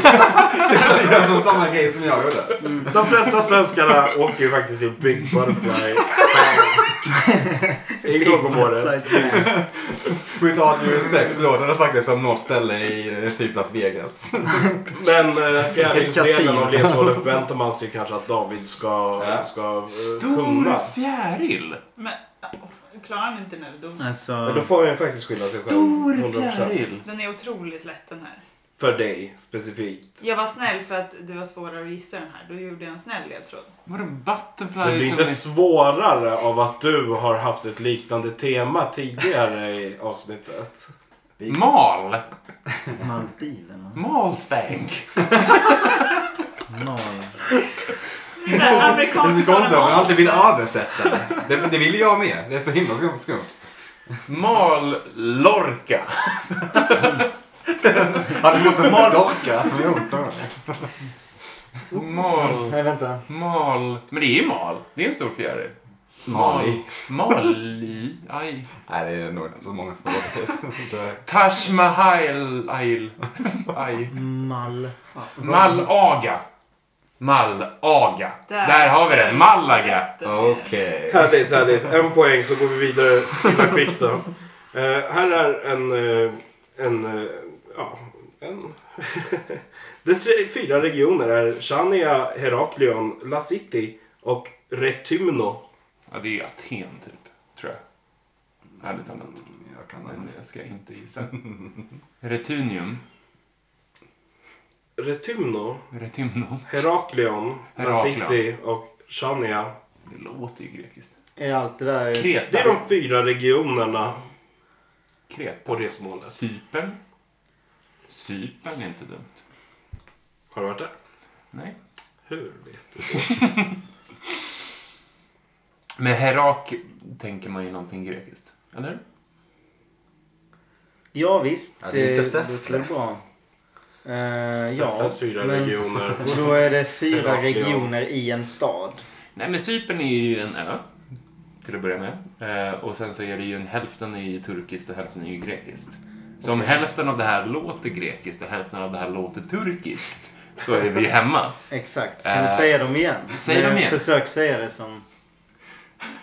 [SPEAKER 3] Det är nog samma grej som jag gjorde.
[SPEAKER 1] De flesta svenskarna åker ju faktiskt till Big Butterfly (laughs) Spank. Igår på morgonen.
[SPEAKER 4] Butterfly smash.
[SPEAKER 3] Without your respect så låter det faktiskt som något ställe i eh, typ Las Vegas.
[SPEAKER 1] Men eh, fjärilsdelen
[SPEAKER 4] Ett
[SPEAKER 1] av ledtråden förväntar man sig kanske att David ska,
[SPEAKER 3] Ja.
[SPEAKER 1] ska eh,
[SPEAKER 2] Stor
[SPEAKER 1] kunna.
[SPEAKER 2] fjäril.
[SPEAKER 5] Men åh, klarar ni inte den? här, Då?
[SPEAKER 1] Men då
[SPEAKER 4] (laughs) Alltså,
[SPEAKER 1] får jag ju faktiskt skylla sig själv.
[SPEAKER 2] Stor
[SPEAKER 1] 100%.
[SPEAKER 2] fjäril.
[SPEAKER 5] Den är otroligt lätt den här.
[SPEAKER 1] För dig specifikt.
[SPEAKER 5] Jag var snäll för att det var svårare att gissa den här. Då gjorde jag en snäll ledtråd.
[SPEAKER 2] Vadå
[SPEAKER 1] Det blir
[SPEAKER 2] butterfly som
[SPEAKER 1] inte
[SPEAKER 2] är...
[SPEAKER 1] svårare av att du har haft ett liknande tema tidigare i avsnittet.
[SPEAKER 2] Mal.
[SPEAKER 4] Maldiverna.
[SPEAKER 2] Mal spank.
[SPEAKER 4] Mal.
[SPEAKER 5] Det är så här
[SPEAKER 3] Det är
[SPEAKER 5] amerikanskt
[SPEAKER 3] så konstigt att man alltid vill Ah!
[SPEAKER 5] monster.
[SPEAKER 3] översätta det. det. Det vill jag med. Det är så himla skumt. skumt.
[SPEAKER 2] Mal lorka.
[SPEAKER 3] (laughs) Hade du fått en mardocka som jag gjort då?
[SPEAKER 2] Mal.
[SPEAKER 4] Nej, vänta.
[SPEAKER 2] Mal. Men det är ju mal. Det är en stor fjäril.
[SPEAKER 3] Mali.
[SPEAKER 2] Mali. Aj.
[SPEAKER 3] Nej, det är nog inte så många som har gjort det.
[SPEAKER 2] Taj Mahal. Aj. Aj.
[SPEAKER 4] Mal.
[SPEAKER 2] Malaga. Malaga.
[SPEAKER 5] Där.
[SPEAKER 2] Där. har vi den. Malaga.
[SPEAKER 5] Det är-
[SPEAKER 3] Okej.
[SPEAKER 1] Härligt, härligt. En poäng så går vi vidare till en kvick då. Eh, här är en... eh, en eh, ja, en... (laughs) Dess re- fyra regioner är Chania, Heraklion, La City och Retymno.
[SPEAKER 2] Ja, det är ju Aten typ. Tror jag. Ärligt talat.
[SPEAKER 3] Jag kan den.
[SPEAKER 2] Men jag ska inte gissa. (laughs) Retunium.
[SPEAKER 1] Retymno,
[SPEAKER 2] Retymno.
[SPEAKER 1] Heraklion, La
[SPEAKER 2] Heraklion.
[SPEAKER 1] City och Chania.
[SPEAKER 2] Det låter ju grekiskt.
[SPEAKER 4] Är allt det
[SPEAKER 2] Eh,
[SPEAKER 4] där...
[SPEAKER 1] Det är
[SPEAKER 2] Kreta.
[SPEAKER 1] de fyra regionerna
[SPEAKER 2] Kreta.
[SPEAKER 1] på resmålet.
[SPEAKER 2] Cypern. Cypern är inte dumt.
[SPEAKER 1] Har du varit där?
[SPEAKER 2] Nej.
[SPEAKER 1] Hur vet du?
[SPEAKER 2] Med Herak tänker man ju någonting grekiskt. Eller?
[SPEAKER 4] Ja, visst.
[SPEAKER 3] Ja, det
[SPEAKER 4] det
[SPEAKER 3] är inte
[SPEAKER 4] det
[SPEAKER 3] Säffle.
[SPEAKER 4] låter bra. Eh, ja,
[SPEAKER 1] Säffles fyra
[SPEAKER 4] men...
[SPEAKER 1] regioner.
[SPEAKER 4] Och då är det fyra
[SPEAKER 1] Heraklion.
[SPEAKER 4] regioner i en stad.
[SPEAKER 2] Nej, men Cypern är ju en ö. Till att börja med. Eh, och sen så är det ju en hälften är ju turkiskt och hälften är ju grekiskt. Så om hälften av det här låter grekiskt och hälften av det här låter turkiskt så är vi hemma.
[SPEAKER 4] Exakt. Kan du
[SPEAKER 2] Eh,
[SPEAKER 4] säga dem igen?
[SPEAKER 2] säg dem
[SPEAKER 4] Eh,
[SPEAKER 2] igen.
[SPEAKER 4] Försök säga det som...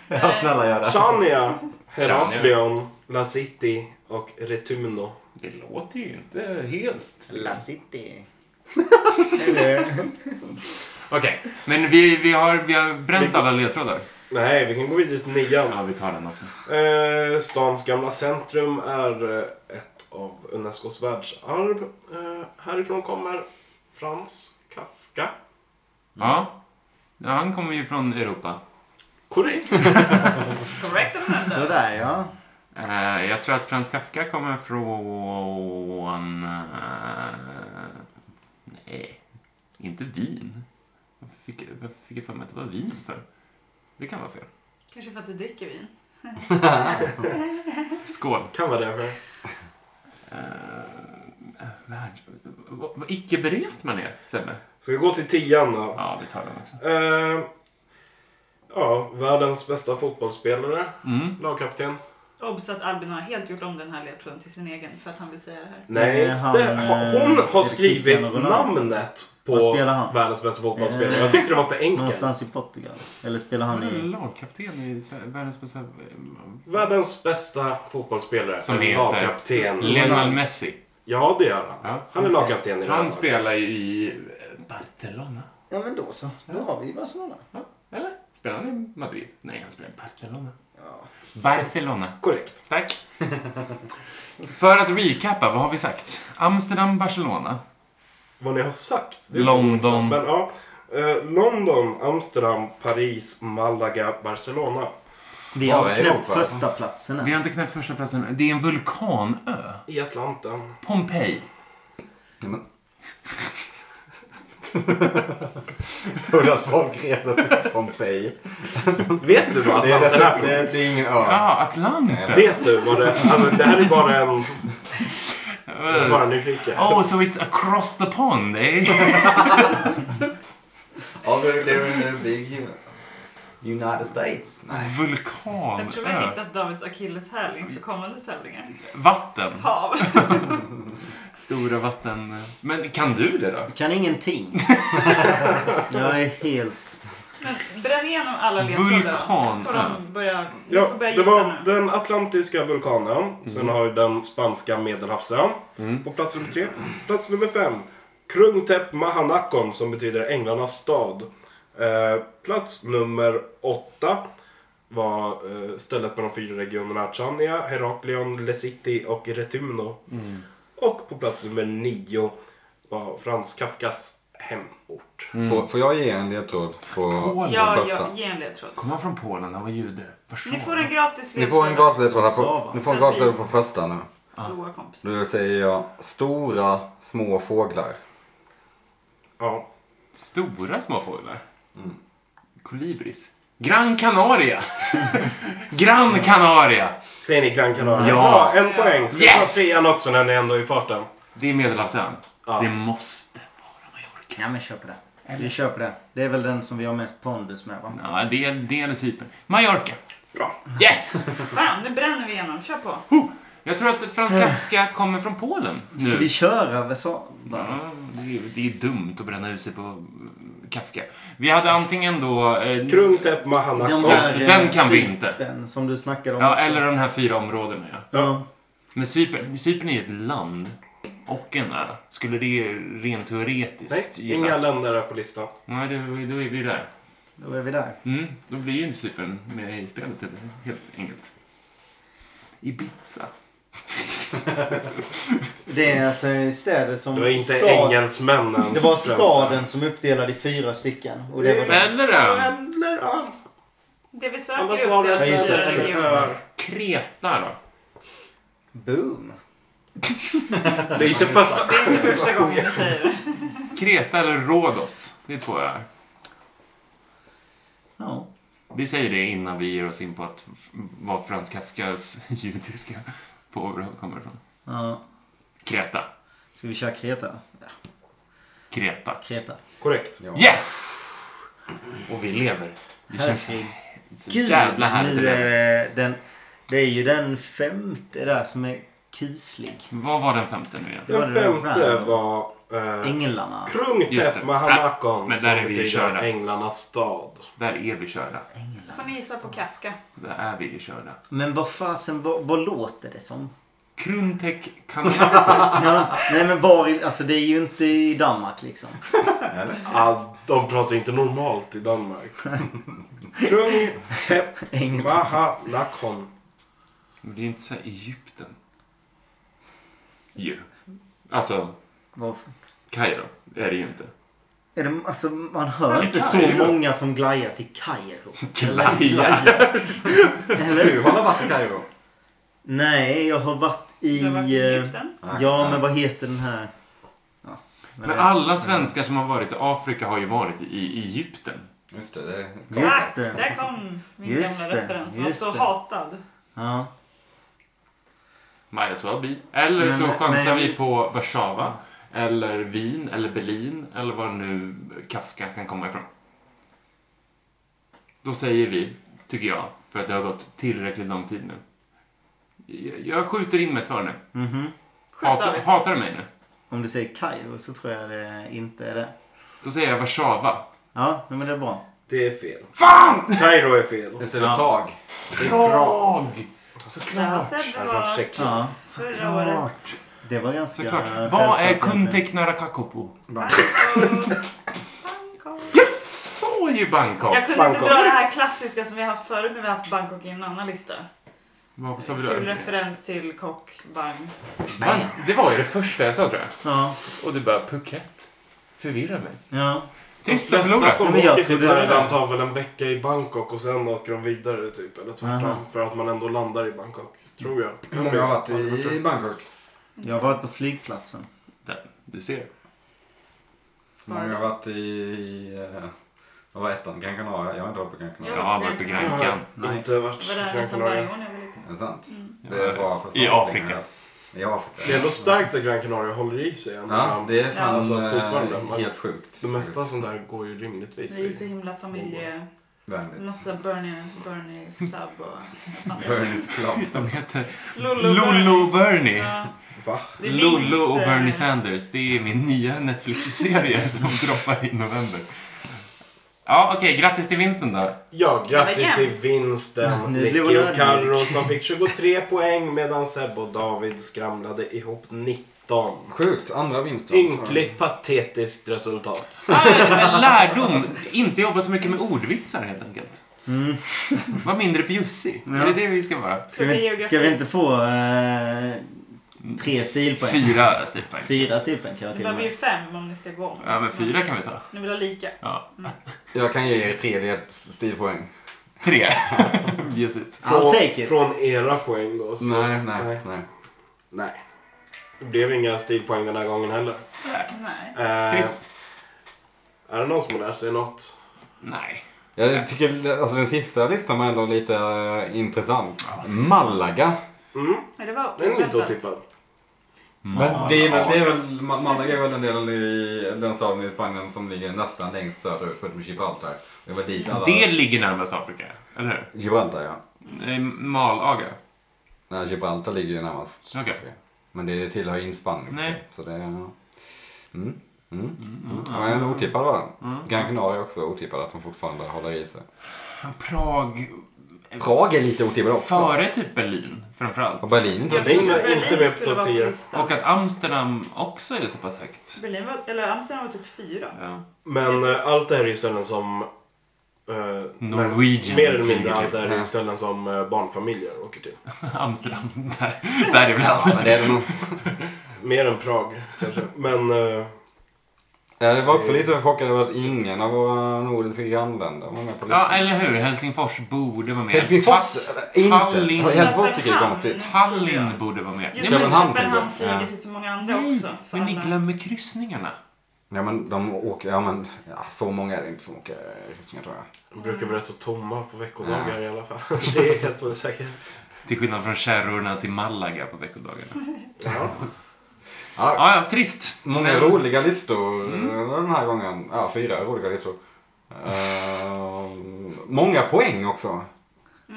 [SPEAKER 3] Ja, snälla gör det.
[SPEAKER 1] (laughs) Chania, Heraklion, La City och Retymno.
[SPEAKER 2] Det låter ju inte helt...
[SPEAKER 4] La City. (laughs) Eller-
[SPEAKER 2] Okej, men vi, vi, har, vi har bränt alla ledtrådar.
[SPEAKER 1] Nej, vi kan gå vidare till nian.
[SPEAKER 2] Ja, vi tar den också.
[SPEAKER 1] Eh, stans gamla centrum är eh, ett av Unescos världsarv. Eh, härifrån kommer Frans Kafka.
[SPEAKER 2] Ja. ja, han kommer ju från Europa.
[SPEAKER 1] Korrekt.
[SPEAKER 5] Correct amendment.
[SPEAKER 4] Sådär ja.
[SPEAKER 2] Eh, jag tror att Frans Kafka kommer från... eh, nej, inte Wien. Varför fick, jag- varför fick jag för mig att det var Wien för? Det kan vara fel.
[SPEAKER 5] Kanske för att du dricker vin.
[SPEAKER 2] Skål.
[SPEAKER 1] Kan vara därför.
[SPEAKER 2] Eh, värld- vad vad icke berest man är, Sebbe.
[SPEAKER 1] Ska vi gå till tian då?
[SPEAKER 2] Ja, vi tar den också.
[SPEAKER 1] Eh, ja, världens bästa fotbollsspelare.
[SPEAKER 2] Mm.
[SPEAKER 1] Lagkapten.
[SPEAKER 5] Obs att Albin har helt gjort om den här ledtråden till sin egen för att han vill säga det här.
[SPEAKER 1] Nej,
[SPEAKER 4] Eh, han,
[SPEAKER 1] det, ha- hon
[SPEAKER 4] eh,
[SPEAKER 1] har
[SPEAKER 4] är Cristiano
[SPEAKER 1] skrivit
[SPEAKER 4] Ronaldo.
[SPEAKER 1] namnet
[SPEAKER 4] Vad
[SPEAKER 1] på
[SPEAKER 4] spelar han?
[SPEAKER 1] världens bästa fotbollsspelare.
[SPEAKER 4] Eh,
[SPEAKER 1] Jag tyckte det var för enkelt.
[SPEAKER 4] Någonstans i Portugal. Eller spelar
[SPEAKER 2] Han
[SPEAKER 4] han
[SPEAKER 2] är
[SPEAKER 4] i...
[SPEAKER 2] lagkapten i Sverige- världens bästa...
[SPEAKER 1] Världens bästa fotbollsspelare.
[SPEAKER 2] Som
[SPEAKER 1] Som
[SPEAKER 2] heter-
[SPEAKER 1] lagkapten.
[SPEAKER 2] Lionel Messi.
[SPEAKER 1] Ja, det gör han.
[SPEAKER 2] Ja.
[SPEAKER 1] Han är lagkapten i
[SPEAKER 2] Han
[SPEAKER 1] Real
[SPEAKER 2] spelar ju i eh, Barcelona.
[SPEAKER 6] Ja men då så. Då har vi Barcelona.
[SPEAKER 2] Ja, eller? Spelar han i Madrid? Nej, han spelar i Barcelona.
[SPEAKER 6] Ja.
[SPEAKER 2] Barcelona.
[SPEAKER 1] Korrekt.
[SPEAKER 2] Tack. För att recappa, vad har vi sagt? Amsterdam, Barcelona.
[SPEAKER 1] Vad ni har sagt. det är
[SPEAKER 2] London.
[SPEAKER 1] intressant, Men, ja, Eh, London, Amsterdam, Paris, Malaga, Barcelona.
[SPEAKER 4] Vi har
[SPEAKER 3] Ja,
[SPEAKER 4] knäppt
[SPEAKER 3] Europa.
[SPEAKER 4] första platsen
[SPEAKER 2] Vi
[SPEAKER 4] än.
[SPEAKER 2] har inte knäppt första platsen. Det är en vulkanö.
[SPEAKER 1] I Atlanten.
[SPEAKER 2] Pompeji.
[SPEAKER 3] Ja, men... (laughs) Tror du att folk reser till Pompeji?
[SPEAKER 1] Vet du vad
[SPEAKER 3] Det är,
[SPEAKER 1] Atlanten är
[SPEAKER 3] det,
[SPEAKER 1] för
[SPEAKER 3] det,
[SPEAKER 1] något?
[SPEAKER 3] det är ingen ö.
[SPEAKER 2] Jaha, Atlanten.
[SPEAKER 1] Vet du vad det alltså, Det här är bara en... jag är bara nyfiken.
[SPEAKER 2] Oh, so it's across the pond, eh?
[SPEAKER 6] Ja, we're there in the big eh, United States.
[SPEAKER 1] (laughs)
[SPEAKER 6] Nej.
[SPEAKER 5] Jag tror vi har
[SPEAKER 2] Vulkanö.
[SPEAKER 5] hittat Davids akilleshäl inför kommande tävlingar.
[SPEAKER 2] Vatten.
[SPEAKER 5] Hav.
[SPEAKER 2] Stora vatten... Men kan du det då? (laughs)
[SPEAKER 4] Kan ingenting. Jag är helt...
[SPEAKER 5] Men bränn igenom alla ledtrådar.
[SPEAKER 2] Vulkan.
[SPEAKER 5] Så får de börja, ni
[SPEAKER 1] Ja,
[SPEAKER 5] får börja
[SPEAKER 1] det
[SPEAKER 5] gissa
[SPEAKER 1] var
[SPEAKER 5] nu.
[SPEAKER 1] den atlantiska vulkanen.
[SPEAKER 2] Mm.
[SPEAKER 1] Sen har vi den spanska medelhavsön på plats nummer tre. Plats nummer fem. Krungtep Mahanakon som betyder änglarnas stad. Eh, plats nummer åtta var eh, stället med de fyra regionerna Chania, Heraklion, Lesiti och Retumno.
[SPEAKER 2] Mm.
[SPEAKER 1] Och på plats nummer nio var Frans Kafkas hemort.
[SPEAKER 2] Mm.
[SPEAKER 3] Får, får jag ge en ledtråd på
[SPEAKER 2] Polen.
[SPEAKER 3] den
[SPEAKER 5] Ja,
[SPEAKER 3] första?
[SPEAKER 5] ja, ge en ledtråd.
[SPEAKER 2] Kommer han från Polen? Han var jude.
[SPEAKER 5] Ni får en gratis
[SPEAKER 3] Ni får en
[SPEAKER 5] ledtråd.
[SPEAKER 3] gratis ledtråd här på,
[SPEAKER 4] Sava.
[SPEAKER 3] ni får en gratis ledtråd på första nu.
[SPEAKER 5] Goa kompis.
[SPEAKER 3] Då säger jag stora små fåglar.
[SPEAKER 1] Ja.
[SPEAKER 2] Stora små fåglar. Kolibris. Gran Canaria! (laughs) Gran Canaria!
[SPEAKER 1] Säger ni Gran Canaria?
[SPEAKER 2] Ja.
[SPEAKER 1] en poäng. Ska vi ta
[SPEAKER 2] Yes!
[SPEAKER 1] trean också när ni ändå är i farten?
[SPEAKER 2] Det är Medelhavsön.
[SPEAKER 1] Ja.
[SPEAKER 2] Det måste vara Mallorca.
[SPEAKER 4] Ja men köp det. Vi köper det. Det är väl den som vi har mest pondus med va?
[SPEAKER 2] Ja, det är, det är Cypern. Mallorca.
[SPEAKER 1] Bra.
[SPEAKER 2] Yes!
[SPEAKER 5] Fan, nu bränner vi igenom. Kör på.
[SPEAKER 2] Jag tror att Frans Kafka kommer från Polen
[SPEAKER 4] Ska vi
[SPEAKER 2] nu.
[SPEAKER 4] köra Vesala?
[SPEAKER 2] Ja, det, är, det är dumt att bränna ut sig på eh, Kafka. Vi hade antingen då... Eh,
[SPEAKER 1] Krungtep Mahanakon.
[SPEAKER 4] Den, här,
[SPEAKER 2] Just det, den
[SPEAKER 4] eh,
[SPEAKER 2] kan vi
[SPEAKER 4] Cypern
[SPEAKER 2] inte.
[SPEAKER 4] som du snackade om
[SPEAKER 2] ja,
[SPEAKER 4] också.
[SPEAKER 2] eller de här fyra områdena, ja.
[SPEAKER 4] Ja.
[SPEAKER 2] Men Cypern, Cypern är ju ett land och en ö. Skulle det rent
[SPEAKER 1] Nej,
[SPEAKER 2] teoretiskt
[SPEAKER 1] inga länder är på listan.
[SPEAKER 2] Nej, då, då är vi där.
[SPEAKER 4] Då är vi där.
[SPEAKER 2] Mm, då blir ju inte Cypern med i spelet helt- helt enkelt. Ibiza.
[SPEAKER 4] Det är alltså städer som...
[SPEAKER 1] Det var inte
[SPEAKER 4] stad-
[SPEAKER 1] engelsmännens
[SPEAKER 4] Det var
[SPEAKER 1] främsta.
[SPEAKER 4] staden som uppdelade i fyra stycken. Och det var
[SPEAKER 6] Mm.
[SPEAKER 4] den.
[SPEAKER 2] Eller ö.
[SPEAKER 1] Eller ja,
[SPEAKER 5] Det vi söker
[SPEAKER 1] alla
[SPEAKER 5] upp,
[SPEAKER 1] svar
[SPEAKER 5] det
[SPEAKER 1] är
[SPEAKER 5] är
[SPEAKER 4] Ja, just det,
[SPEAKER 5] fyra
[SPEAKER 4] precis.
[SPEAKER 5] regioner.
[SPEAKER 1] svenskar.
[SPEAKER 2] Kreta då?
[SPEAKER 4] Boom.
[SPEAKER 1] Det är inte första.
[SPEAKER 5] Det är inte första gången vi säger det.
[SPEAKER 2] Kreta eller Rhodos? Det är två öar.
[SPEAKER 4] Ja.
[SPEAKER 2] Vi säger det innan vi ger oss in på att f- vad Frans Kafkas (laughs) judiska påbrå kommer ifrån.
[SPEAKER 4] ja.
[SPEAKER 2] Kreta.
[SPEAKER 4] Ska vi köra Kreta? Ja,
[SPEAKER 2] Kreta.
[SPEAKER 4] Kreta.
[SPEAKER 1] Korrekt.
[SPEAKER 2] Yes! Och vi lever. Det känns så
[SPEAKER 4] Gud,
[SPEAKER 2] jävla härligt att
[SPEAKER 4] nu är
[SPEAKER 2] leva.
[SPEAKER 4] det, den, det är ju den femte där som är kuslig.
[SPEAKER 2] Vad var den femte nu igen?
[SPEAKER 4] Det var
[SPEAKER 1] Den
[SPEAKER 4] det
[SPEAKER 1] femte
[SPEAKER 4] där.
[SPEAKER 1] var eh,
[SPEAKER 4] Änglarna.
[SPEAKER 2] Just det.
[SPEAKER 1] Krungtep
[SPEAKER 2] Ah,
[SPEAKER 1] Mahanakon
[SPEAKER 2] men där
[SPEAKER 1] som
[SPEAKER 2] är vi
[SPEAKER 1] betyder
[SPEAKER 2] körda.
[SPEAKER 1] änglarnas stad.
[SPEAKER 2] Där är vi körda.
[SPEAKER 5] Då får ni gissa på Kafka.
[SPEAKER 2] Där är vi ju körda.
[SPEAKER 4] Men vad fasen, vad, vad låter det som?
[SPEAKER 2] Kruntek kanal.
[SPEAKER 4] Ja, nej men var, i- alltså det är ju inte i Danmark liksom. (laughs)
[SPEAKER 1] Ah, de pratar inte normalt i Danmark. Krungtep
[SPEAKER 4] Änglarna.
[SPEAKER 1] Mahanakon.
[SPEAKER 2] Men det är inte så här Egypten. Ju. Alltså,
[SPEAKER 4] Vad-
[SPEAKER 2] Kairo är det ju inte.
[SPEAKER 4] Är det, alltså, man hör
[SPEAKER 2] Men
[SPEAKER 4] inte så
[SPEAKER 2] Kairo.
[SPEAKER 4] många som glajar till
[SPEAKER 2] (laughs)
[SPEAKER 4] Kairo.
[SPEAKER 2] Glajar.
[SPEAKER 4] Eller?
[SPEAKER 6] Du har varit i Kairo.
[SPEAKER 4] Nej, jag har varit i...
[SPEAKER 5] Det har varit i
[SPEAKER 4] eh,
[SPEAKER 5] Egypten.
[SPEAKER 4] Ja, men vad heter den här? Ja,
[SPEAKER 2] Men alla svenskar som har varit i Afrika har ju varit i Egypten.
[SPEAKER 3] Just det, det
[SPEAKER 4] Just
[SPEAKER 5] Tack,
[SPEAKER 4] det.
[SPEAKER 5] Där kom min
[SPEAKER 4] Just
[SPEAKER 5] gamla
[SPEAKER 4] det,
[SPEAKER 5] referens som var
[SPEAKER 4] just
[SPEAKER 5] så
[SPEAKER 4] det.
[SPEAKER 5] hatad.
[SPEAKER 4] Ja.
[SPEAKER 2] Maja Swabi. Eller
[SPEAKER 4] Men-
[SPEAKER 2] så chansar
[SPEAKER 4] men-
[SPEAKER 2] vi på Warszawa. Eller Wien eller Berlin eller var nu Kafka kan komma ifrån. Då säger vi, tycker jag, för att det har gått tillräckligt lång tid nu. Jag- Jag skjuter in med ett svar nu.
[SPEAKER 4] Mhm.
[SPEAKER 5] Skjut
[SPEAKER 2] Hatar,
[SPEAKER 5] David.
[SPEAKER 2] hatar du mig nu?
[SPEAKER 4] Om du säger Kairo så tror jag det inte är det.
[SPEAKER 2] Då säger jag Warszawa.
[SPEAKER 4] Ja, men det är bra.
[SPEAKER 1] Det är fel. Fan! Kairo är fel.
[SPEAKER 3] Jag ställer Prag.
[SPEAKER 1] Det är bra.
[SPEAKER 2] Såklart!
[SPEAKER 5] Sebbe
[SPEAKER 1] Här från
[SPEAKER 5] var
[SPEAKER 1] Tjeckien.
[SPEAKER 4] Ja.
[SPEAKER 5] förra året.
[SPEAKER 4] Det var ganska...
[SPEAKER 2] Såklart. Vad
[SPEAKER 4] självklart
[SPEAKER 2] är
[SPEAKER 4] egentligen.
[SPEAKER 2] Kunteknara Kakopo?
[SPEAKER 5] Bangkok. Bangkok.
[SPEAKER 2] Sa ju Bangkok!
[SPEAKER 5] Jag kunde inte
[SPEAKER 1] Bangkok.
[SPEAKER 5] dra det här klassiska som vi har haft förut när vi har haft Bangkok i en annan lista.
[SPEAKER 2] Vad sa vi då?
[SPEAKER 5] Kul referens till kock, bang.
[SPEAKER 2] Bang. Det var ju det första jag sa tror jag.
[SPEAKER 4] Ja,
[SPEAKER 2] Och du bara Phuket. Förvirrar mig.
[SPEAKER 4] ja.
[SPEAKER 2] Trist
[SPEAKER 1] De
[SPEAKER 2] att
[SPEAKER 1] flesta
[SPEAKER 2] förlora.
[SPEAKER 4] Ja,
[SPEAKER 1] som
[SPEAKER 4] men jag
[SPEAKER 1] åker till
[SPEAKER 4] trodde det var-
[SPEAKER 1] Thailand tar väl en vecka i Bangkok och sen åker de vidare typ. Eller tvärtom.
[SPEAKER 4] Aha.
[SPEAKER 1] För att man ändå landar i Bangkok. Tror jag.
[SPEAKER 3] Hur många har varit i Bangkok?
[SPEAKER 4] Jag har varit på flygplatsen.
[SPEAKER 2] Där, du ser.
[SPEAKER 3] Hur många har varit i... i eh, vad var ettan? Gran Canaria? Jag har inte varit på Gran
[SPEAKER 2] Jag
[SPEAKER 3] Canaria.
[SPEAKER 2] har varit på
[SPEAKER 1] Jag
[SPEAKER 2] Gran Can.
[SPEAKER 1] har inte varit
[SPEAKER 5] Det var där
[SPEAKER 1] Gran
[SPEAKER 5] nästan
[SPEAKER 1] Canaria.
[SPEAKER 5] varje år när jag var liten.
[SPEAKER 3] Är det sant?
[SPEAKER 5] Mm.
[SPEAKER 3] Det är bra för
[SPEAKER 2] I
[SPEAKER 3] snart
[SPEAKER 2] Afrika.
[SPEAKER 3] I Afrika.
[SPEAKER 1] Det är ändå starkt att Gran Canaria håller i sig ända
[SPEAKER 3] Ja,
[SPEAKER 1] fram.
[SPEAKER 3] det är fan
[SPEAKER 5] Ja.
[SPEAKER 1] Alltså, fortfarande,
[SPEAKER 3] eh,
[SPEAKER 1] men-
[SPEAKER 3] helt sjukt.
[SPEAKER 1] Det mesta sånt där går ju rimligtvis
[SPEAKER 5] Vi är ju så
[SPEAKER 1] i.
[SPEAKER 5] himla familje...
[SPEAKER 3] Vänligt.
[SPEAKER 5] Massa Bernie, Bernies Club och... (laughs)
[SPEAKER 3] Bernies Club.
[SPEAKER 2] De heter
[SPEAKER 5] Lollo
[SPEAKER 2] Lolo
[SPEAKER 5] Bernie.
[SPEAKER 2] Bernie.
[SPEAKER 5] Ja,
[SPEAKER 3] Va?
[SPEAKER 5] det finns,
[SPEAKER 2] Lollo och
[SPEAKER 5] eh,
[SPEAKER 2] Bernie Sanders. Det är min nya Netflix-serie (laughs) som droppar i november. Ja, okej. Grattis till vinsten då.
[SPEAKER 1] Ja, grattis
[SPEAKER 5] Det var
[SPEAKER 1] till
[SPEAKER 5] jämnt.
[SPEAKER 1] vinsten.
[SPEAKER 4] Nu blir
[SPEAKER 1] Nicky
[SPEAKER 4] hon
[SPEAKER 1] och
[SPEAKER 4] ödmjuk.
[SPEAKER 1] Carro som fick 23 poäng medan Seb och David skramlade ihop 19.
[SPEAKER 3] Sjukt, andra vinsten.
[SPEAKER 1] Ynkligt patetiskt resultat.
[SPEAKER 2] Ah, Lärdom. Inte jobba så mycket med ordvitsar helt enkelt.
[SPEAKER 4] Mm.
[SPEAKER 2] Var mindre bjussig.
[SPEAKER 4] Ja.
[SPEAKER 2] Är det det vi ska vara?
[SPEAKER 4] Ska, vi, ska vi inte få eh, tre stilpoäng?
[SPEAKER 2] Fyra stilpoäng.
[SPEAKER 4] Fyra stilpoäng kan jag
[SPEAKER 5] Det
[SPEAKER 4] till och
[SPEAKER 5] behöver
[SPEAKER 4] med.
[SPEAKER 5] ju fem om ni ska gå om.
[SPEAKER 2] Ja, men fyra kan vi ta.
[SPEAKER 5] Ni vill ha lika.
[SPEAKER 2] Ja.
[SPEAKER 3] Jag kan ge er tre led- stilpoäng.
[SPEAKER 2] Tre. (laughs) Bjussigt.
[SPEAKER 4] I'll take it.
[SPEAKER 1] Från era poäng då. Så,
[SPEAKER 3] Nej, nej, nej.
[SPEAKER 1] nej. Det blev inga stilpoäng den här gången heller.
[SPEAKER 5] Nej.
[SPEAKER 1] Eh,
[SPEAKER 2] Trist.
[SPEAKER 1] är det någon som har lärt sig något?
[SPEAKER 2] Nej.
[SPEAKER 3] Jag tycker alltså den sista listan var ändå lite eh, intressant. Malaga.
[SPEAKER 1] Mm,
[SPEAKER 5] Men det var
[SPEAKER 1] den är lite
[SPEAKER 5] oväntat.
[SPEAKER 1] otippad.
[SPEAKER 3] Men det är väl, det är väl, Ma- Malaga är väl den delen i, den staden i Spanien som ligger nästan längst söderut förutom Gibraltar. Det var dit alla...
[SPEAKER 2] Det ligger närmast Afrika, eller hur?
[SPEAKER 3] Gibraltar ja.
[SPEAKER 2] Eh, Malaga.
[SPEAKER 3] Nej, Gibraltar ligger ju närmast.
[SPEAKER 2] Okej.
[SPEAKER 3] Men det tillhör ju inte Spanien.
[SPEAKER 2] Nej.
[SPEAKER 3] liksom. Så det är... Mm. Mm. Mm. Ja, men otippad var den. Gran Canaria är också otippad att de fortfarande håller i sig.
[SPEAKER 2] Prag.
[SPEAKER 3] Prag är lite otippad också.
[SPEAKER 2] Före typ Berlin, framförallt.
[SPEAKER 3] Och Berlin inte
[SPEAKER 5] Jag
[SPEAKER 1] Jag
[SPEAKER 3] ens-
[SPEAKER 1] tror-
[SPEAKER 5] trodde
[SPEAKER 1] Berlin är inte
[SPEAKER 5] Berlin
[SPEAKER 1] med på
[SPEAKER 5] skulle
[SPEAKER 1] topp
[SPEAKER 5] vara på
[SPEAKER 1] tio.
[SPEAKER 5] listan.
[SPEAKER 2] Och att Amsterdam också är så pass högt.
[SPEAKER 5] Berlin var, eller Amsterdam var typ fyra.
[SPEAKER 2] Ja. (laughs)
[SPEAKER 1] Men eh, allt det här är ju ställen som... eh,
[SPEAKER 2] Norwegian
[SPEAKER 1] Mer eller mindre
[SPEAKER 2] flyger
[SPEAKER 1] allt det här är ju
[SPEAKER 3] till.
[SPEAKER 1] ställen som eh, barnfamiljer åker till.
[SPEAKER 2] Amsterdam, där, där
[SPEAKER 3] Ja,
[SPEAKER 2] ibland.
[SPEAKER 3] men det är det nog.
[SPEAKER 1] Mer än Prag kanske. Men eh,
[SPEAKER 3] Jag var också lite chockad över att ingen av våra nordiska grannländer var med på
[SPEAKER 2] Ja,
[SPEAKER 3] listan.
[SPEAKER 2] eller hur? Helsingfors borde vara med.
[SPEAKER 3] Helsingfors
[SPEAKER 2] Ta-
[SPEAKER 3] äh, inte.
[SPEAKER 2] Tallinn.
[SPEAKER 3] Helsingfors tycker jag är
[SPEAKER 5] Köpenhamn.
[SPEAKER 3] konstigt.
[SPEAKER 2] Tallinn borde vara med.
[SPEAKER 5] Just
[SPEAKER 2] Ja,
[SPEAKER 5] nu
[SPEAKER 2] men,
[SPEAKER 3] Köpenhamn
[SPEAKER 5] Köpenhamn,
[SPEAKER 3] tänker jag.
[SPEAKER 5] flyger
[SPEAKER 3] Ja.
[SPEAKER 5] till så många andra
[SPEAKER 2] nej,
[SPEAKER 5] också. för
[SPEAKER 2] men ni
[SPEAKER 5] alla.
[SPEAKER 2] glömmer kryssningarna.
[SPEAKER 3] Ja men de åker, ja men ja, så många är det inte som åker kryssningar tror jag.
[SPEAKER 1] de brukar vara rätt så tomma på veckodagar i alla fall. (laughs) Det är helt så säkert.
[SPEAKER 2] Till skillnad från kärrorna till Malaga på
[SPEAKER 5] (laughs)
[SPEAKER 2] veckodagarna.
[SPEAKER 1] Ja.
[SPEAKER 3] Ja,
[SPEAKER 2] Ja, ja, trist.
[SPEAKER 3] många roliga listor eh, den här gången. Ja, fyra roliga listor. Eh, många poäng också.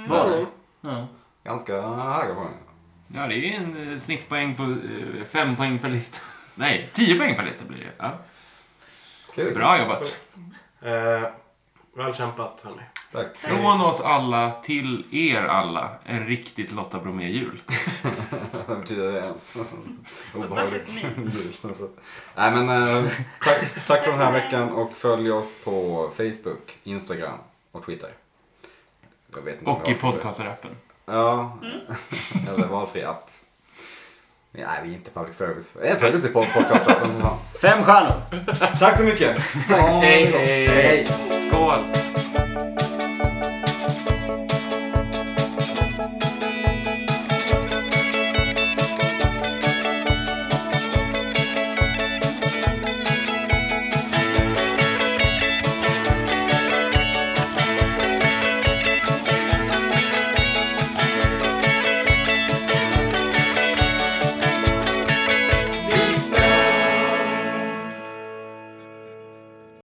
[SPEAKER 4] Var det? Ja.
[SPEAKER 3] Ganska höga poäng.
[SPEAKER 2] Ja, det är ju en eh, snittpoäng på eh, fem poäng per lista. (laughs) Nej, tio poäng per lista blir det. Ja.
[SPEAKER 3] Kul.
[SPEAKER 2] Bra jobbat.
[SPEAKER 1] Eh, väl kämpat hörni.
[SPEAKER 3] Tack.
[SPEAKER 2] Från oss alla till er alla, en riktigt Lotta Bromé-jul.
[SPEAKER 3] Vad betyder det ens? Obehagligt.
[SPEAKER 5] Fantastiskt
[SPEAKER 3] (laughs) Jul, alltså. Nej men eh, tack, tack för den här veckan och följ oss på Facebook, Instagram och Twitter. Jag vet inte om
[SPEAKER 2] Och
[SPEAKER 3] vi
[SPEAKER 2] i
[SPEAKER 3] har Twitter.
[SPEAKER 2] podcasterappen.
[SPEAKER 3] Ja, (laughs) eller valfri app. Nej, vi är inte public service. Eh, Följ oss i pod- podcastappen för fan.
[SPEAKER 4] Fem stjärnor!
[SPEAKER 3] Tack så mycket!
[SPEAKER 2] Hej, hej.
[SPEAKER 3] Hej.
[SPEAKER 2] Skål.